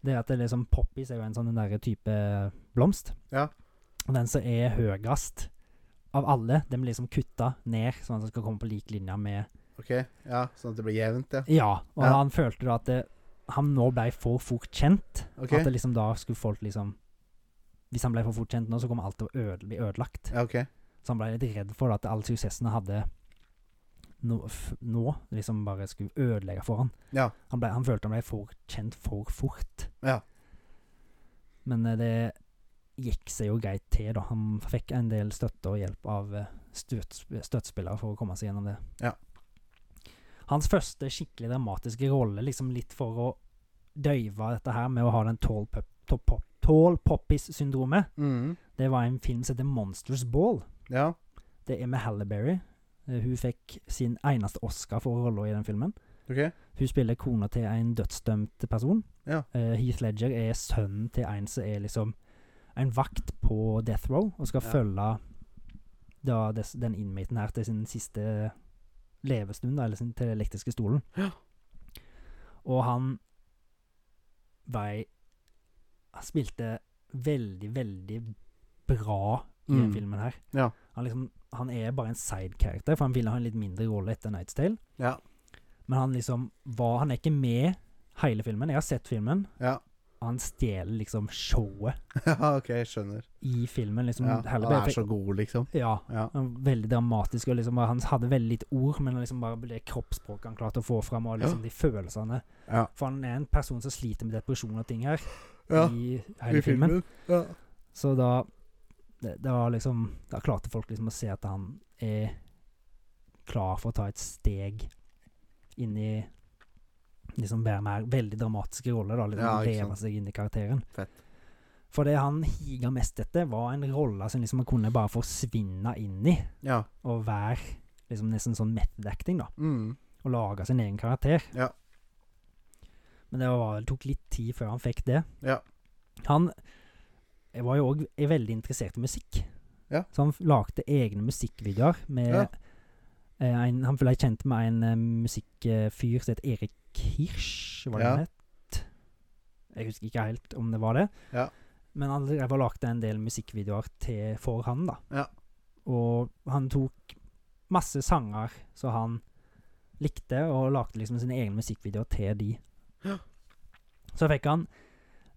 B: Det er at det liksom poppies er jo en sånn den derre type blomst.
A: Ja.
B: Og den som er høyest av alle, den blir liksom kutta ned, sånn at den skal komme på lik linje med
A: OK. Ja, sånn at det blir jevnt, ja.
B: ja, og
A: Ja.
B: han følte da at det, han nå ble for fort kjent.
A: OK.
B: At det liksom da skulle folk liksom Hvis han ble for fort kjent nå, så kommer alt til å øde, bli ødelagt.
A: Ja, OK.
B: Så han ble litt redd for at all suksessen han hadde nå, f nå liksom bare skulle ødelegge for han.
A: Ja.
B: Han, ble, han følte han ble for kjent for fort.
A: Ja.
B: Men eh, det gikk seg jo greit til, da. Han fikk en del støtte og hjelp av eh, støts støttespillere for å komme seg gjennom det.
A: Ja.
B: Hans første skikkelig dramatiske rolle, liksom litt for å døyve dette her med å ha den tall pop- top- pop- tall poppis-syndromet,
A: Mm.
B: det var en film som heter Monsters Ball.
A: Ja.
B: Det er med Halliberry. Hun fikk sin eneste Oscar for rolla i den filmen.
A: OK.
B: Hun spiller kona til en dødsdømt person.
A: Ja.
B: Eh, Heath Ledger er sønnen til en som er liksom en vakt på Death Row, og skal
A: Ja.
B: følge da des, den innmaten her til sin siste levestund, da, eller sin, til den elektriske stolen.
A: Ja.
B: Og han var Han spilte veldig, veldig bra i den
A: Mm.
B: filmen her.
A: Ja.
B: Han, liksom, han er bare en side-character, for han ville ha en litt mindre rolle etter Night's Tale.
A: Ja.
B: Men han liksom var Han er ikke med hele filmen. Jeg har sett filmen.
A: Ja.
B: Han stjeler liksom showet
A: ja, OK, skjønner.
B: i filmen. Liksom,
A: Ja.
B: heller
A: Han
B: bare
A: er
B: fikk-
A: så god, liksom.
B: ja.
A: Ja.
B: Han var veldig dramatisk. Og liksom, bare- han hadde veldig lite ord, men liksom bare det kroppsspråket han klarte å få fram, og liksom de følelsene.
A: Ja.
B: For han er en person som sliter med depresjon og ting her,
A: Ja.
B: i
A: I
B: hele filmen.
A: Ja.
B: Så da det, det var liksom Da klarte folk liksom å se at han er klar for å ta et steg inn i liksom mer, mer veldig dramatiske roller, da. Liksom
A: Ja, ikke
B: leve
A: sant.
B: seg inn i karakteren.
A: Fett.
B: For det han higa mest etter, var en rolle som liksom han kunne bare forsvinne inn i,
A: Ja.
B: og være liksom nesten sånn method-acting, da.
A: Mm.
B: Og lage sin egen karakter.
A: Ja.
B: Men det var, tok litt tid før han fikk det.
A: Ja.
B: Han var jo òg veldig interessert i musikk.
A: Ja.
B: Så han f- lagde egne musikkvideoer. Med,
A: Ja.
B: eh, en, han ble kjent med en eh, musikkfyr som het Erik Hirsch, var det
A: Ja.
B: han het? Jeg husker ikke helt om det var det.
A: Ja.
B: Men han drev og lagde en del musikkvideoer til, for han, da.
A: Ja.
B: Og han tok masse sanger som han likte, og lagde liksom sine egne musikkvideoer til de.
A: Ja.
B: Så fikk han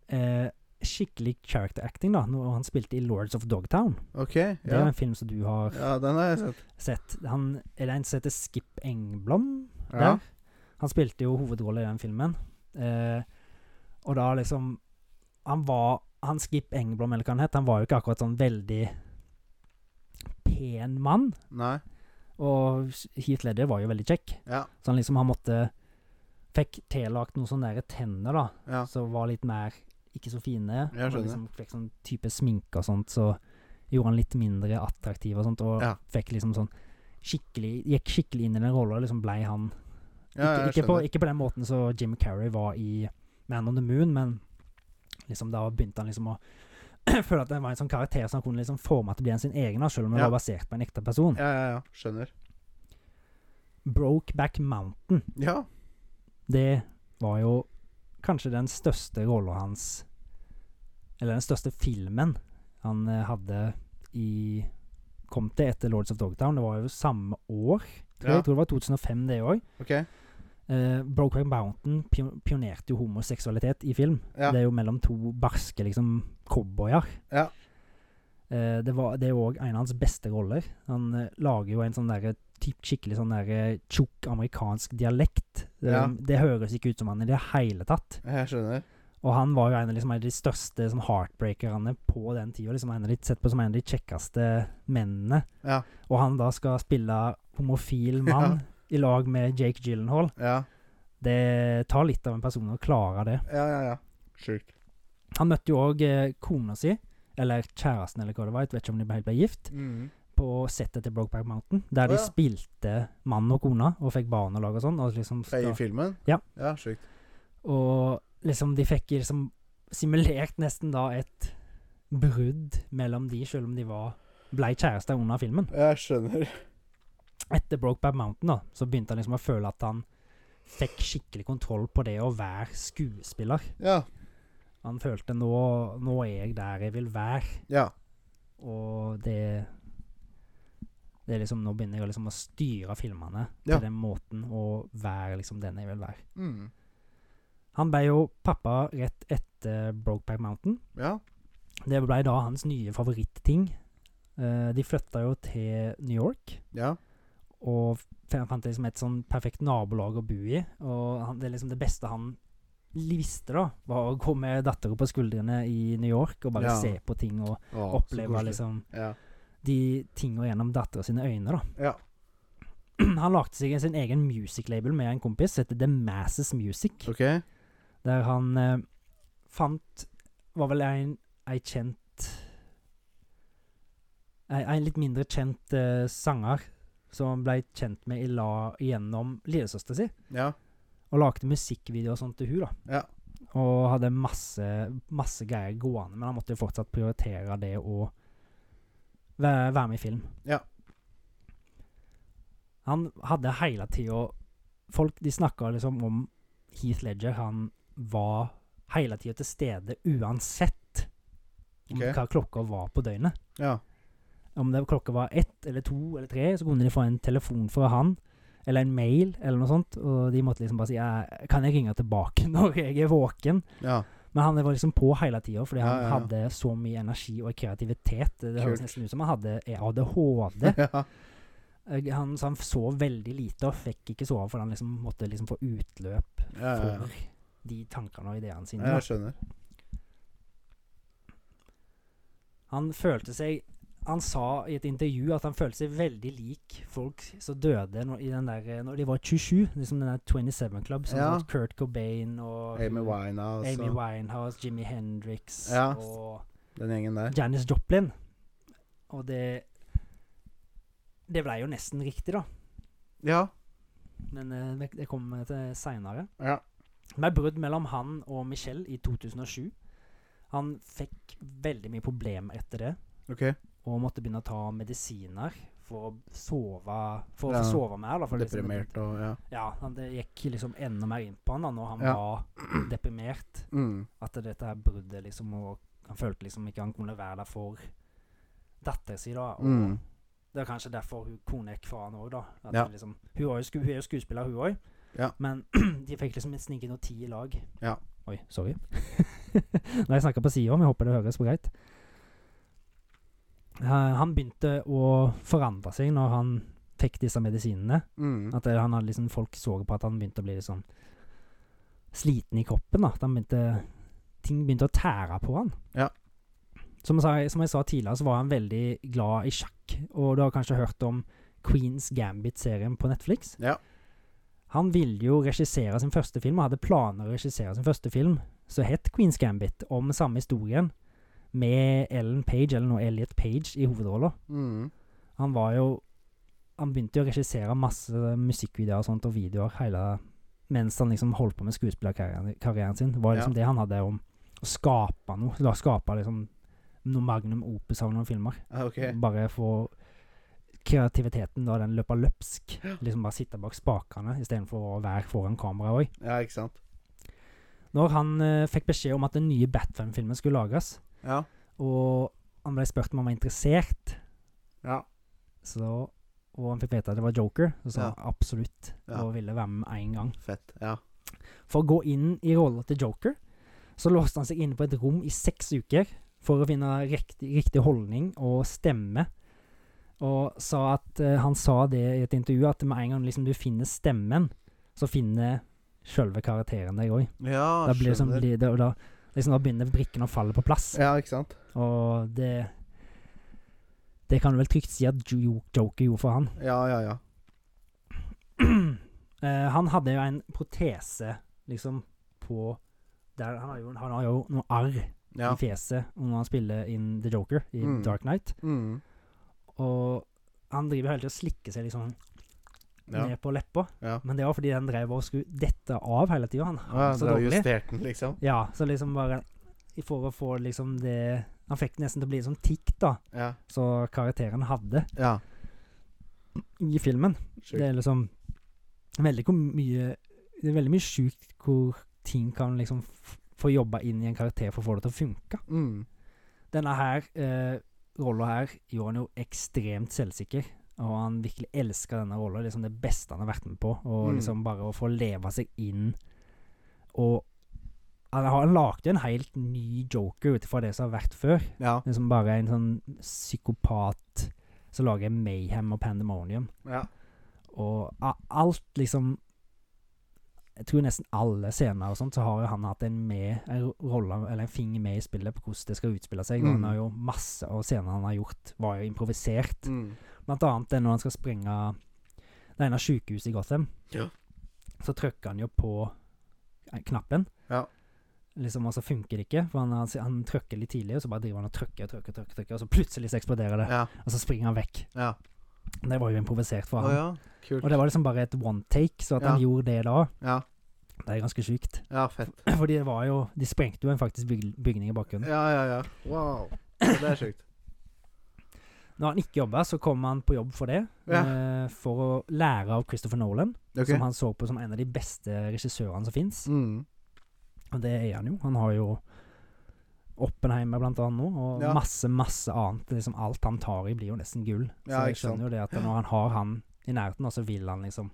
B: eh, skikkelig character acting da Når han spilte i Lords of Dogtown.
A: OK.
B: Det er
A: Ja.
B: jo en film som du har
A: ja, den har jeg sett.
B: sett. Han, er det en som heter Skip Engblom?
A: Ja.
B: Der. Han spilte jo hovedrolle i den filmen. Eh, og da liksom Han var Han Skip Engblom, eller hva han het, han var jo ikke akkurat sånn veldig pen mann.
A: Nei.
B: Og Heath Ledger var jo veldig kjekk,
A: Ja.
B: så han liksom han måtte Fikk tillagt noen sånne der tenner, da,
A: Ja.
B: som var litt mer ikke så fine.
A: Jeg
B: og
A: skjønner.
B: Liksom fikk sånn type sminke og sånt, så gjorde han litt mindre attraktiv og sånt, og
A: Ja.
B: fikk liksom sånn skikkelig Gikk skikkelig inn i den rolla, og liksom blei han
A: ja jeg
B: ikke, ikke, på,
A: skjønner.
B: ikke på den måten som Jim Carrey var i Man on the Moon, men liksom da begynte han liksom å føle at det var en sånn karakter som han kunne liksom forme til å bli en sin egen, da, selv om den
A: Ja.
B: var basert på en ekte person.
A: Ja, ja, ja. Skjønner.
B: Brokeback Mountain,
A: Ja.
B: det var jo kanskje den største rolla hans Eller den største filmen han eh, hadde i Kom til etter Lords of Dogtown. Det var jo samme år, tror jeg.
A: Ja.
B: Jeg tror det var 2005, det òg.
A: OK.
B: Uh, Brokeback Mountain pio- pionerte jo homoseksualitet i film.
A: Ja.
B: Det er jo mellom to barske liksom cowboyer.
A: Ja.
B: Eh, det, var, det er jo òg en av hans beste roller. Han eh, lager jo en sånn derre typ- skikkelig sånn derre tjukk amerikansk dialekt. Eh,
A: Ja.
B: Det høres ikke ut som han i det hele tatt.
A: Jeg skjønner.
B: Og han var jo en av, liksom, en av de største liksom, heartbreakerne på den tida. Liksom, en av de, sett på som en av de kjekkeste mennene.
A: Ja.
B: Og han da skal spille homofil
A: Ja.
B: mann i lag med Jake Gyllenhaal.
A: Ja.
B: Det tar litt av en person å klare det.
A: Ja, ja, ja. Sjukt.
B: Han møtte jo òg eh, kona si, eller kjæresten, eller hva det var, jeg vet ikke om de helt ble gift,
A: Mm.
B: på settet til Brokeback Mountain, der
A: Å,
B: de
A: ja.
B: spilte mann og kone, og fikk barn og lag og sånn. Og liksom,
A: I filmen?
B: Ja.
A: ja sjukt.
B: og liksom de fikk liksom simulert nesten da et brudd mellom de, selv om de var blei kjærester under filmen.
A: Jeg skjønner.
B: Etter Brokeback Mountain da, så begynte han liksom å føle at han fikk skikkelig kontroll på det å være skuespiller.
A: Ja.
B: Han følte nå, nå er jeg der jeg vil være,
A: Ja.
B: og det Det er liksom Nå begynner jeg liksom å styre filmene
A: Ja.
B: på den måten og være liksom den jeg vil være.
A: Mm.
B: Han ble jo pappa rett etter Brokeback Mountain.
A: Ja.
B: Det ble da hans nye favoritting. Eh, de flytta jo til New York
A: Ja.
B: og f- han fant liksom et sånn perfekt nabolag å bo i. Og han, det er liksom det beste han li- visste, da, var å gå med dattera på skuldrene i New York og bare
A: Ja.
B: se på ting og
A: Å, så
B: oppleve
A: koselig.
B: liksom
A: Ja.
B: de tinga gjennom dattera sine øyne, da.
A: Ja.
B: Han lagde seg sin egen music-label med en kompis, som heter The Masses Music,
A: OK.
B: der han eh, fant Var vel en, ei kjent ei, ei litt mindre kjent eh, sanger som han ble kjent med i la gjennom lillesøster si,
A: Ja.
B: og lagde musikkvideoer og sånt til hun da.
A: Ja.
B: Og hadde masse, masse greier gående, men han måtte jo fortsatt prioritere det å være, være med i film.
A: Ja.
B: Han hadde hele tida Folk de snakka liksom om Heath Ledger. Han var hele tida til stede uansett om
A: Ok.
B: hva klokka var på døgnet.
A: Ja.
B: Om det klokka var ett eller to eller tre, så kunne de få en telefon fra han. Eller en mail, eller noe sånt. Og de måtte liksom bare si «Jeg- Kan jeg ringe tilbake når jeg er våken?
A: Ja.
B: Men han var liksom på hele tida, fordi han
A: Ja, ja, ja.
B: hadde så mye energi og kreativitet. Det høres
A: Kult.
B: nesten ut som han hadde ADHD.
A: ja.
B: Eh, Han, så han sov veldig lite og fikk ikke sove, for han liksom måtte liksom få utløp
A: Ja, ja,
B: for
A: ja.
B: de tankene og ideene sine.
A: Ja,
B: da.
A: Jeg skjønner.
B: Han følte seg han sa i et intervju at han følte seg veldig lik folk som døde når, i den der, eh, når de var 27. Liksom den der 27 Club, som
A: Ja.
B: var Kurt Cobain og
A: Amy Winehouse
B: Amy
A: og
B: Winehouse, Jimmy Hendrix
A: Ja.
B: og
A: den gjengen der.
B: Janis Joplin. Og det Det blei jo nesten riktig, da.
A: Ja.
B: Men eh, det- det kommer vi til seinere.
A: ja.
B: Med brudd mellom han og Michelle i 2007. Han fikk veldig mye problemer etter det,
A: OK.
B: og måtte begynne å ta medisiner for å sove For
A: Ja.
B: å få sove mer. Da, for liksom-
A: Deprimert og ja.
B: ja, han, det gikk liksom enda mer inn på han da når han
A: Ja.
B: var deprimert.
A: Mm.
B: At dette her bruddet liksom og Han følte liksom ikke han kunne være der for datteren sin, da. Og
A: Mm.
B: det er kanskje derfor hun kona gikk fra han òg, da. At
A: Ja.
B: det liksom, hun, var jo sku, hun er jo skuespiller, hun òg.
A: Ja.
B: Men de fikk liksom et snikende og ti i lag.
A: Ja.
B: Oi, sorry. Når jeg snakker på sida om, jeg håper det høres greit. Eh, Han begynte å forandre seg når han fikk disse medisinene.
A: Mm.
B: At det, han hadde liksom Folk så på at han begynte å bli litt sånn sliten i kroppen. da At han begynte Ting begynte å tære på han.
A: Ja.
B: Som, jeg sa, som jeg sa tidligere, så var han veldig glad i sjakk. Og du har kanskje hørt om Queens Gambit-serien på Netflix?
A: Ja.
B: Han ville jo regissere sin første film, og hadde planer å regissere sin første film, som het Queens Gambit, om samme historien, med Ellen Page, eller nå Elliot Page, i hovedrolla.
A: Mm.
B: Han var jo Han begynte jo å regissere masse musikkvideoer og sånt og videoer hele mens han liksom holdt på med skuespillerkarrieren karrieren sin. Det var liksom det han hadde om å skape noe. La skape liksom noe magnum opus av noen filmer.
A: Ah, OK.
B: Bare få kreativiteten da den løper løpsk. Liksom bare sitte bak spakene istedenfor å være foran kamera òg.
A: Ja, ikke sant?
B: Når han eh, fikk beskjed om at den nye Batman-filmen skulle lages,
A: Ja.
B: og han ble spurt om han var interessert,
A: Ja.
B: så, og han fikk vite at det var Joker, så sa
A: Ja.
B: han absolutt
A: Ja.
B: og ville være med med en gang.
A: Fett. Ja.
B: For å gå inn i rollen til Joker, så låste han seg inne på et rom i seks uker for å finne riktig, riktig holdning og stemme. Og sa at, eh, han sa det i et intervju, at med en gang liksom du finner stemmen, så finner selve karakteren deg òg.
A: Ja,
B: Da, blir det sånn-
A: skjønner.
B: blir det- og da, liksom, da begynner brikkene å falle på plass.
A: Ja, ikke sant?
B: Og det Det kan du vel trygt si at Jo- Joker gjorde for han.
A: Ja, ja, ja.
B: Eh, han hadde jo en protese, liksom, på der Han har jo, han har jo noe arr
A: Ja.
B: i fjeset når han spiller inn The Joker i
A: Mm.
B: Dark Knight.
A: Mm.
B: Og han driver hele tida og slikker seg liksom
A: Ja.
B: ned på leppa.
A: Ja.
B: Men det var fordi den drev og skulle dette av hele tida. Han
A: Ja,
B: hang
A: du
B: så
A: har
B: dårlig.
A: justert den, liksom?
B: Ja, så liksom bare For å få liksom det Han fikk det nesten til å bli som tikk, da.
A: Ja.
B: Så karakteren hadde
A: ja.
B: i filmen. Det
A: Sjukt.
B: er liksom veldig hvor mye Det er veldig mye sjukt hvor ting kan liksom f- få jobba inn i en karakter for å få det til å funke.
A: Mm.
B: Denne her eh, rolla her gjorde han jo ekstremt selvsikker. Og han virkelig elska denne rolla. Liksom det beste han har vært med på. Og
A: Mm.
B: liksom bare å få leve seg inn og Han, har- han lagde en helt ny joker ut ifra det som har vært før.
A: Ja.
B: Liksom bare en sånn psykopat som lager mayhem og pandemonium.
A: ja.
B: Og a- alt liksom Jeg tror nesten alle scener og sånt, så har jo han hatt en med En ro- rolle, eller en finger med i spillet på hvordan det skal utspille seg. Og
A: Mm.
B: han har jo masse av scenene han har gjort, var jo improvisert.
A: Mm.
B: Blant annet den når han skal sprenge det ene sykehuset i Gotham.
A: Ja.
B: Så trykker han jo på eh, knappen.
A: Ja.
B: Liksom, og så funker det ikke, for han, han, han trykker litt tidlig, og så bare driver han og trykker og trykker, trykker, trykker, og så plutselig så eksploderer det.
A: Ja.
B: Og så springer han vekk.
A: Ja.
B: Det var jo improvisert for
A: Å
B: han.
A: ja. Kult.
B: Og det var liksom bare et one take, så at han
A: Ja.
B: gjorde det da,
A: Ja.
B: det er ganske sjukt.
A: ja, fett.
B: Fordi det var jo De sprengte jo en faktisk byg bygning i bakgrunnen.
A: Ja, ja, ja. Wow. Det er sjukt.
B: Når han ikke jobba, så kom han på jobb for det. Eh, for å lære av Christopher Nolan,
A: Ok.
B: som han så på som en av de beste regissørene som fins.
A: Mm.
B: Og det er han jo. Han har jo Oppenheimer blant annet nå, og
A: Ja.
B: masse, masse annet. Liksom alt han tar i, blir jo nesten gull. Så
A: Ja,
B: jeg
A: ikke sant.
B: skjønner jo det at når han har han i nærheten, da, så vil han liksom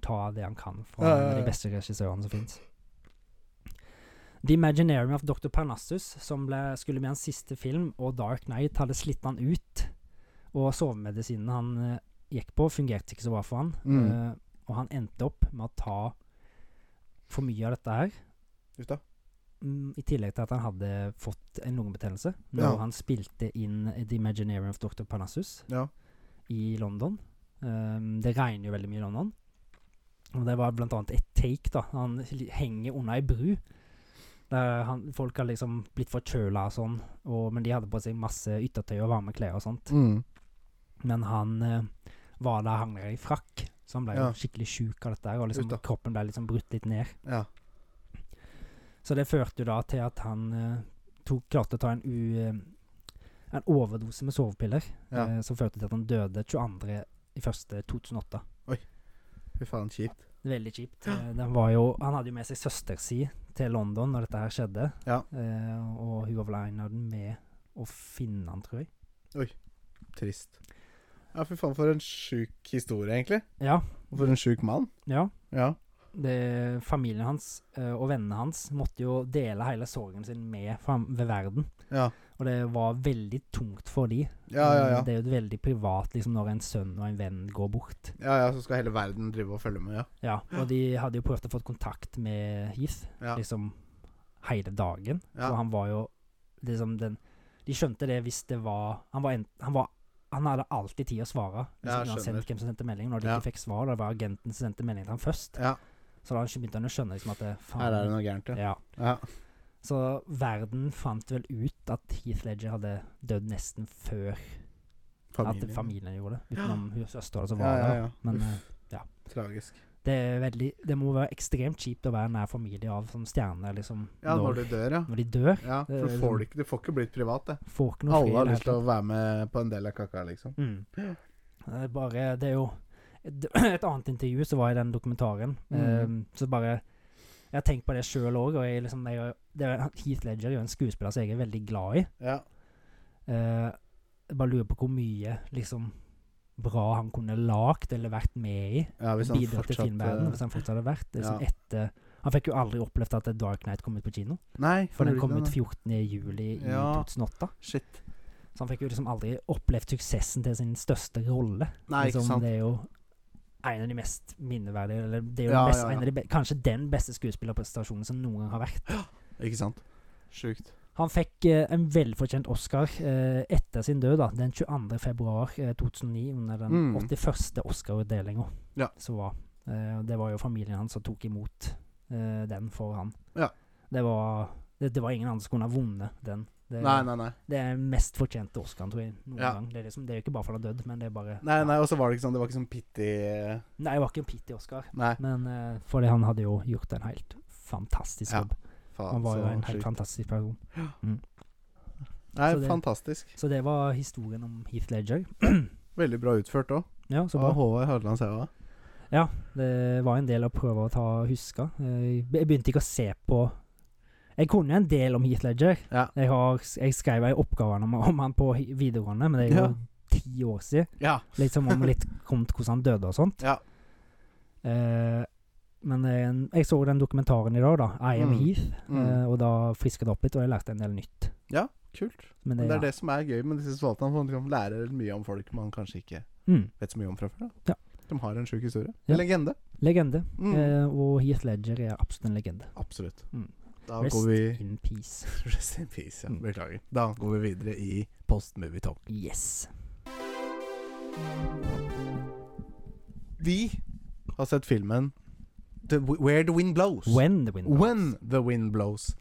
B: ta det han kan fra
A: Ja, ja,
B: en av
A: ja.
B: de beste regissørene som fins. The Imaginarium of Dr. Parnassus, som ble, skulle bli hans siste film, og Dark Knight hadde slitt han ut. Og sovemedisinene han eh, gikk på, fungerte ikke så bra for han.
A: Mm.
B: Eh, og han endte opp med å ta for mye av dette her.
A: Uff da.
B: mm, I tillegg til at han hadde fått en lungebetennelse når
A: Ja.
B: han spilte inn The Imaginarium of Dr. Parnassus
A: Ja.
B: i London. Um, det regner jo veldig mye i London. Og det var blant annet et take, da. Han li- henger unna ei bru. Der han, folk har liksom blitt forkjøla og sånn, og, men de hadde på seg masse yttertøy og varme klær og sånt.
A: Mm.
B: Men han eh, var da hang der i frakk, så han ble jo
A: Ja.
B: skikkelig sjuk av dette. her, Og liksom,
A: Uff da.
B: kroppen ble liksom brutt litt ned.
A: ja.
B: Så det førte jo da til at han eh, tok, klarte å ta en, u, eh, en overdose med sovepiller,
A: Ja.
B: eh, som førte til at han døde 22.01.2008.
A: Fy faen, kjipt.
B: Veldig kjipt. Eh, den var jo, han hadde jo med seg søster si til London når dette her skjedde,
A: Ja.
B: eh, og hun var vel en av dem med å finne han, tror jeg.
A: Trist. Ja, fy faen, for en sjuk historie, egentlig.
B: Ja,
A: Og for en sjuk mann.
B: ja.
A: Ja.
B: det, familien hans eh, og vennene hans måtte jo dele hele sorgen sin med fam ved verden.
A: Ja.
B: Og det var veldig tungt for de.
A: Ja, ja, ja.
B: Eh, Mm, Det er jo veldig privat liksom, når en sønn og en venn går bort.
A: Ja, ja, så skal hele verden drive og følge med, ja.
B: Ja, Og de hadde jo prøvd å få kontakt med Heath
A: Ja.
B: liksom hele dagen.
A: Ja.
B: Så han var jo liksom den De skjønte det hvis det var Han var, en, han, var han hadde alltid tid å svare,
A: Ja,
B: liksom, uansett
A: skjønner.
B: hvem som sendte melding. Når de
A: Ja.
B: ikke fikk svar, da var agenten som sendte melding til ham først.
A: ja.
B: Så da begynte han å skjønne liksom, at det,
A: Her er det noe gærent, ja.
B: ja.
A: ja.
B: Så verden fant vel ut at Heath Ledger hadde dødd nesten før at familien gjorde det. Utenom hun søstera som
A: Ja,
B: var
A: ja,
B: der.
A: ja.
B: Men
A: Uff,
B: eh,
A: Tragisk.
B: det, er veldig, det må være ekstremt kjipt å være nær familie av sånn stjerner, liksom.
A: Ja, når
B: når,
A: du dør, ja.
B: når de dør.
A: Ja,
B: Det er
A: for du
B: liksom-
A: får det ikke, det får ikke blitt privat, det.
B: Får ikke noe
A: Alle har
B: i det
A: lyst til
B: hele
A: å være med på en del av kaka, liksom.
B: tatt. Mm. Det er bare Det er jo et, et annet intervju som var i den dokumentaren, eh,
A: Mm.
B: så bare Jeg har tenkt på det sjøl òg, og jeg liksom jeg, det er, Heath Ledger er jo en skuespiller som jeg er veldig glad i.
A: Ja.
B: Eh, jeg bare lurer på hvor mye liksom bra han kunne lagd eller vært med i.
A: ja hvis han
B: Bidratt til
A: fortsatt
B: filmverdenen
A: eh,
B: hvis han fortsatt hadde vært liksom
A: ja.
B: etter Han fikk jo aldri opplevd at Dark Knight kom ut på kino.
A: Nei,
B: For den kom
A: gjorde
B: ut
A: ikke det,
B: 14. juli i
A: Ja.
B: 2008.
A: nei. Shit.
B: Så han fikk jo liksom aldri opplevd suksessen til sin største rolle.
A: Nei, ikke
B: liksom,
A: sant.
B: Det er jo en av de mest minneverdige Eller det er jo
A: Ja,
B: den
A: ja,
B: beste,
A: ja.
B: En av de be kanskje den beste skuespillerprestasjonen som noen gang har vært.
A: Ikke sant. Sjukt.
B: Han fikk eh, en velfortjent Oscar eh, etter sin død, da, den 22. februar eh, 2009, under den
A: Mm.
B: 81. Oscar-utdelinga.
A: Ja.
B: var. Eh, og det var jo familien hans som tok imot eh, den for han.
A: Ja.
B: Det, var, det, det var ingen andre som kunne ha vunnet den. Det,
A: Nei, nei, nei.
B: det er den mest fortjente Oscaren, tror jeg. noen
A: Ja.
B: gang. Det er, liksom, det er jo ikke bare for han har dødd, men det er bare
A: Nei, nei, Og så var det ikke sånn, det var ikke sånn pitty eh,
B: Nei, det var ikke en pitty Oscar,
A: Nei.
B: men eh, fordi han hadde jo gjort en helt fantastisk
A: Ja,
B: jobb.
A: Faen,
B: han var
A: så
B: jo en helt
A: sjukt.
B: fantastisk person.
A: Nei,
B: så det-
A: fantastisk.
B: Så det var historien om Heath Ledger.
A: Veldig bra utført òg.
B: Ja, så bra.
A: Av Håvard Hadeland Sæva.
B: Det var en del å prøve å ta huske. Eh, Jeg be- jeg begynte ikke å se på Jeg kunne en del om Heath Ledger.
A: Ja.
B: Jeg, har, jeg skrev ei oppgave om, om han på hi- videregående, men det er jo
A: Ja.
B: ti år siden.
A: Ja.
B: Liksom om litt om hvordan han døde og sånt.
A: Ja.
B: Eh, men eh, jeg, jeg så den dokumentaren i dag, da. I Am
A: Mm.
B: Heath.
A: Mm.
B: eh, og da friska det opp litt, og jeg lærte en del nytt.
A: Kult. Men
B: Men det,
A: det er det som er gøy med disse spaltene. for Man kan lære mye om folk man kanskje ikke
B: Mm,
A: vet så mye om fra før. da
B: Ja.
A: De har en sjuk historie.
B: Ja.
A: En legende.
B: legende.
A: Mm.
B: Eh, og Heath Ledger er absolutt en legende.
A: Absolutt.
B: Mm.
A: Da
B: Rest
A: går vi
B: in peace.
A: Rest in peace, ja.
B: Mm.
A: Beklager. Da går vi videre i Post Movie Talk.
B: Yes.
A: Vi har sett filmen the, Where the Wind Blows.
B: When the wind
A: When the Wind Blows.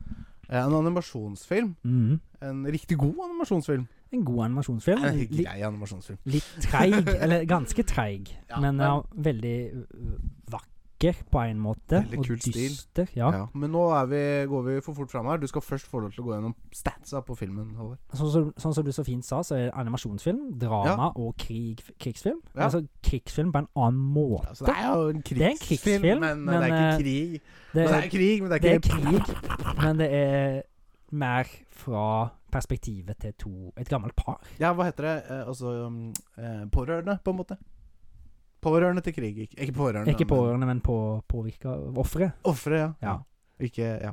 A: Eh, En animasjonsfilm.
B: Mhm.
A: En riktig god animasjonsfilm.
B: En god animasjonsfilm.
A: En
B: Li-
A: grei animasjonsfilm.
B: litt treig, eller ganske treig,
A: Ja,
B: men
A: men-
B: ja, veldig øh, vakker på en måte.
A: Veldig
B: og
A: kul stil.
B: dyster. Ja.
A: Ja, Men nå er vi, går vi for fort fram her. Du skal først få lov til å gå gjennom statsa på filmen. Håvard.
B: Sånn, som, sånn som du så fint sa, så er det animasjonsfilm, drama og krig, krigsfilm.
A: Ja.
B: Altså krigsfilm på en annen måte.
A: Altså, det er jo en
B: er en
A: krigsfilm,
B: krigsfilm,
A: men,
B: men,
A: det er
B: eh,
A: ikke krig.
B: Det,
A: Men det er krig, men det er
B: det
A: ikke
B: er krig, men det er mer fra perspektivet til to et gammelt par.
A: Ja, hva heter det? Eh, altså um, eh, Pårørende, på en måte. Pårørende til krig. Ikke, ikke pårørende,
B: Ikke pårørende, men på, påvirka offeret.
A: men ofre. Ja.
B: Ja.
A: Ikke Ja.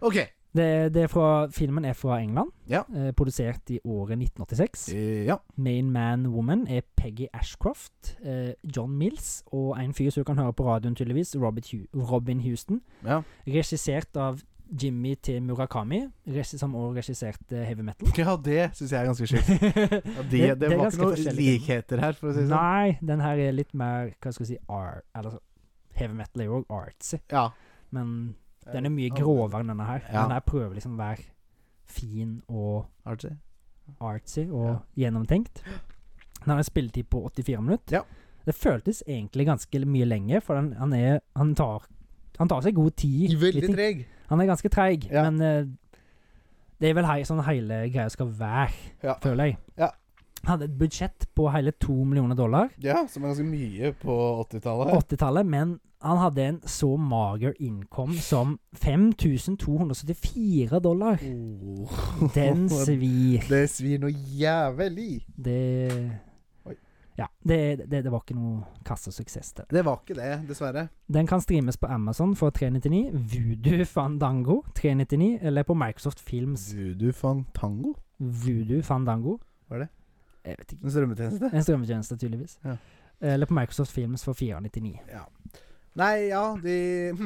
A: OK.
B: Det, det er fra, filmen er fra England,
A: Ja.
B: eh, produsert i året 1986.
A: Eh, Ja.
B: Main Man Woman er Peggy Ashcroft, eh, John Mills og en fyr som du kan høre på radioen, tydeligvis, Robert Hu Robin Houston.
A: ja.
B: Regissert av Jimmy til Murakami, regi- som også regisserte heavy metal.
A: Ja, det syns jeg er ganske sjukt. Ja, de, det,
B: Det- det er
A: var
B: ganske
A: ikke noen
B: forskjellig.
A: likheter her, for å si det sånn.
B: Nei, den her er litt mer Hva skal jeg si art, eller, så- Heavy metal er jo også artsy,
A: sånn. Ja.
B: men den er mye grovere enn denne her.
A: Ja.
B: Den her prøver liksom å være fin og
A: Artsy.
B: artsy og gjennomtenkt. Den har en spilletid på 84 minutter.
A: Ja.
B: Det føltes egentlig ganske mye lenger, for den, han, er, han, tar, han tar seg god tid. i ting.
A: treg.
B: Han er ganske treig,
A: Ja.
B: men eh, det er vel hei, sånn hele greia skal være,
A: Ja.
B: føler jeg.
A: Ja.
B: Han hadde et budsjett på hele to millioner dollar
A: Ja, som er ganske mye på
B: på
A: 80-tallet.
B: 80-tallet, men han hadde en så mager innkom som 5274 dollar. Den svir.
A: Det svir noe jævlig.
B: Det
A: Oi.
B: Ja, det, det, det var ikke noe kassesuksess der.
A: Det var ikke det, dessverre.
B: Den kan streames på Amazon for 399, Voodoo Fandango 399, eller på Microsoft Films
A: Zudu Fantango?
B: Voodoo Fandango.
A: Hva er det?
B: Jeg vet ikke.
A: En strømmetjeneste?
B: En strømmetjeneste, tydeligvis.
A: Ja.
B: Eller på Microsoft Films for 499.
A: Ja. Nei, ja, de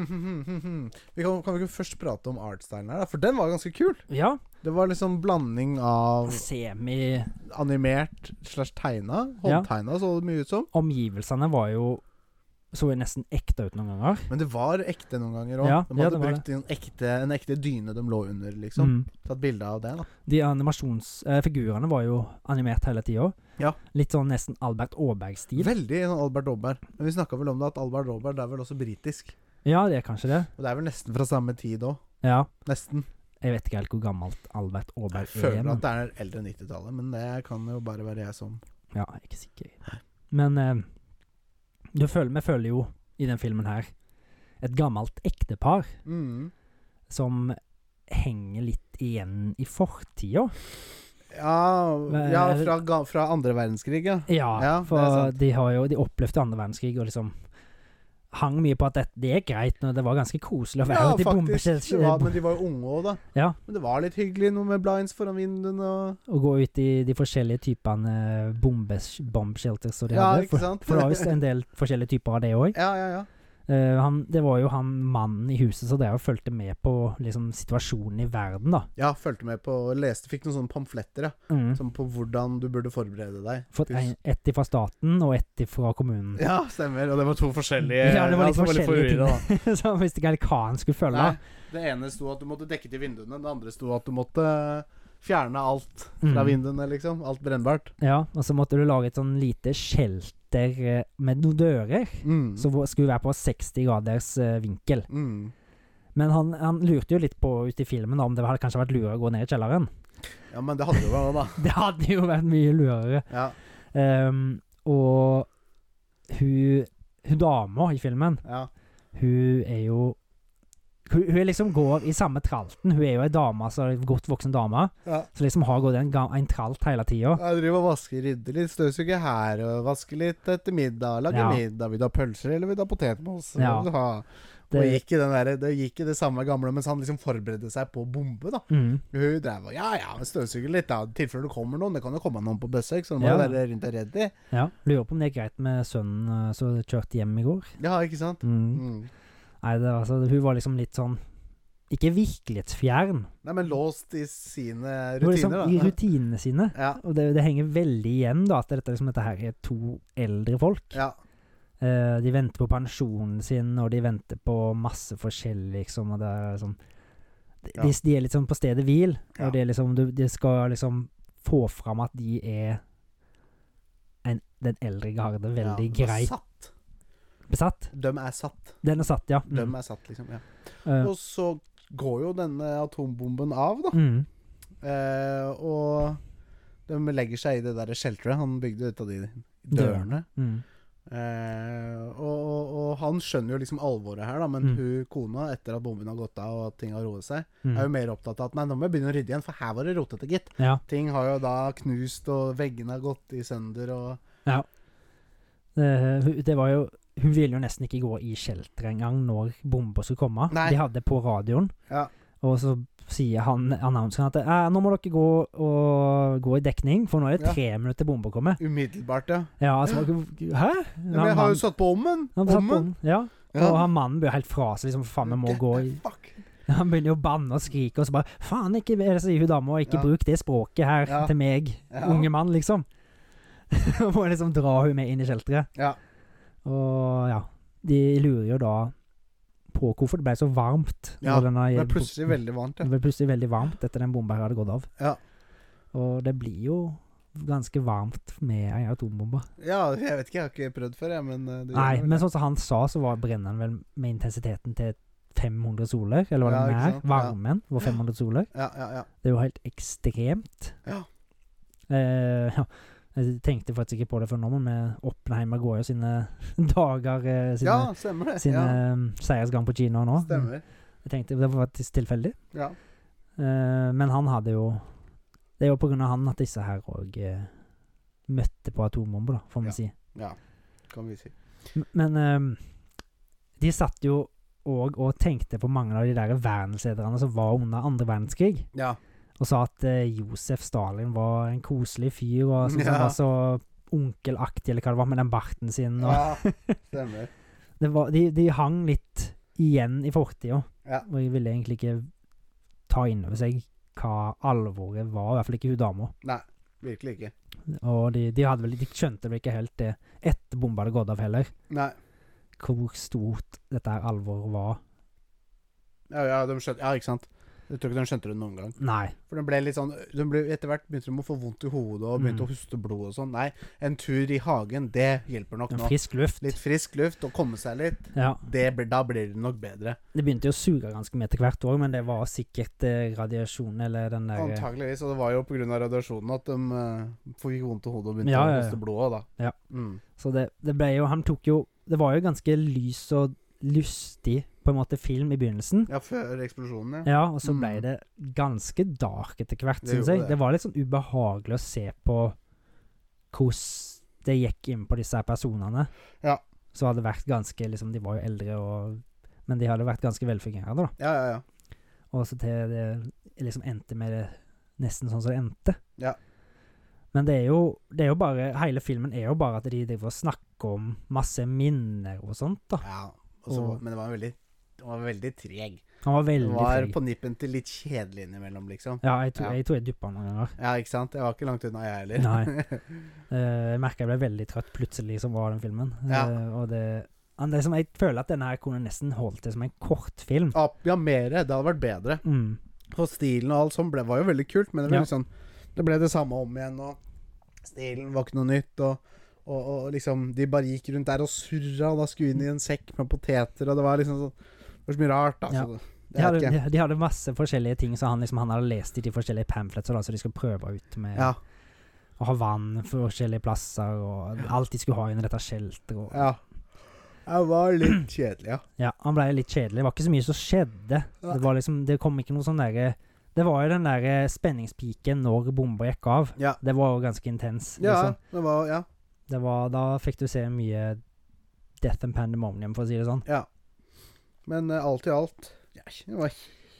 A: Vi kan, kan vi ikke først prate om artstylen her, da? For den var ganske kul.
B: Ja,
A: Det var liksom blanding av
B: semi
A: animert slash tegna.
B: Ja.
A: Håndtegna så det mye ut som.
B: Omgivelsene var jo Så jo nesten ekte ut noen ganger.
A: Men det var ekte noen ganger òg.
B: Ja,
A: de
B: ja,
A: hadde
B: det var
A: brukt en ekte, en ekte dyne de lå under, liksom.
B: Mm.
A: Tatt bilde av det, da.
B: De animasjonsfigurene var jo animert hele tida.
A: Ja.
B: Litt sånn nesten Albert Aaberg-stil.
A: Veldig sånn Albert Robberg. Men vi snakka vel om det at Albert Robberg det er vel også britisk.
B: Ja, det er kanskje det.
A: Og det er vel nesten fra samme tid òg.
B: Ja.
A: Nesten.
B: Jeg vet ikke helt hvor gammelt Albert
A: Jeg
B: Aaberg er.
A: føler
B: Men,
A: at det er eldre enn 90-tallet, men det kan jo bare være jeg som
B: ja, jeg er ikke sikker. Men eh, du føler, vi føler jo i den filmen her et gammelt ektepar
A: mm.
B: som henger litt igjen i fortida.
A: Ja,
B: Men- eh,
A: ja fra, ga- fra andre verdenskrig, ja.
B: Ja,
A: Ja, det er
B: for
A: sant.
B: de har jo De opplevde andre verdenskrig og liksom hang mye på at det, det er greit, når det var ganske koselig å være ute i bombeskjell-
A: Det var, men de var jo unge òg, da.
B: Ja.
A: Men det var litt hyggelig, noe med blinds foran vinduene og
B: å gå ut i de forskjellige typene eh, bombes, bombshelters og det
A: Ja,
B: hadde.
A: ikke
B: For,
A: sant?
B: for det var visst en del forskjellige typer av det òg.
A: ja, ja, ja.
B: Eh, han, det var jo han mannen i huset som drev og fulgte med på liksom, situasjonen i verden, da.
A: Ja, fulgte med på leste, Fikk noen sånne pamfletter, ja.
B: Mm.
A: Som på hvordan du burde forberede deg.
B: Fått en- ett fra staten og ett fra kommunen.
A: Ja, stemmer. Og det var to forskjellige
B: Ja, det var litt
A: som litt
B: forskjellige ting.
A: forvirret, da.
B: så han visste ikke helt hva han skulle følge.
A: Nei, det ene sto at du måtte dekke til vinduene, det andre sto at du måtte eh, fjerne alt fra
B: Mm.
A: vinduene, liksom. Alt brennbart.
B: Ja, og så måtte du lage et sånn lite shelter eh, med noen dører.
A: Mm.
B: Som var- skulle være på 60 graders eh, vinkel.
A: Mm.
B: Men han, han lurte jo litt på ute i filmen da, om det hadde kanskje vært lurere å gå ned i kjelleren.
A: Ja, men det hadde jo vært noe, da.
B: Det hadde jo vært mye lurere.
A: Ja,
B: Ehm, og hun, hun dama i filmen,
A: ja.
B: hun er jo hun, hun er liksom går i samme tralten. Hun er jo ei dame, altså en godt voksen dame,
A: ja.
B: som liksom har gått en, ga- en tralt hele tida.
A: Jeg driver og vasker, rydder litt, støvsuger her og vasker litt etter middag. Lager
B: Ja.
A: middag. Vil du ha pølser, eller vil du ha potetmos? Hva
B: Ja.
A: vil du ha? Og
B: Det-
A: gikk i den der, det gikk i det samme gamle mens han liksom forberedte seg på å bombe, da.
B: Mm.
A: Hun drev og Ja ja, men støvsuger litt, da. I tilfelle det kommer noen. Det kan jo komme noen på besøk, så du må
B: Ja.
A: jo være rundt og ready.
B: Ja. Lurer på om det er greit med sønnen eh, som kjørte hjem i går.
A: Ja, ikke sant?
B: Mm.
A: Mm.
B: Nei, det, altså, hun var liksom litt sånn Ikke virkelighetsfjern,
A: Nei, men låst i sine
B: hun var liksom
A: rutiner, da.
B: i rutinene sine.
A: ja.
B: Og det, det henger veldig igjen da at dette, liksom, dette her er to eldre folk.
A: ja.
B: Eh, de venter på pensjonen sin, og de venter på masse forskjellig, liksom. Og det er sånn de,
A: Ja.
B: de, de er litt sånn på stedet hvil,
A: Ja.
B: og det er liksom, du- de skal liksom få fram at de er en, den eldre garde veldig
A: Ja,
B: greit
A: Satt.
B: besatt.
A: De er satt.
B: Den er satt, ja. Mm.
A: De er satt, liksom. Ja.
B: Eh,
A: Og så går jo denne atombomben av, da.
B: mm.
A: Eh, og de legger seg i det der shelteret han bygde ut av de dørene.
B: Mm.
A: Eh, og, og, og han skjønner jo liksom alvoret her, da, men
B: Mm.
A: hun kona, etter at bomben har gått av og at ting har roet seg,
B: Mm.
A: er jo mer opptatt av at nei, nå må jeg begynne å rydde igjen, for her var det rotete, gitt.
B: Ja.
A: Ting har jo da knust, og veggene har gått i sønder, og
B: Eh, hun- det var jo Hun ville jo nesten ikke gå i shelter engang når bomba skulle komme.
A: Nei.
B: De hadde på radioen.
A: Ja.
B: Og så sier han annonseren at eh, nå må dere gå, og, gå i dekning, for nå er det
A: Ja.
B: tre minutter til bomba kommer.
A: umiddelbart, ja.
B: Ja, altså, Hæ?
A: ja men jeg har jo satt på ommen!
B: han satt på den. Ja.
A: Ja.
B: Og han mannen blir helt fra seg. Liksom, faen, vi må
A: Get
B: gå
A: the
B: i
A: fuck.
B: Han begynner jo å banne og skrike, og så bare Faen, ikke er det sier hun dama, og ikke
A: Ja.
B: bruk det språket her
A: Ja.
B: til meg,
A: Ja.
B: unge mann, liksom. Og må liksom dra hun med inn i shelteret.
A: Ja.
B: Og ja. De lurer jo da på hvorfor det ble så varmt.
A: Ja,
B: når denne-
A: Det er plutselig veldig varmt.
B: det
A: Ja.
B: ble plutselig veldig varmt etter den bomba her hadde gått av.
A: Ja.
B: Og det blir jo ganske varmt med ei atombombe.
A: ja, jeg vet ikke, jeg har ikke prøvd før, jeg, men eh, det gjør
B: Nei,
A: vel
B: men
A: det.
B: sånn som han sa, så var brenner den vel med intensiteten til 500 soler, eller hva
A: Ja,
B: den
A: ikke
B: er.
A: sant?
B: Varmen var 500 soler.
A: Ja, ja, ja.
B: Det er jo helt ekstremt.
A: Ja.
B: Eh, ja. Jeg tenkte faktisk ikke på det før nå, men Oppenheimer går jo sine dager eh,
A: ja,
B: Sine,
A: stemmer det.
B: sine
A: ja,
B: eh, seiersgang på kinoer nå.
A: stemmer.
B: Jeg tenkte Det var faktisk tilfeldig.
A: Ja.
B: Eh, men han hadde jo Det er jo på grunn av han at disse her òg møtte på atombomber, da, får vi
A: Ja.
B: si.
A: ja, kan vi si.
B: M- Men eh, de satt jo òg og tenkte på mange av de der verdenslederne som var under andre verdenskrig,
A: Ja,
B: og sa at eh, Josef Stalin var en koselig fyr, og sånn som
A: Ja.
B: han var så onkelaktig, eller hva det var, med den barten sin og
A: ja stemmer.
B: det var, de, de hang litt igjen i fortida,
A: Ja.
B: og de ville egentlig ikke ta inn over seg hva alvoret var, i hvert fall ikke hun dama.
A: Virkelig ikke.
B: Og de, de, hadde vel, de skjønte vel ikke helt det etter bomba hadde gått av heller,
A: Nei.
B: hvor stort dette her alvoret var.
A: Ja, ja, de skjønte, ja ikke sant. Jeg tror ikke de skjønte det noen gang.
B: Nei.
A: For den ble litt sånn den ble, Etter hvert begynte de å få vondt i hodet og begynte
B: Mm.
A: å huste blod og sånn. Nei, en tur i hagen, det hjelper nok
B: En
A: nå.
B: frisk luft.
A: Litt frisk luft og komme seg litt.
B: Ja.
A: Det blir, da blir det nok bedre.
B: Det begynte jo å suge ganske mye etter hvert år, men det var sikkert eh, radiasjon eller den der eh,
A: Antakeligvis. Og det var jo pga. radiasjonen at de eh, fikk vondt i hodet og begynte
B: Ja,
A: å
B: ja, ja.
A: huste blod òg, da.
B: Ja.
A: Mm.
B: Så det, det ble jo Han tok jo Det var jo ganske lys og lystig, på en måte, film i begynnelsen.
A: ja før eksplosjonen, ja.
B: Ja, og så ble
A: Mm.
B: det ganske dark etter hvert,
A: Det
B: syns
A: gjorde
B: jeg.
A: det.
B: Det var litt sånn ubehagelig å se på hvordan det gikk inn på disse her personene.
A: Ja.
B: Som hadde vært ganske liksom, De var jo eldre, og, men de hadde vært ganske velfungerende. da.
A: Ja, ja, ja.
B: Og så til det liksom endte med det nesten sånn som det endte.
A: Ja.
B: Men det er jo, det er jo bare Hele filmen er jo bare at de driver og snakker om masse minner og sånt, da.
A: ja. Og så,
B: Og-
A: men det var veldig Det var veldig treg.
B: Han var
A: Det
B: veldig
A: var
B: fri.
A: på nippen til litt kjedelig innimellom, liksom.
B: Ja, jeg tror
A: Ja.
B: jeg, tror jeg duppa noen ganger.
A: Ja, ikke sant? Jeg var ikke langt unna, jeg heller.
B: Nei. Eh, jeg merka jeg ble veldig trøtt plutselig som var den filmen.
A: Ja.
B: Eh, og det, men det er som jeg føler at denne her kunne nesten holdt det som en kortfilm.
A: Ja, ja, mere. Det hadde vært bedre.
B: Mm.
A: Og stilen og alt sånn ble, var jo veldig kult, men det ble,
B: Ja.
A: litt sånn, det ble det samme om igjen. Og stilen var ikke noe nytt. Og, og, og liksom De bare gikk rundt der og surra, og da skulle vi inn i en sekk med poteter, og det var liksom sånn Det var så mye rart, da.
B: Ja.
A: Så, det-
B: De,
A: jeg
B: hadde,
A: vet ikke.
B: de, de hadde masse forskjellige ting som han, liksom, han hadde lest i de forskjellige pamphletser, da, så de skulle prøve ut med
A: Ja,
B: å ha vann for forskjellige plasser, og alt de skulle ha under dette shelteret. og-
A: ja. Jeg var litt kjedelig, ja.
B: Ja, han blei litt kjedelig. Det var ikke så mye som skjedde. Det var liksom, det kom ikke noe sånn derre Det var jo den derre spenningspiken når bomba gikk av.
A: Ja.
B: Det var jo ganske intens.
A: Ja,
B: liksom.
A: det var Ja.
B: Det var, da fikk du se mye Death and Pandemonium, for å si det sånn.
A: ja. Men eh, alt i alt ja, Det var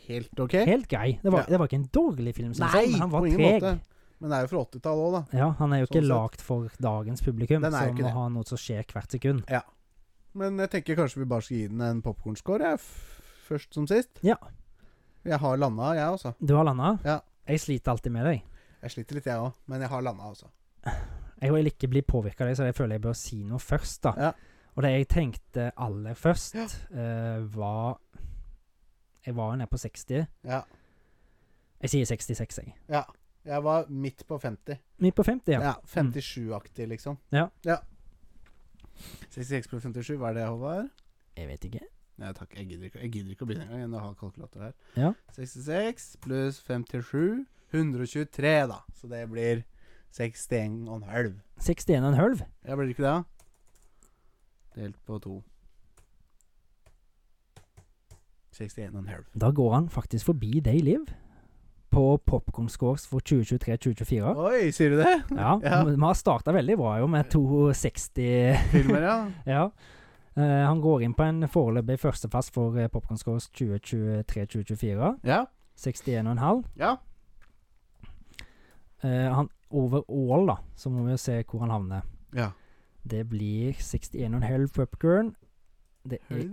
A: helt OK.
B: Helt grei. Det var,
A: Ja.
B: det var ikke en dårlig film, synes
A: Nei,
B: jeg, men han var
A: på ingen
B: treg.
A: måte. Men det er jo fra 80-tallet òg, da.
B: Ja, han er jo ikke
A: Sånn sett.
B: lagd for dagens publikum,
A: Den er jo
B: som
A: ikke
B: må
A: det.
B: ha noe som skjer hvert sekund.
A: Men jeg tenker kanskje vi bare skal gi den en popkornscore, jeg, f- først som sist.
B: Ja.
A: Jeg har landa, jeg også.
B: Du har landa.
A: Ja.
B: Jeg sliter alltid med deg.
A: Jeg sliter litt, jeg òg, men jeg har landa, altså.
B: Jeg vil ikke bli påvirka av deg, så jeg føler jeg bør si noe først, da.
A: Ja.
B: Og det jeg tenkte aller først,
A: Ja.
B: eh, var Jeg var jo nede på 60.
A: Ja.
B: Jeg sier 66, jeg.
A: ja. Jeg var midt på 50.
B: Midt på 50,
A: Ja,
B: ja. Mm.
A: 57-aktig, liksom.
B: Ja.
A: 66 på 57, hva er det, Håvard?
B: Jeg vet ikke.
A: Nei takk, jeg gidder ikke, jeg gidder ikke å begynne engang. Jeg har kalkulator her.
B: Ja.
A: 66 pluss 57 123, da. Så det blir 61 og en halv.
B: 61 og en halv?
A: Ja, blir det ikke det? da? Delt på to. 61 og en halv.
B: Da går han faktisk forbi deg, Liv, på Popcorn Scores for 2023-2024.
A: Oi, sier du det?
B: Ja,
A: Ja.
B: vi har starta veldig bra jo, med 260
A: Filmer, ja.
B: Ja. Eh, han går inn på en foreløpig førsteplass for eh, Popcorn Scores 2023-2024.
A: Ja.
B: 61,5.
A: Ja.
B: Eh, han overall, da, så må vi jo se hvor han havner.
A: ja.
B: Det blir 61,5 popcorn. Det er,
A: Høyd.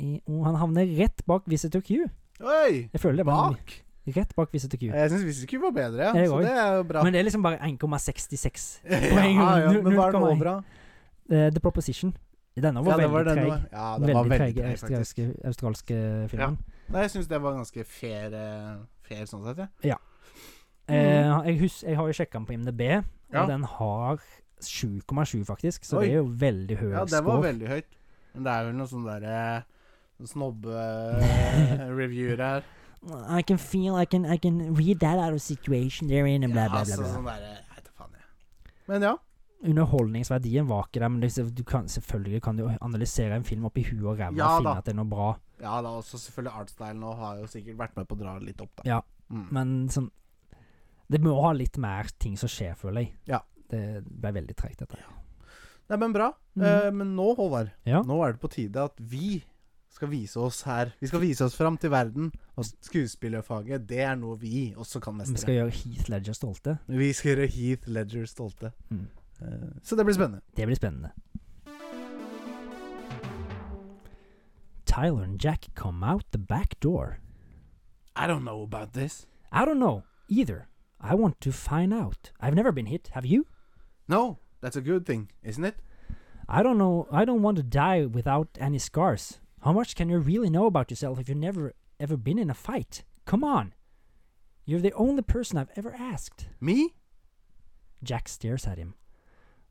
B: i, og han havner rett bak Visit to Q.
A: Oi!
B: Jeg føler det var
A: Bak?
B: rett bak Visit to Q.
A: Jeg syns Visste Cube var bedre, Eh, ja.
B: Jeg
A: Så
B: også.
A: det er jo bra.
B: Men det er liksom bare 1,66.
A: ja, ja, men hva er den over, da?
B: Eh, The Proposition. Denne
A: Ja,
B: var
A: det
B: veldig
A: var den
B: treg.
A: var- Ja, den
B: Veldig,
A: var veldig
B: treg
A: treg, faktisk.
B: australske, australske filmen.
A: Nei, jeg syns det var ganske fair, eh, fair sånn sett, jeg.
B: Eh, jeg, hus jeg har jo sjekka den på IMDb, og
A: Mm. Ja.
B: den har 7,7 faktisk, så
A: Oi.
B: det er jo veldig høy
A: Ja, det var
B: score.
A: veldig høyt. Men det er vel noe sånn derre snobbe-reviewer eh, her.
B: I can feel, I can, I can read that out of situation they're in, and bla,
A: Ja,
B: bla, bla.
A: altså
B: bla.
A: sånn derre Jeg vet da faen, jeg. Men ja.
B: Underholdningsverdien var ikke der, men det, du kan, selvfølgelig kan du analysere en film oppi huet og ræva
A: Ja
B: og finne
A: da.
B: at det er noe bra,
A: Ja, da også selvfølgelig artstylen og har jo sikkert vært med på å dra det litt opp, da.
B: Ja,
A: Mm.
B: men sånn Det må ha litt mer ting som skjer, føler jeg.
A: Ja.
B: Det ble veldig tregt, dette.
A: Nei, men bra.
B: Mhm.
A: Eh, men nå, Håvard,
B: Ja.
A: nå er det på tide at vi skal vise oss her. Vi skal vise oss fram til verden. Og skuespillerfaget, det er noe vi også kan
B: Vi
A: mestre.
B: skal gjøre Heath Ledger stolte.
A: Vi skal gjøre Heath Ledger stolte.
B: Mm.
A: Eh, Så det blir spennende.
B: Det blir spennende. Tyler and Jack come out the back door.
A: I don't know about this.
B: I don't know either. I want to find out. I've never been hit. Have you?
A: No, that's a good thing, isn't it?
B: I don't know. I don't want to die without any scars. How much can you really know about yourself if you've never ever been in a fight? Come on. You're the only person I've ever asked.
A: Me?
B: Jack stares at him.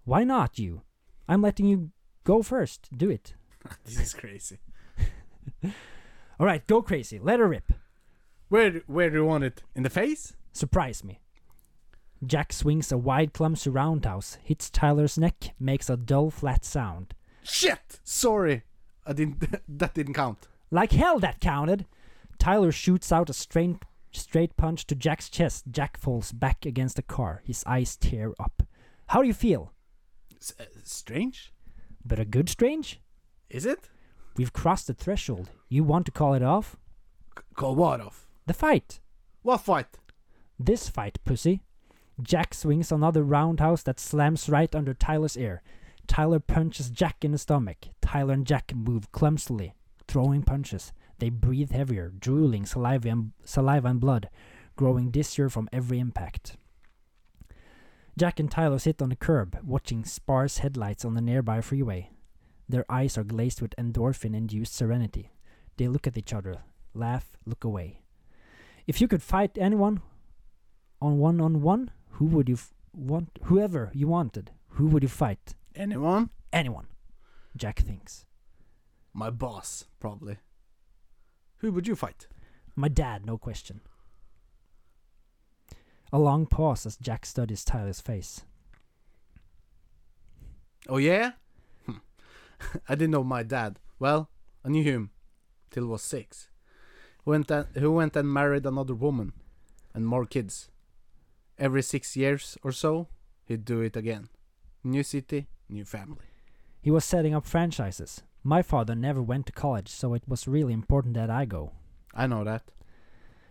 B: Why not you? I'm letting you go first. Do it.
A: This is crazy.
B: All right, go crazy. Let her rip.
A: Where, where do you want it? In the face?
B: Surprise me. Jack swings a wide, clumsy roundhouse, hits Tyler's neck, makes a dull, flat sound.
A: Shit! Sorry. I didn't, that didn't count.
B: Like hell, that counted! Tyler shoots out a straight, straight punch to Jack's chest. Jack falls back against the car. His eyes tear up. How do you feel?
A: S eh, strange?
B: But a good strange?
A: Is it?
B: We've crossed the threshold. You want to call it off?
A: C- Call what off?
B: The fight!
A: What fight?
B: This fight, pussy. Jack swings another roundhouse that slams right under Tyler's ear. Tyler punches Jack in the stomach. Tyler and Jack move clumsily, throwing punches. They breathe heavier, drooling saliva and, saliva and blood, growing dizzier from every impact. Jack and Tyler sit on the curb, watching sparse headlights on the nearby freeway. Their eyes are glazed with endorphin induced serenity. They look at each other, laugh, look away. If you could fight anyone, on one on one, who would you f- want? Whoever you wanted, who would you fight?
A: Anyone?
B: Anyone. Jack thinks.
A: My boss, probably. Who would you fight?
B: My dad, no question. A long pause as Jack studies Tyler's face.
A: Oh yeah? Hmm. I didn't know my dad. Well, I knew him till was six. Who went and, who went and married another woman and more kids. Every six years or so, he'd do it again. New city, new family.
B: He was setting up franchises. My father never went to college, so it was really important that I go.
A: I know that.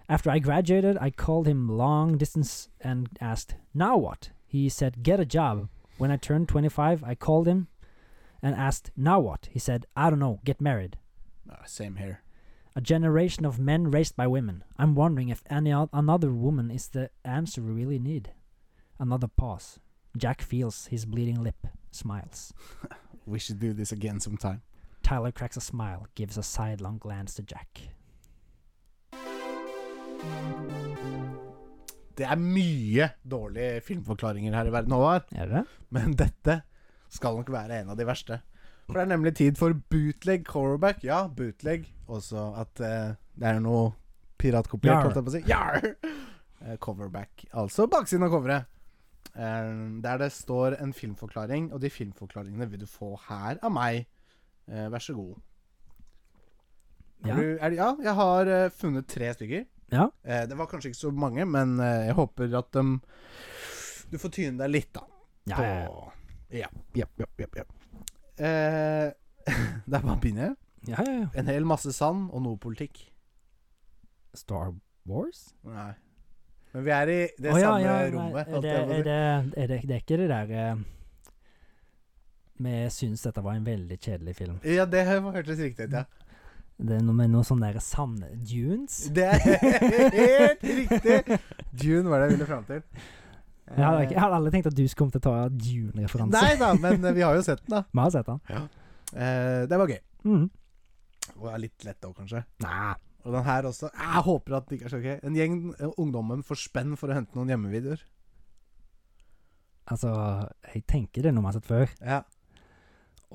B: After I graduated, I called him long distance and asked, Now what? He said, Get a job. When I turned 25, I called him and asked, Now what? He said, I don't know, get married.
A: Ah, same here.
B: A generation of men raised by women. I'm wondering if any o- another woman is the answer we really need. Another pause. Jack feels his bleeding lip, smiles.
A: We should do this again sometime.
B: Tyler cracks a smile, gives a sidelong glance to Jack.
A: Det er mye dårlige filmforklaringer her i verden, Håvard.
B: Er det?
A: Men dette skal nok være en av de verste. For det er nemlig tid for bootleg coverback. Ja, bootleg. Også at eh, det er noe
B: Jar.
A: piratkopiert, holdt jeg på å si. Jar! Eh, coverback. Altså baksiden av coveret. Eh, der det står en filmforklaring, og de filmforklaringene vil du få her av meg. Eh, vær så god. Ja,
B: Ja.
A: du, er, det- ja jeg har eh, funnet tre stykker.
B: Ja.
A: Eh, det var kanskje ikke så mange, men eh, jeg håper at dem- Du får tyne deg litt, da
B: Ja,
A: på
B: ja, ja.
A: Ja, ja, ja, ja, ja. Eh, Det er bare å begynne.
B: ja, ja, ja.
A: En hel masse sand og noe politikk.
B: Star Wars?
A: Nei. Men vi er i det
B: Å, ja,
A: samme
B: ja, nei,
A: rommet.
B: Er
A: holdt
B: det,
A: jeg på å
B: er
A: si.
B: det, er det, det er ikke det der eh, Vi syns dette var en veldig kjedelig film.
A: Ja, det hørtes riktig ut, ja.
B: Det er noe med noe sånn der sand dunes.
A: Det er helt riktig! Dune var det jeg ville fram til.
B: Jeg hadde, ikke, jeg hadde aldri tenkt at du skulle komme til å ta dune-referanse.
A: Eh. Nei da, men eh, vi har jo sett den, da.
B: Vi har sett den.
A: Eh, det var gøy.
B: Mhm.
A: Og er litt lett òg, kanskje.
B: Nei.
A: Og den her også. Jeg håper at det ikke er så gøy. En gjeng eh, ungdommen får spenn for å hente noen hjemmevideoer.
B: Altså, jeg tenker det er noe vi har sett før.
A: Ja.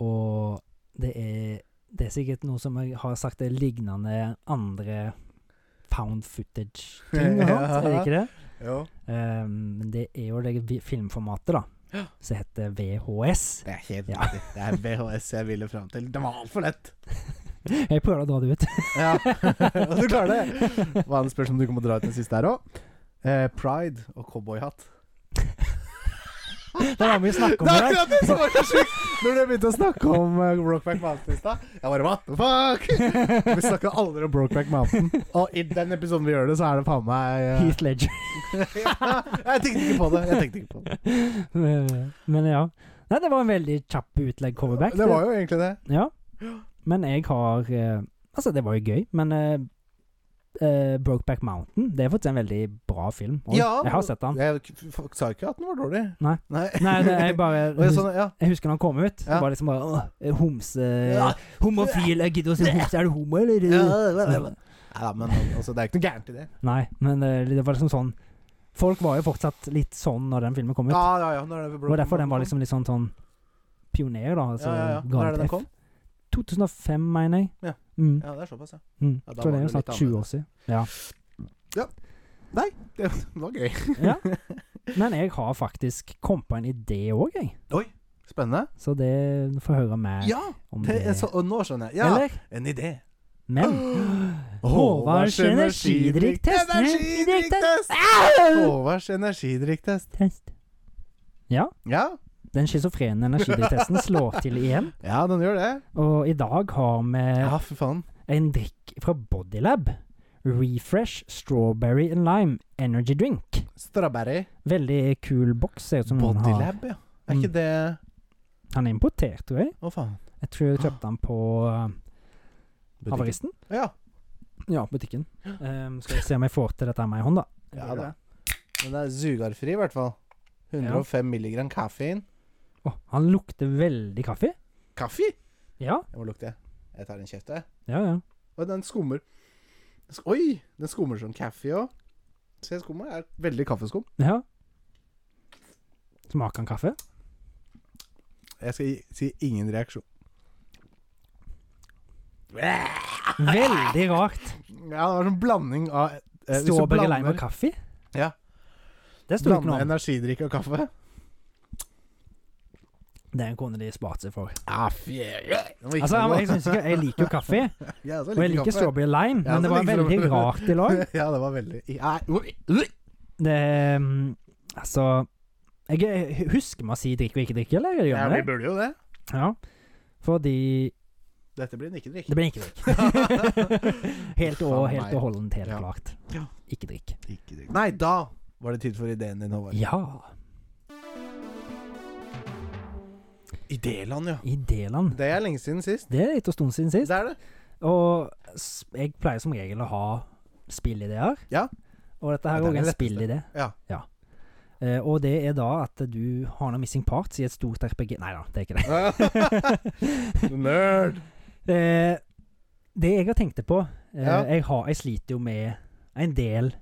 B: Og det er, det er sikkert noe som jeg har sagt er lignende andre found footage-ting. og sånt, Er det ikke det?
A: Jo.
B: Eh, Men det er jo det vi- filmformatet, da. Som heter VHS.
A: Det er helt
B: Ja.
A: riktig. Det er VHS jeg ville fram til. Den var altfor lett!
B: Jeg prøver å dra det ut.
A: Ja, og du klarer det. Hva Spørs om du kommer til å dra ut den siste her òg. Eh, pride og cowboyhatt.
B: Det var mye snakk om
A: Det er
B: det.
A: akkurat det som var så sjukt! Når dere begynte å snakke om eh, Brokeback Mountain i stad, jeg bare what the fuck? Vi snakka aldri om Brokeback Mountain. Og i den episoden vi gjør det, så er det faen meg eh,
B: Heath Ledger.
A: ja, Jeg tenkte ikke på det. Jeg tenkte ikke på det.
B: Eh, Men ja. Nei, det var en veldig kjapp utlegg coverback.
A: Det var jo egentlig det.
B: Ja. Men jeg har eh, Altså, det var jo gøy, men eh, eh, Brokeback Mountain Det er faktisk en veldig bra film. og
A: Ja.
B: jeg har sett den.
A: Jeg k- folk sa ikke at den var dårlig.
B: Nei.
A: Nei.
B: Nei, det, jeg bare
A: Og jeg sånn, ja.
B: Jeg husker når han kom ut. Det
A: Ja.
B: var liksom bare «Åh, Homse
A: Ja.
B: Homofil. Jeg gidder å si homse. Er du homo, eller?
A: Neida, men altså, det er ikke noe gærent i det.
B: Nei, men eh, det var liksom sånn Folk var jo fortsatt litt sånn når den filmen kom ut.
A: Ja, ja, ja. Når er det
B: Det var derfor den var liksom litt sånn, sånn pioner, da. Altså,
A: ja, ja, ja.
B: ga
A: Når er
B: et
A: det den
B: F.
A: kom?
B: 2005, mener jeg.
A: Ja.
B: Mm.
A: Ja, det er såpass, ja.
B: Mm.
A: Ja, da
B: så
A: var
B: det er
A: det
B: jo snart
A: litt
B: 20 år siden. Ja.
A: Det var gøy.
B: ja. Men jeg har faktisk kommet på en idé òg, jeg.
A: Spennende.
B: Så det du får høre mer
A: Ja!
B: om
A: Det
B: det.
A: er så, og nå skjønner jeg. Ja,
B: Eller?
A: en idé.
B: Men Håvards energidrikktest.
A: Energidrikktest!
B: Au!
A: Håvards energidrikktest.
B: Test. Ja,
A: Ja.
B: den schizofrene energidriktesten slår til igjen.
A: ja, den gjør det.
B: Og i dag har vi
A: Ja, for faen.
B: en drikk fra Bodylab. Refresh Strawberry and Lime Energy Drink.
A: Strawberry.
B: Veldig kul boks. Ser ut som noen Mm, har. Mm.
A: Bodylab, ja. Er ikke det
B: Han er importert, tror jeg.
A: Å, faen.
B: Jeg tror jeg kjøpte den på uh, Havaristen.
A: Ja.
B: Ja, butikken. Ehm, skal vi se om jeg får til dette her med ei hånd, da.
A: ja da. Men det er sugarfri, i hvert fall. 105 milligram kaffein.
B: Åh, han lukter veldig kaffe.
A: Kaffe?
B: Ja,
A: Jeg må lukte. Jeg tar en kjeft, jeg.
B: ja, ja.
A: Og den skummer den sk- Oi! Den skummer som kaffe òg. Se skummet. Er veldig kaffeskum.
B: ja. Smaker han kaffe?
A: Jeg skal gi- si ingen reaksjon.
B: Veldig rart.
A: Ja, det var en sånn blanding av eh, hvis du
B: Strawberry
A: blander-
B: lime og kaffe?
A: Ja.
B: Det sto det ikke
A: Blande
B: noe om.
A: energidrikk og kaffe.
B: Den kunne de spart seg for.
A: Ah, fjerde.
B: Altså, jeg, jeg, synes ikke, jeg liker jo kaffe,
A: ja, så
B: og jeg
A: liker
B: liker
A: kaffe.
B: strawberry lime,
A: Ja, så
B: men det var
A: liker du-
B: veldig rart i lag.
A: ja, det var veldig Nei, ui, ui.
B: Det mm, Altså jeg, jeg husker man å si drikk og ikke drikke, eller?
A: Ja,
B: Gjør
A: vi
B: man det?
A: burde jo det.
B: Ja. Fordi
A: Dette blir en ikke-drikk.
B: Det blir ikke drikk. helt og,
A: Faen
B: helt
A: meg.
B: og holdent, helt
A: Ja.
B: klart.
A: Ja.
B: Ikke drikk.
A: Nei, da var det tid for ideen din, Håvard.
B: Ja.
A: Idéland, ja.
B: Idéland.
A: Det er lenge siden sist.
B: Det er litt en stund siden
A: Det
B: sist.
A: er det.
B: Og s- jeg pleier som regel å ha spillideer.
A: Ja.
B: Og dette her
A: Ja,
B: er
A: den
B: òg
A: er
B: en
A: letteste.
B: spillidé.
A: Ja.
B: Eh, og det er da at du har noen missing parts i et stort RPG Nei da, det er ikke det.
A: Nerd.
B: Eh, det jeg har tenkt på eh,
A: Ja.
B: jeg, har, jeg sliter jo med en del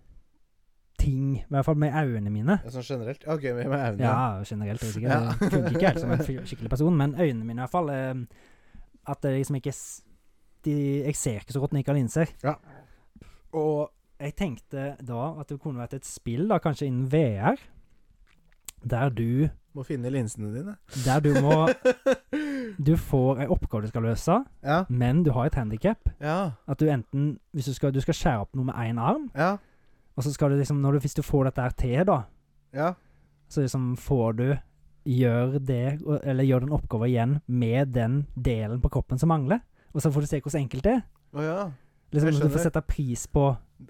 B: ting, i hvert fall med øynene mine.
A: Ja, Sånn generelt? Ok, med, med øynene.
B: Ja, generelt. Jeg sikkert.
A: Ja.
B: Jeg funker ikke helt som en fy- skikkelig person, men øynene mine i hvert fall eh, At det liksom ikke s- de, Jeg ser ikke så godt når jeg ikke har linser.
A: Ja.
B: Og jeg tenkte da at det kunne vært et spill, da, kanskje innen VR, der du
A: Må finne linsene dine.
B: Der du må Du får ei oppgave du skal løse,
A: Ja.
B: men du har et handikap.
A: Ja.
B: At du enten Hvis du skal, du skal skjære opp noe med én arm,
A: Ja.
B: og så skal du liksom når du, Hvis du får dette her til, da,
A: Ja.
B: Så liksom får du Gjør det, eller gjør den oppgaven igjen med den delen på kroppen som mangler. Og så får du se hvordan enkelt det er.
A: Å ja. Jeg
B: Liksom, du
A: skjønner.
B: får sette pris på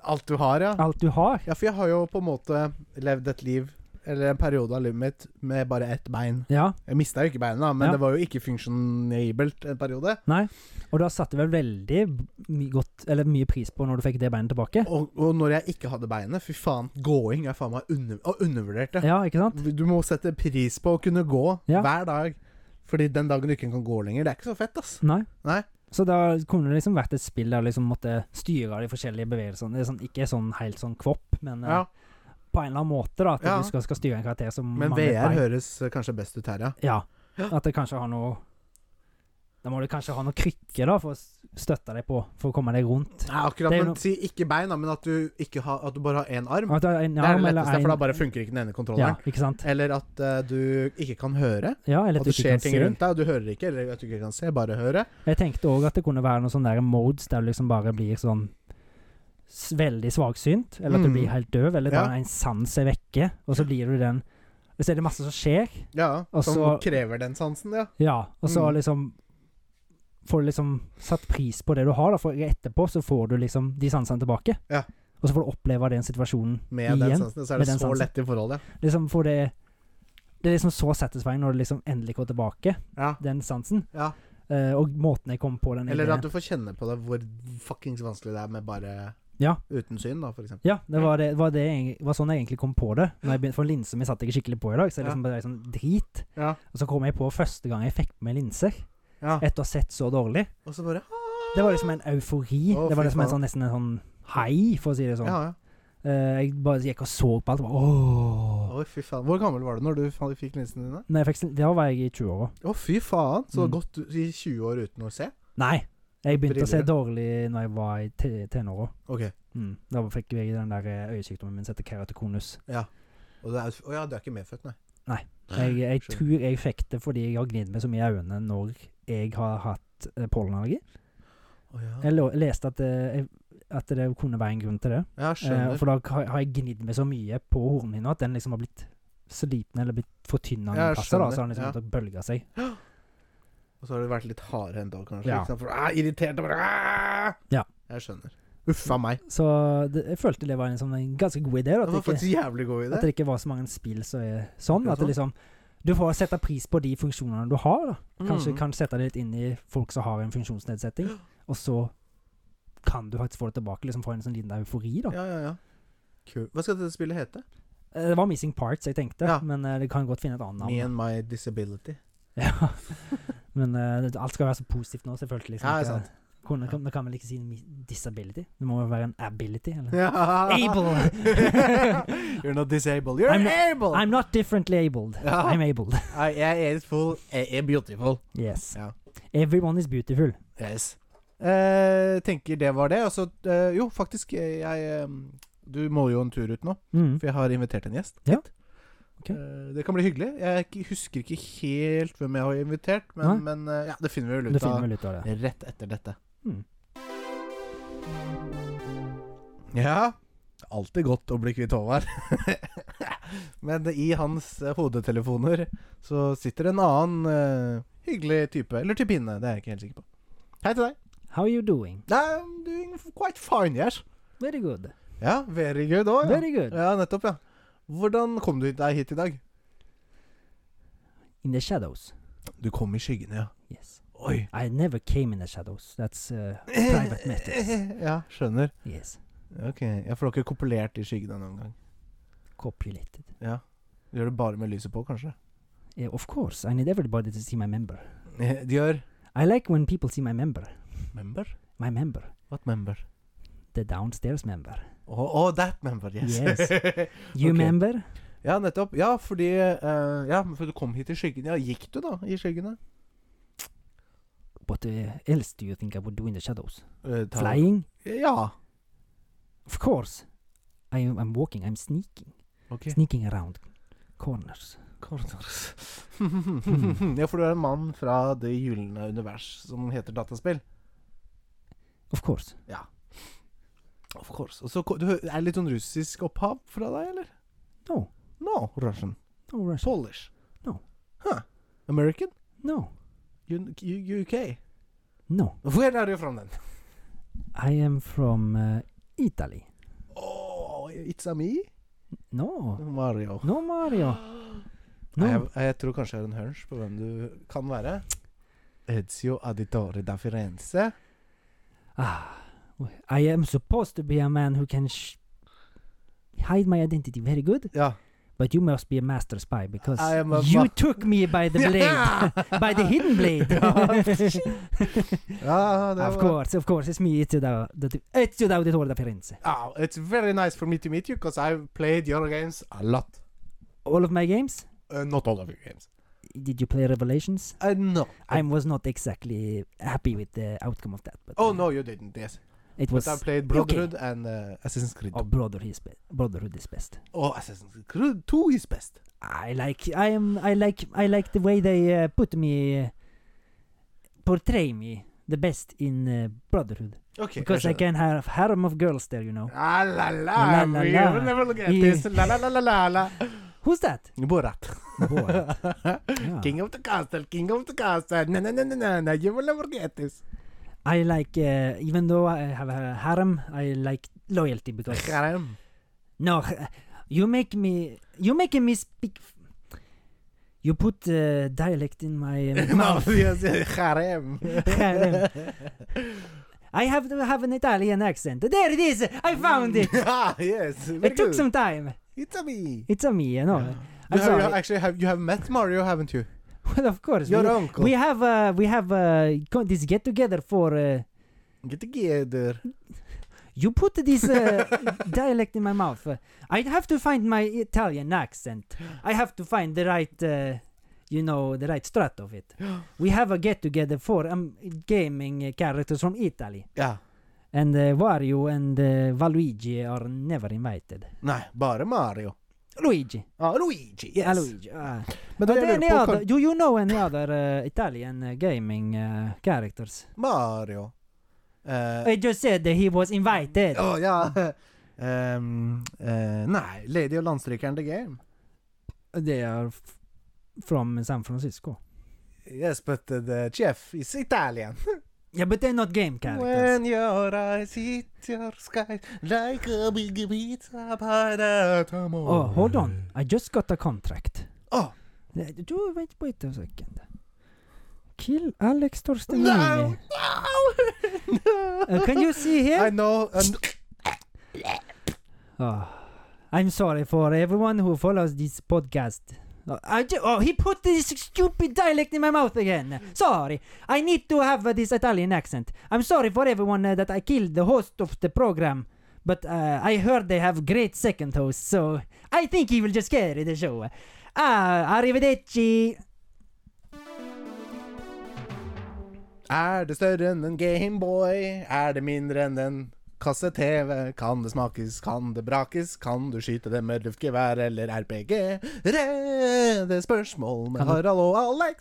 A: Alt du har, ja.
B: alt du har.
A: Ja, for jeg har jo på en måte levd et liv eller en periode av livet mitt med bare ett bein.
B: Ja,
A: Jeg mista jo ikke beinet, da, men
B: Ja.
A: det var jo ikke funksjonabelt en periode.
B: nei. Og da satte vel veldig my godt, eller mye pris på når du fikk det beinet tilbake.
A: Og, og når jeg ikke hadde beinet Fy faen, gåing er faen meg under, og undervurdert. det.
B: Ja, ikke sant?
A: Du må sette pris på å kunne gå
B: Ja.
A: hver dag. Fordi den dagen du ikke kan gå lenger, det er ikke så fett, ass.
B: Nei.
A: Nei.
B: Så da kunne det liksom vært et spill der du liksom måtte styre de forskjellige bevegelsene. Det er sånn, ikke sånn helt sånn kvopp, men eh,
A: Ja,
B: på en eller annen måte, da. At
A: Ja.
B: du skal, skal styre en karakter som
A: Men
B: mangler
A: VR
B: bein.
A: høres eh, kanskje best ut her, ja.
B: Ja. At det kanskje har noe Da må du kanskje ha noen krykker, da, for å s- støtte deg på, for å komme deg rundt.
A: Nei, akkurat,
B: Det er jo
A: men
B: noe-
A: Si ikke bein, da, men at du, ikke har- at du bare har én arm.
B: At du har en
A: Mm. det er
B: arm
A: det
B: eller
A: letteste,
B: en-
A: for da bare funker ikke den ene kontrolleren.
B: Ja, ikke sant?
A: Eller at eh, du ikke kan høre.
B: Ja, eller
A: At
B: at du
A: det
B: ikke
A: skjer
B: kan
A: ting
B: se.
A: rundt deg, og du hører ikke. Eller at du ikke kan se, bare høre.
B: Jeg tenkte òg at det kunne være noen sånne der modes der du liksom bare blir sånn s- veldig svaksynt, eller at du
A: Mm.
B: blir helt døv, eller
A: Ja.
B: bare en sans er vekke, og så blir du den Og så er det masse som skjer,
A: Ja,
B: Og
A: Som
B: så-
A: krever den sansen, ja.
B: ja, og så
A: Mm.
B: liksom Får du liksom satt pris på det du har, da, for etterpå så får du liksom de sansene tilbake.
A: Ja.
B: Og så får du oppleve den situasjonen
A: Med den
B: igjen.
A: sansen. Så er
B: med
A: det
B: den
A: så
B: sansen.
A: lett i forhold, ja.
B: Liksom får det Det er liksom så satisfying når du liksom endelig går tilbake,
A: ja.
B: den sansen.
A: Ja.
B: Eh, og måten jeg kom på den
A: Eller
B: ideen.
A: at du får kjenne på det hvor fuckings vanskelig det er med bare
B: Ja.
A: uten syn, da, for eksempel.
B: Ja, det var, det, var, det, jeg- var sånn jeg egentlig kom på det. Når jeg begynte, for linser mi satt jeg ikke skikkelig på i dag, så jeg
A: Ja.
B: liksom bare liksom drit.
A: Ja.
B: Og så kom jeg på første gang jeg fikk på meg linser,
A: Ja.
B: etter å ha sett så dårlig.
A: Og så bare
B: Det var liksom en eufori.
A: Å,
B: det var
A: fy
B: liksom en
A: faen.
B: sånn, nesten en sånn hei, for å si det sånn.
A: Ja, ja.
B: Eh, jeg bare gikk og så på alt. og Bare, åh.
A: Å, fy faen. Hvor gammel var du når du fa- fikk linsene dine?
B: Når jeg fikk, sn- da var jeg i 20-åra.
A: Å, fy faen. Så
B: Mm.
A: godt du i 20 år uten å se.
B: Nei, jeg begynte å se
A: Briller.
B: dårlig når jeg var i te- tenåra.
A: Ok.
B: Mm. Da fikk jeg den der eh, øyesykdommen min som heter keratokonus.
A: Og det er, å ja, du er ikke medfødt, nei.
B: Jeg, jeg
A: Skjønner.
B: tror jeg fikk det fordi jeg har gnidd meg så mye i øynene når jeg har hatt eh, pollenallergi.
A: Å ja.
B: Jeg lo- leste at det, at det kunne være en grunn til det.
A: ja,
B: Eh,
A: skjønner.
B: for da har- har jeg gnidd meg så mye på hornhinna at den liksom har blitt sliten eller blitt fortynna.
A: Ja, jeg
B: noen plasser, da, så har den liksom
A: skjønner,
B: måttet bølge seg.
A: Og så har du vært litt hardhendt òg, kanskje.
B: Ja.
A: Ikke sant? For du er irritert og bare «Ah!»
B: Ja.
A: Jeg skjønner. Uffa meg.
B: Så det, jeg følte det var en, sånn, en ganske god
A: Det
B: idé. Da, at,
A: var
B: det ikke,
A: faktisk en jævlig god
B: at
A: idé.
B: det ikke var så mange spill som er sånn.
A: Akkurat
B: At det liksom du får sette pris på de funksjonene du har. da. Kanskje
A: Mm.
B: kan sette det litt inn i folk som har en funksjonsnedsetting. Og så kan du faktisk få det tilbake, liksom få en sånn liten eufori. da.
A: Ja, ja, ja. Kul. Hva skal dette spillet hete?
B: Eh, Det var Missing Parts jeg tenkte,
A: Ja.
B: men eh, det kan godt finne et annet
A: Me
B: navn.
A: and my disability.
B: Ja. Men eh, det- alt skal være så positivt nå, selvfølgelig. liksom,
A: Ja, det er sant.
B: Kunne, kan, da kan vel ikke si mi- disability? Det må jo være en ability, eller?
A: Able!
B: Able.
A: You're not disabled. You're
B: I'm-
A: able!
B: I'm not differently abled.
A: Ja.
B: I'm abled.
A: I, I is full. I am beautiful.
B: Yes.
A: Ja.
B: Everyone is beautiful.
A: Yes. Eh, tenker det var det. Og så eh, Jo, faktisk, eh, jeg eh, Du må jo en tur ut nå,
B: Mm.
A: for jeg har invitert en gjest.
B: Ja.
A: hit.
B: Ok.
A: Eh, det kan bli hyggelig. Jeg ikke- husker ikke helt hvem jeg har invitert,
B: Nei.
A: men, men eh, ja, det finner vi vel
B: Det
A: ut
B: finner
A: av
B: vi vel ut av det.
A: rett etter dette.
B: Mm.
A: Ja. Alltid godt å bli kvitt Håvard. Men i hans eh, hodetelefoner så sitter en annen eh, hyggelig type. Eller typinne, det er jeg ikke helt sikker på. Hei til deg.
B: How are you doing?
A: I'm doing quite fine, yes.
B: Very good.
A: Ja, very good òg. Ja.
B: Very good.
A: ja, nettopp, ja. Hvordan kom du deg hit i dag?
B: In the shadows.
A: Du kom i skyggene, ja.
B: Yes.
A: Oi.
B: I never came in the shadows. That's uh, private matters.
A: Ja, skjønner.
B: Yes.
A: Ok, ja, For du har ikke kopulert i skyggene noen gang?
B: Copulated.
A: Ja. Du gjør det bare med lyset på, kanskje?
B: Yeah, of course. I need everybody to see my member.
A: Eh, De gjør
B: I like when people see my member.
A: Member?
B: My member.
A: What member?
B: The downstairs member.
A: Oh, that member, yes.
B: You
A: Ok.
B: member?
A: ja, nettopp. Ja, fordi eh, Ja, for du kom hit i skyggene. Ja, gikk du da i skyggene?
B: What uh, else do you think I would do in the shadows?
A: Eh, ta-
B: Flying?
A: Ja.
B: Of course. I am, I'm walking. I'm sneaking.
A: Ok.
B: Sneaking around corners.
A: Corners. ja, for du er en mann fra det gylne univers som heter dataspill.
B: Of course.
A: Of course. Og så ko- du hø- er det litt sånn russisk opphav fra deg, eller?
B: No.
A: No, Russian.
B: No Russian.
A: Polish.
B: No.
A: Huh. American?
B: No.
A: Un- U- UK?
B: No.
A: Where are you from then?
B: I am from uh, Italy.
A: Oh, it's a me?
B: Nå
A: Mario.
B: Nå, Mario. Nå.
A: Nei, jeg, jeg tror kanskje jeg har en hunch på hvem du kan være. Ezio Aditore da Firenze.
B: Ah, I am supposed to be a man who can sh hide my identity very good,
A: Ja.
B: but you must be a master spy because
A: I am a
B: you
A: ma-
B: took me by the blade. by the hidden blade.
A: ja, det
B: of
A: var
B: course, of course, it's me, Ezio da, da, Ezio da Auditore da Firenze.
A: Oh, it's very nice for me to meet you, because I've played your games a lot.
B: All of my games?
A: Uh, not all of your games.
B: Did you play Revelations?
A: Uh, no.
B: I was not exactly happy with the outcome of that. But
A: Oh,
B: uh,
A: no, you didn't, yes.
B: It was
A: But I played Brotherhood and uh, Assassin's Creed.
B: oh,
A: Oh.
B: Brotherhood is be- Brotherhood is best.
A: Assassin's Creed 2 is best.
B: I like I am I like I like the way they uh, put me uh, portray me the best in uh, Brotherhood
A: Okay.
B: because I can have harem of girls there, you know.
A: Ah, la la,
B: La, la,
A: we
B: la.
A: will never look at
B: Yeah.
A: this. La la la la la la.
B: Who's that?
A: Borat.
B: Boy. Yeah.
A: King of the castle, king of the castle. Na na na na na na. You will never get this.
B: I like uh, even though I have a harem, I like loyalty because
A: Harem.
B: no, you make me you making me speak. You put uh, dialect in my uh, mouth.
A: Mouth, yes, yes, harem.
B: Harem. I have to have an Italian accent. There it is. I found it.
A: ah, yes. Very
B: It took
A: good.
B: some time.
A: It's a me.
B: It's a me, you know. I'm
A: You have, you
B: sorry.
A: actually have you have met Mario, haven't you?
B: Well, of course.
A: Your
B: we,
A: uncle.
B: we have uh, we have uh, co- this get together for. Uh,
A: Get together.
B: you put this uh, dialect in my mouth. Uh, I have to find my Italian accent. I have to find the right, uh, you know, the right strut of it. we have a get together for um, gaming uh, characters from Italy,
A: Ja.
B: and uh, Wario and uh, Valuigi are never invited.
A: Nei, bare Mario.
B: Luigi,
A: Ah, Luigi.
B: yeah,
A: Yes.
B: Luigi. ah.
A: Men da
B: But
A: jeg lurer
B: any
A: på
B: other,
A: kan-
B: do you know any other uh, Italian uh, gaming uh, characters?
A: Mario. Eh,
B: I Uh, just said that he was invited.
A: Å ja. Ehm, eh, nei, Lady og landstrykeren The Game.
B: They are f- from San Francisco.
A: Yes, but uh, the chef is Italian.
B: Yeah, but they're not game characters.
A: When your eyes hit your sky like a big pizza by the tomorrow.
B: oh, hold on. I just got a contract.
A: Oh.
B: Uh, Do wait, wait a second. Kill Alex
A: No!
B: Torstenini.
A: No! no.
B: Uh, can you see
A: I
B: here?
A: know. And
B: Oh, I'm sorry for everyone who follows this podcast. Oh, I ju- oh, he put this stupid dialect in my mouth again. Sorry. I need to have uh, this Italian accent. I'm sorry for everyone uh, that I killed the host of the program. But uh, I heard they have great second hosts, so I think he will just carry the show. Ah, arrivederci.
A: er det større enn en Gameboy? Er det mindre enn en kasse-TV? Kan det smakes? Kan det brakes? Kan du skyte det med luftgevær eller RPG? Redde spørsmål med
B: Kan du-
A: Harald og Alex.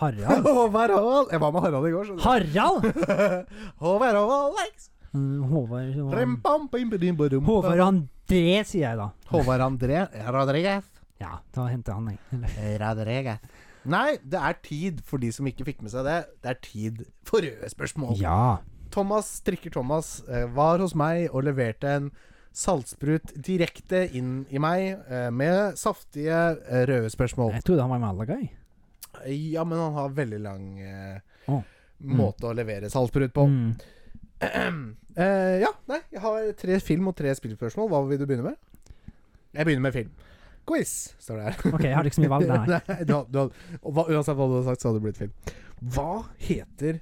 B: Harald?
A: Håvard og Alex. Jeg var med Harald i går, skjønner
B: Harald?
A: du. Håvard og Alex.
B: Mm, Håvard Håvard-
A: Rem-pam-pim-pidim-budum.
B: Håvard André, sier jeg da.
A: Håvard André Rodriguez.
B: Ja, da henter han meg. Eller-
A: Rodriguez. Nei, det er tid for de som ikke fikk med seg det. Det er tid for røde spørsmål.
B: Ja.
A: Thomas strikker Thomas eh, var hos meg og leverte en saltsprut direkte inn i meg eh, med saftige eh, røde spørsmål.
B: Jeg trodde han var i Malaga, jeg.
A: Ja, men han har veldig lang eh,
B: Å. Mm.
A: måte å levere saltsprut på.
B: Mm.
A: Eh, ja, nei, jeg har tre film og tre spillspørsmål. Hva vil du begynne med? Jeg begynner med film. Quiz, står det her.
B: Ok, jeg har ikke så mye valg, nei.
A: Nei, du har- du har- og hva, uansett hva du hadde sagt, så hadde det blitt film. Hva heter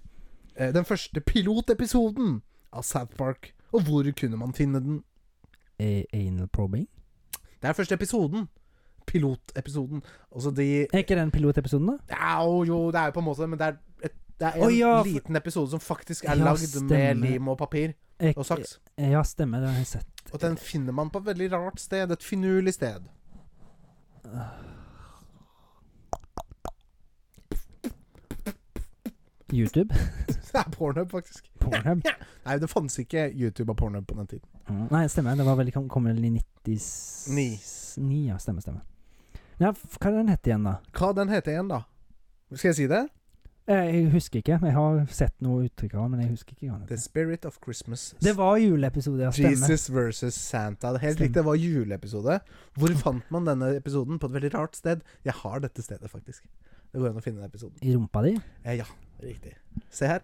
A: eh, den første pilotepisoden av South Park, og hvor kunne man finne den?
B: A- Anal probing?
A: Det er første episoden. Pilotepisoden. Altså de
B: Er ikke den pilotepisoden, da?
A: Au, jo, det er jo på en måte det, men det er, et, det er en
B: Å, ja, for-
A: liten episode som faktisk er
B: Ja,
A: lagd med
B: stemmer.
A: lim og papir
B: Er ikke-
A: og saks.
B: Ja, stemmer. Det har jeg sett.
A: Og den finner man på et veldig rart sted. Et finurlig sted.
B: YouTube?
A: Det er Pornhub, faktisk.
B: Pornhub?
A: Nei, det fantes ikke YouTube og Pornhub på den tiden.
B: Mm. Nei, stemmer. Det var vel, kom, kom vel i 90...
A: Ni.
B: Ni, ja. Stemmer, stemmer. Ja, f- hva er den hette igjen, da?
A: Hva den heter igjen, da? Skal jeg si det?
B: Eh, Jeg husker ikke. Jeg har sett noe uttrykk av det, men jeg husker ikke. hva
A: The
B: Det,
A: Spirit of Christmas.
B: det var juleepisode, ja. Stemmer.
A: Jesus versus Santa. Det er Helt
B: Stemmer.
A: riktig, det var juleepisode. Hvor fant man denne episoden? På et veldig rart sted. Jeg har dette stedet, faktisk. Det går an å finne den episoden.
B: I rumpa di?
A: Eh, ja, riktig. Se her.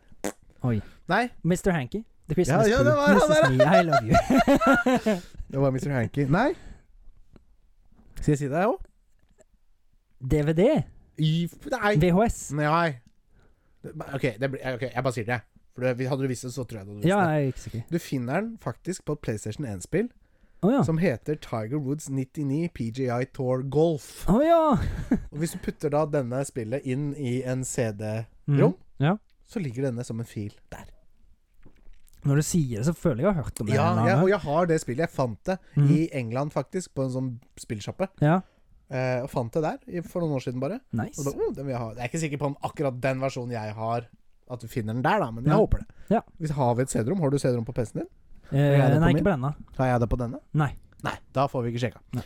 B: Oi.
A: Nei,
B: Mr. Hanky. The Christmas
A: ja, det
B: Pooh.
A: var han
B: Mrs.
A: der.
B: Lee, I love you.
A: det var Mr. Hanky. Nei. Skal jeg si det òg?
B: DVD?
A: Nei. Mm.
B: VHS?
A: Nei. Det- Ok, det blir, ok, jeg bare sier det. For det, Hadde du visst det, så tror jeg du hadde visst
B: Ja,
A: det.
B: jeg er ikke sikker.
A: Du finner den faktisk på et PlayStation 1-spill
B: Å ja.
A: som heter Tiger Woods 99 PGI Tour Golf.
B: Å ja!
A: Og Hvis du putter da denne spillet inn i en CD-rom,
B: Mm. Ja.
A: så ligger denne som en fil der.
B: Når du sier det, så føler jeg jeg har hørt om det. en
A: Ja,
B: eller
A: jeg,
B: annen Mm.
A: og jeg har det spillet. Jeg fant det
B: gang.
A: i England, faktisk, på en sånn spillsjappe.
B: Mhm. Ja,
A: Eh, og fant det der i- for noen år siden, bare. Og da,
B: nice.
A: oh, den vil jeg, ha. jeg er ikke sikker på om akkurat den versjonen jeg har, at du finner den der, da, men jeg
B: Ja.
A: håper det.
B: Ja.
A: Hvis Har vi et CD-rom? Har du CD-rom på PC-en din? er
B: Eh,
A: det på
B: nei,
A: min?
B: ikke på denne.
A: Har jeg det på denne?
B: Nei.
A: Nei, da får vi ikke sjekka.
B: Nei.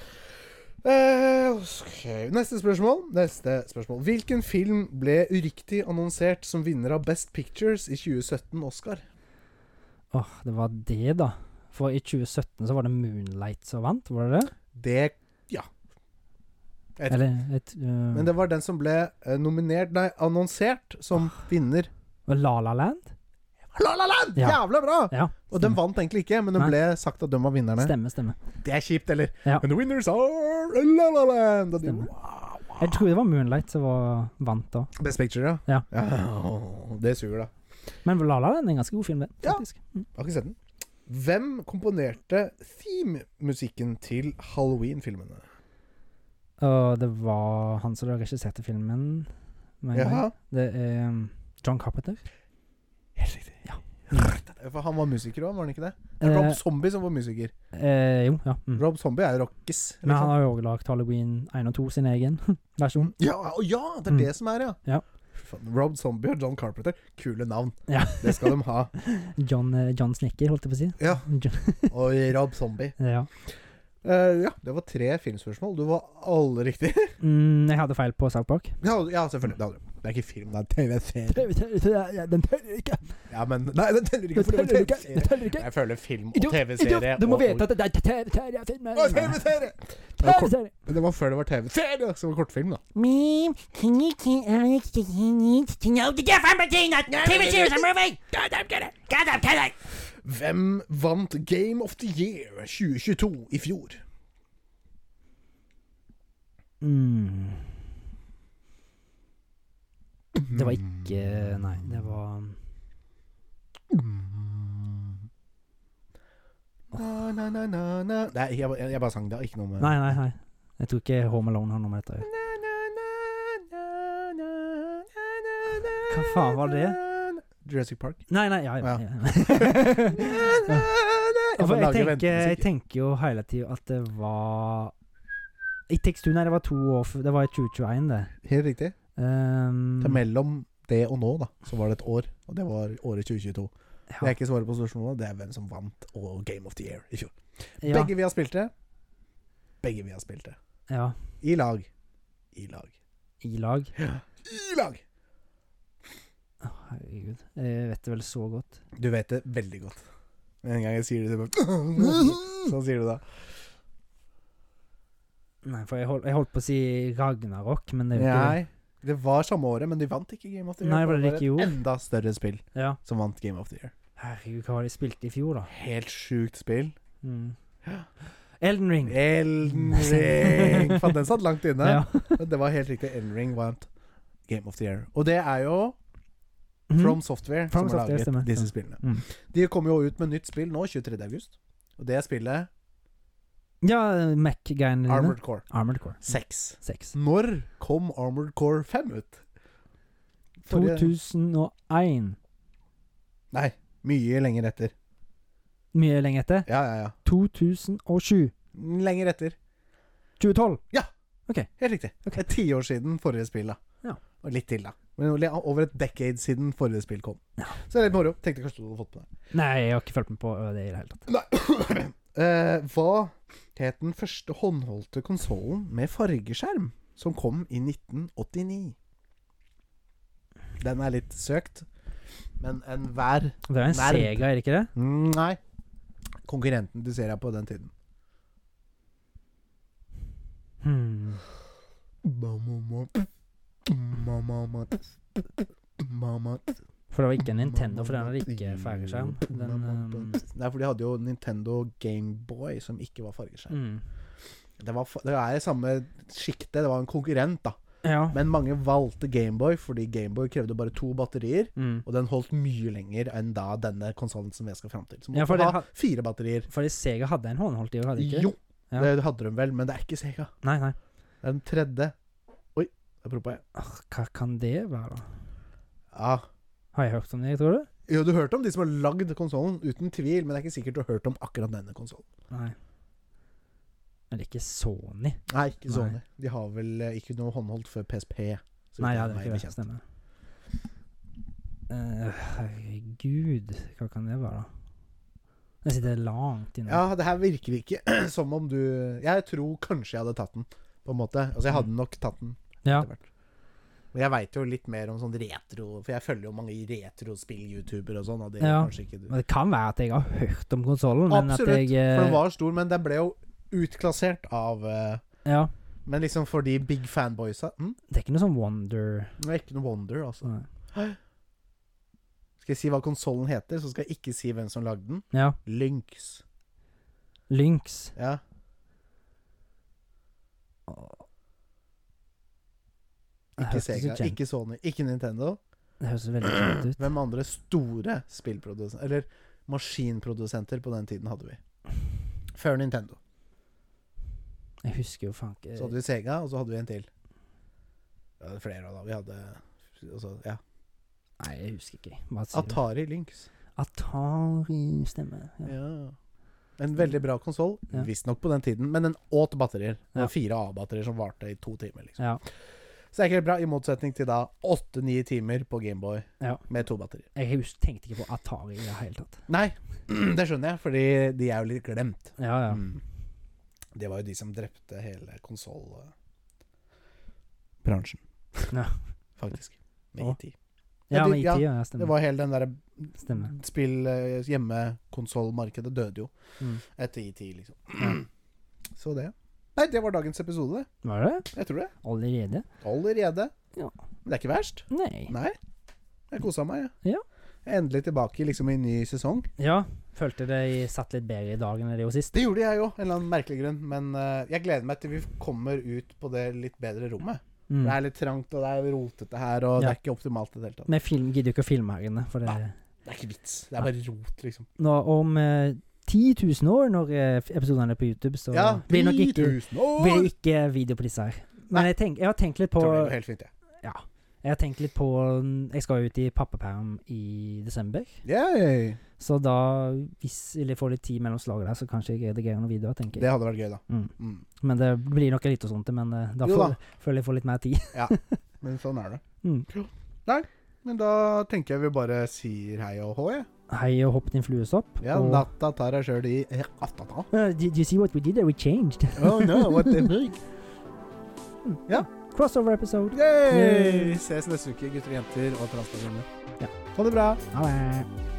A: Eh, ok. Neste spørsmål. Neste spørsmål. Hvilken film ble uriktig annonsert som vinner av Best Pictures i 2017 Oscar?
B: Åh, det var det, da. For i 2017 så var det Moonlight som vant, var det det?
A: Det Jeg tror-
B: Eller et eh,
A: Men det var den som ble eh, nominert Nei, annonsert som vinner.
B: var La La Land?
A: La La Land!
B: Ja.
A: Jævla bra!
B: Ja.
A: Og den vant egentlig ikke, men den
B: Nei.
A: ble sagt at den var vinnerne.
B: Stemmer, stemmer.
A: Det er kjipt, eller?
B: Ja.
A: And the winners are La La Land! Og de,
B: Stemmer.
A: wow, wow.
B: Jeg tror det var Moonlight som var vant da.
A: Best Picture, ja?
B: Ja.
A: åh, det suger, da.
B: Men La La Land er en ganske god film, det.
A: Ja.
B: faktisk. Mm.
A: Jeg har ikke sett den. Hvem komponerte theme-musikken til Halloween-filmene?
B: Og det var han som regisserte filmen. mener jeg.
A: Ja,
B: Det er um, John Carpenter.
A: helt riktig.
B: Ja.
A: For han var musiker òg, var han ikke det? Det er Rob
B: Eh,
A: Zombie som var musiker.
B: eh, jo, ja. Mm.
A: Rob Zombie er rockis.
B: Men han
A: Liksom.
B: har jo også lagd Halloween 1 og 2, sin egen versjon.
A: Ja, å ja, det er
B: Mm.
A: det som er, ja.
B: Ja.
A: Faen, Rob Zombie og John Carpenter, kule navn.
B: Ja.
A: Det skal de ha.
B: John, eh, John Snicker, holdt jeg på å si.
A: Mm. Ja.
B: John,
A: Og Rob Zombie.
B: ja.
A: Eh, ja, det var tre filmspørsmål. Du var alle riktig.
B: Mm, jeg hadde feil på South Park.
A: Ja, ja selvfølgelig. Det, hadde du. det er ikke film, det er TV-serie.
B: Den teller ikke!
A: Ja, men Nei, det teller ikke. for det var TV-serie.
B: teller
A: Jeg føler film og TV-serie og-
B: at det er TV-serie-filmer!
A: og TV-serie! Det var kort- men Det var før altså, det var TV-serie, som var kortfilm, da. Hvem vant Game of the Year 2022 i fjor?
B: Mm. Det var ikke Nei, det var
A: Na, na, na, na, na. Nei, jeg, jeg, jeg bare sang det. Ikke noe med
B: Nei, nei, nei. Jeg tror ikke Home Alone har noe med dette å gjøre.
A: Na, na, na, na, na, na, na, na,
B: Hva faen var det?
A: Jurassic Park.
B: Nei, nei, ja,
A: Ja.
B: ja. ja.
A: Na, na, na.
B: Ja, for
A: bare
B: jeg,
A: lager
B: tenker, jeg
A: ventemusikk.
B: tenker jo hele tida at det var I tekst nei, det var to år f- Det var i 2021, det.
A: Helt riktig.
B: Ehm,
A: Til mellom det og nå, da, så var det et år. Og det var året 2022. Det
B: ja,
A: er ikke svaret på spørsmålet, det er hvem som vant og Game of the Year i fjor.
B: ja,
A: Begge vi har spilt det. Begge vi har spilt det.
B: ja,
A: I lag. I lag.
B: i lag.
A: I lag!
B: Å, herregud. Jeg vet det vel så godt.
A: Du vet det veldig godt. En gang jeg sier det, så bare Sånn sier du det.
B: Nei, for jeg, hold, jeg holdt på å si Ragnarok, men det er jo ikke
A: Nei. Det var samme året, men de vant ikke Game of the Year.
B: Nei,
A: for
B: var det
A: var
B: ikke jo?
A: et enda større spill
B: det. Ja.
A: som vant Game of the Year.
B: Herregud, hva var det de spilte i fjor, da?
A: Helt sjukt spill.
B: Mm. Elden Ring.
A: Elden Ring! Faen, den satt langt inne.
B: Ja.
A: Men det var helt riktig. Elden Ring vant Game of the Year. Og det er jo
B: Mhm.
A: From Software
B: From
A: som har
B: Software,
A: laget
B: stemmer.
A: disse
B: Ja.
A: spillene.
B: Mm.
A: De kommer jo ut med nytt spill nå, 23. august. Og det er spillet
B: Ja, Mac-greiene dine.
A: Armored Core
B: Armored Core.
A: 6.
B: 6.
A: Når kom Armored Core 5 ut? Forrige-
B: 2001.
A: Nei, mye lenger etter.
B: Mye lenger etter.
A: Ja, ja, ja.
B: 2007.
A: Lenger etter.
B: 2012.
A: Helt riktig.
B: Ok.
A: Det er ti år siden forrige spill, da.
B: Ja.
A: Og litt til, da. Men li- over et decade siden forrige spill kom.
B: Ja.
A: Så det er litt moro. Tenkte kanskje du hadde fått med deg.
B: Nei, jeg har ikke fulgt med på ø, det i det hele tatt.
A: Nei. Eh, hva het den første håndholdte konsollen med fargeskjerm som kom i 1989? Den er litt søkt. Men enhver
B: Det er en
A: Nerd.
B: Sega, er det ikke det?
A: mm, Nei. Konkurrenten til Seria på den tiden.
B: Hmm. For det var ikke en Nintendo, for den hadde ikke fargeskjerm. Den, eh,
A: Nei, for de hadde jo Nintendo Gameboy, som ikke var fargeskjerm.
B: mm.
A: Det, var, fa- det er i samme sjiktet. Det var en konkurrent, da.
B: Ja.
A: Men mange valgte Gameboy, fordi Gameboy krevde bare to batterier.
B: Mm.
A: Og den holdt mye lenger enn da denne konsollen som jeg skal fram til. Så måtte
B: Ja, for
A: du
B: det
A: ha
B: had-
A: fire batterier.
B: Fordi Sega hadde en håndholdt i år, hadde de ikke?
A: Jo,
B: Ja.
A: det hadde de vel, men det er ikke Sega.
B: Nei, nei.
A: Det er den tredje. Oi, der proppa jeg.
B: Åh, Hva kan det være, da?
A: Ja.
B: Har jeg hørt om det, tror du?
A: Jo, du hørte om de som har lagd konsollen, uten tvil, men det er ikke sikkert du har hørt om akkurat denne konsollen.
B: Nei. Men det er ikke Sony.
A: Nei, ikke
B: Nei.
A: Sony. De har vel eh, ikke noe håndholdt før PSP. så vidt
B: Nei,
A: jeg
B: ja,
A: er meg
B: det er ikke det.
A: bekjent.
B: Stemmer. Eh, herregud, hva kan det være, da? Den sitter langt inne.
A: Ja, det her virker ikke som om du Jeg tror kanskje jeg hadde tatt den, på en måte. Altså, jeg hadde nok tatt den
B: Mm. Ja.
A: etter hvert. Men jeg veit jo litt mer om sånn retro, for jeg følger jo mange retrospill-youtubere og sånn, og det gjør
B: Ja.
A: kanskje ikke du.
B: Men det kan være at jeg har hørt om konsollen, men at
A: Absolutt,
B: jeg
A: For den
B: eh,
A: var stor, men den ble jo utklassert av eh,
B: Ja.
A: Men liksom for de big fanboysa mm,
B: Det er ikke noe sånn Wonder sånn
A: Det er ikke noe wonder, altså.
B: Nei.
A: Skal jeg si hva konsollen heter, så skal jeg ikke si hvem som lagde den.
B: Ja.
A: Lynx.
B: Lynx.
A: Ja.
B: Det
A: Ikke
B: høres så
A: Sega,
B: kjent-
A: ikke Sony, ikke Nintendo.
B: Det høres veldig kjent ut.
A: Hvem andre store spillprodusenter Eller maskinprodusenter på den tiden hadde vi? Før Nintendo.
B: Jeg husker jo faen
A: Så
B: ikke
A: hadde vi Sega, og så hadde vi en til. Vi hadde flere av dem. Vi hadde altså, ja.
B: Nei, jeg husker ikke. Hva sier du?
A: Atari Lynx.
B: Atari stemmer. Ja.
A: Ja. En veldig bra konsoll,
B: Ja.
A: visstnok på den tiden, men den åt batterier. Det
B: Ja.
A: var fire A-batterier som varte i to timer. liksom
B: ja.
A: Så det er ikke helt bra, i motsetning til da åtte-ni timer på Gameboy
B: Ja.
A: med to batterier.
B: Jeg hus- tenkte ikke på Atari i det hele tatt.
A: Nei, det skjønner jeg, fordi de er jo litt glemt.
B: Ja, ja.
A: Mm. Det var jo de som drepte hele konsollbransjen.
B: Ja.
A: Faktisk. Med
B: Å.
A: IT.
B: Ja,
A: du-
B: men IT,
A: ja,
B: ja,
A: Det
B: stemmer.
A: var hele den derre
B: Stemmer.
A: spill eh, hjemme konsollmarkedet døde jo
B: Mm.
A: etter IT, liksom.
B: Ja.
A: Så det. Nei, det var dagens episode.
B: Var det?
A: Jeg tror det.
B: Allerede?
A: Allerede.
B: Ja.
A: Men det er ikke verst.
B: Nei.
A: Nei. Jeg kosa meg,
B: Ja.
A: Jeg er endelig tilbake liksom i en ny sesong.
B: Ja, følte det satt litt bedre i dag enn det gjorde sist.
A: Det gjorde jeg jo, en eller annen merkelig grunn. Men eh, jeg gleder meg til vi kommer ut på det litt bedre rommet.
B: Mm.
A: Det er litt trangt, og det er rotete her, og det
B: Ja. Mm.
A: er ikke optimalt i det hele tatt.
B: Men film gidder jo ikke å filme her inne, for det
A: Det er ikke vits. Det er bare rot, liksom.
B: nå, Om eh, 10 000 år, når eh, episodene er på YouTube, så
A: Ja,
B: blir det nok ikke,
A: 10 000 år!
B: blir det ikke video på disse her. Men
A: Nei.
B: jeg, tenk, jeg har tenkt litt på
A: Tror det går helt fint, jeg.
B: Jeg har tenkt litt på um, Jeg skal jo ut i pappaperm i desember.
A: Ja. Yay.
B: Så da, hvis jeg får litt tid mellom slagene, her, så kanskje jeg redigerer noen videoer, tenker jeg.
A: Det hadde vært gøy, da.
B: Mm.
A: Mm.
B: Men det blir nok litt og sånt, men eh, da,
A: Jo da.
B: får, føler jeg får litt mer tid.
A: Men sånn er det.
B: Mm.
A: Men da tenker jeg vi bare sier hei og hå, jeg.
B: Hei og hopp din fluesopp.
A: Ja,
B: og,
A: natta tar deg sjøl i eh, attata.
B: Uh, did you see what we did there? We changed.
A: Oh no, what the freak?
B: Crossover episode.
A: Yay! Vi ses neste uke, gutter og jenter og transpersoner.
B: Ja.
A: Ha det bra.
B: Ha det.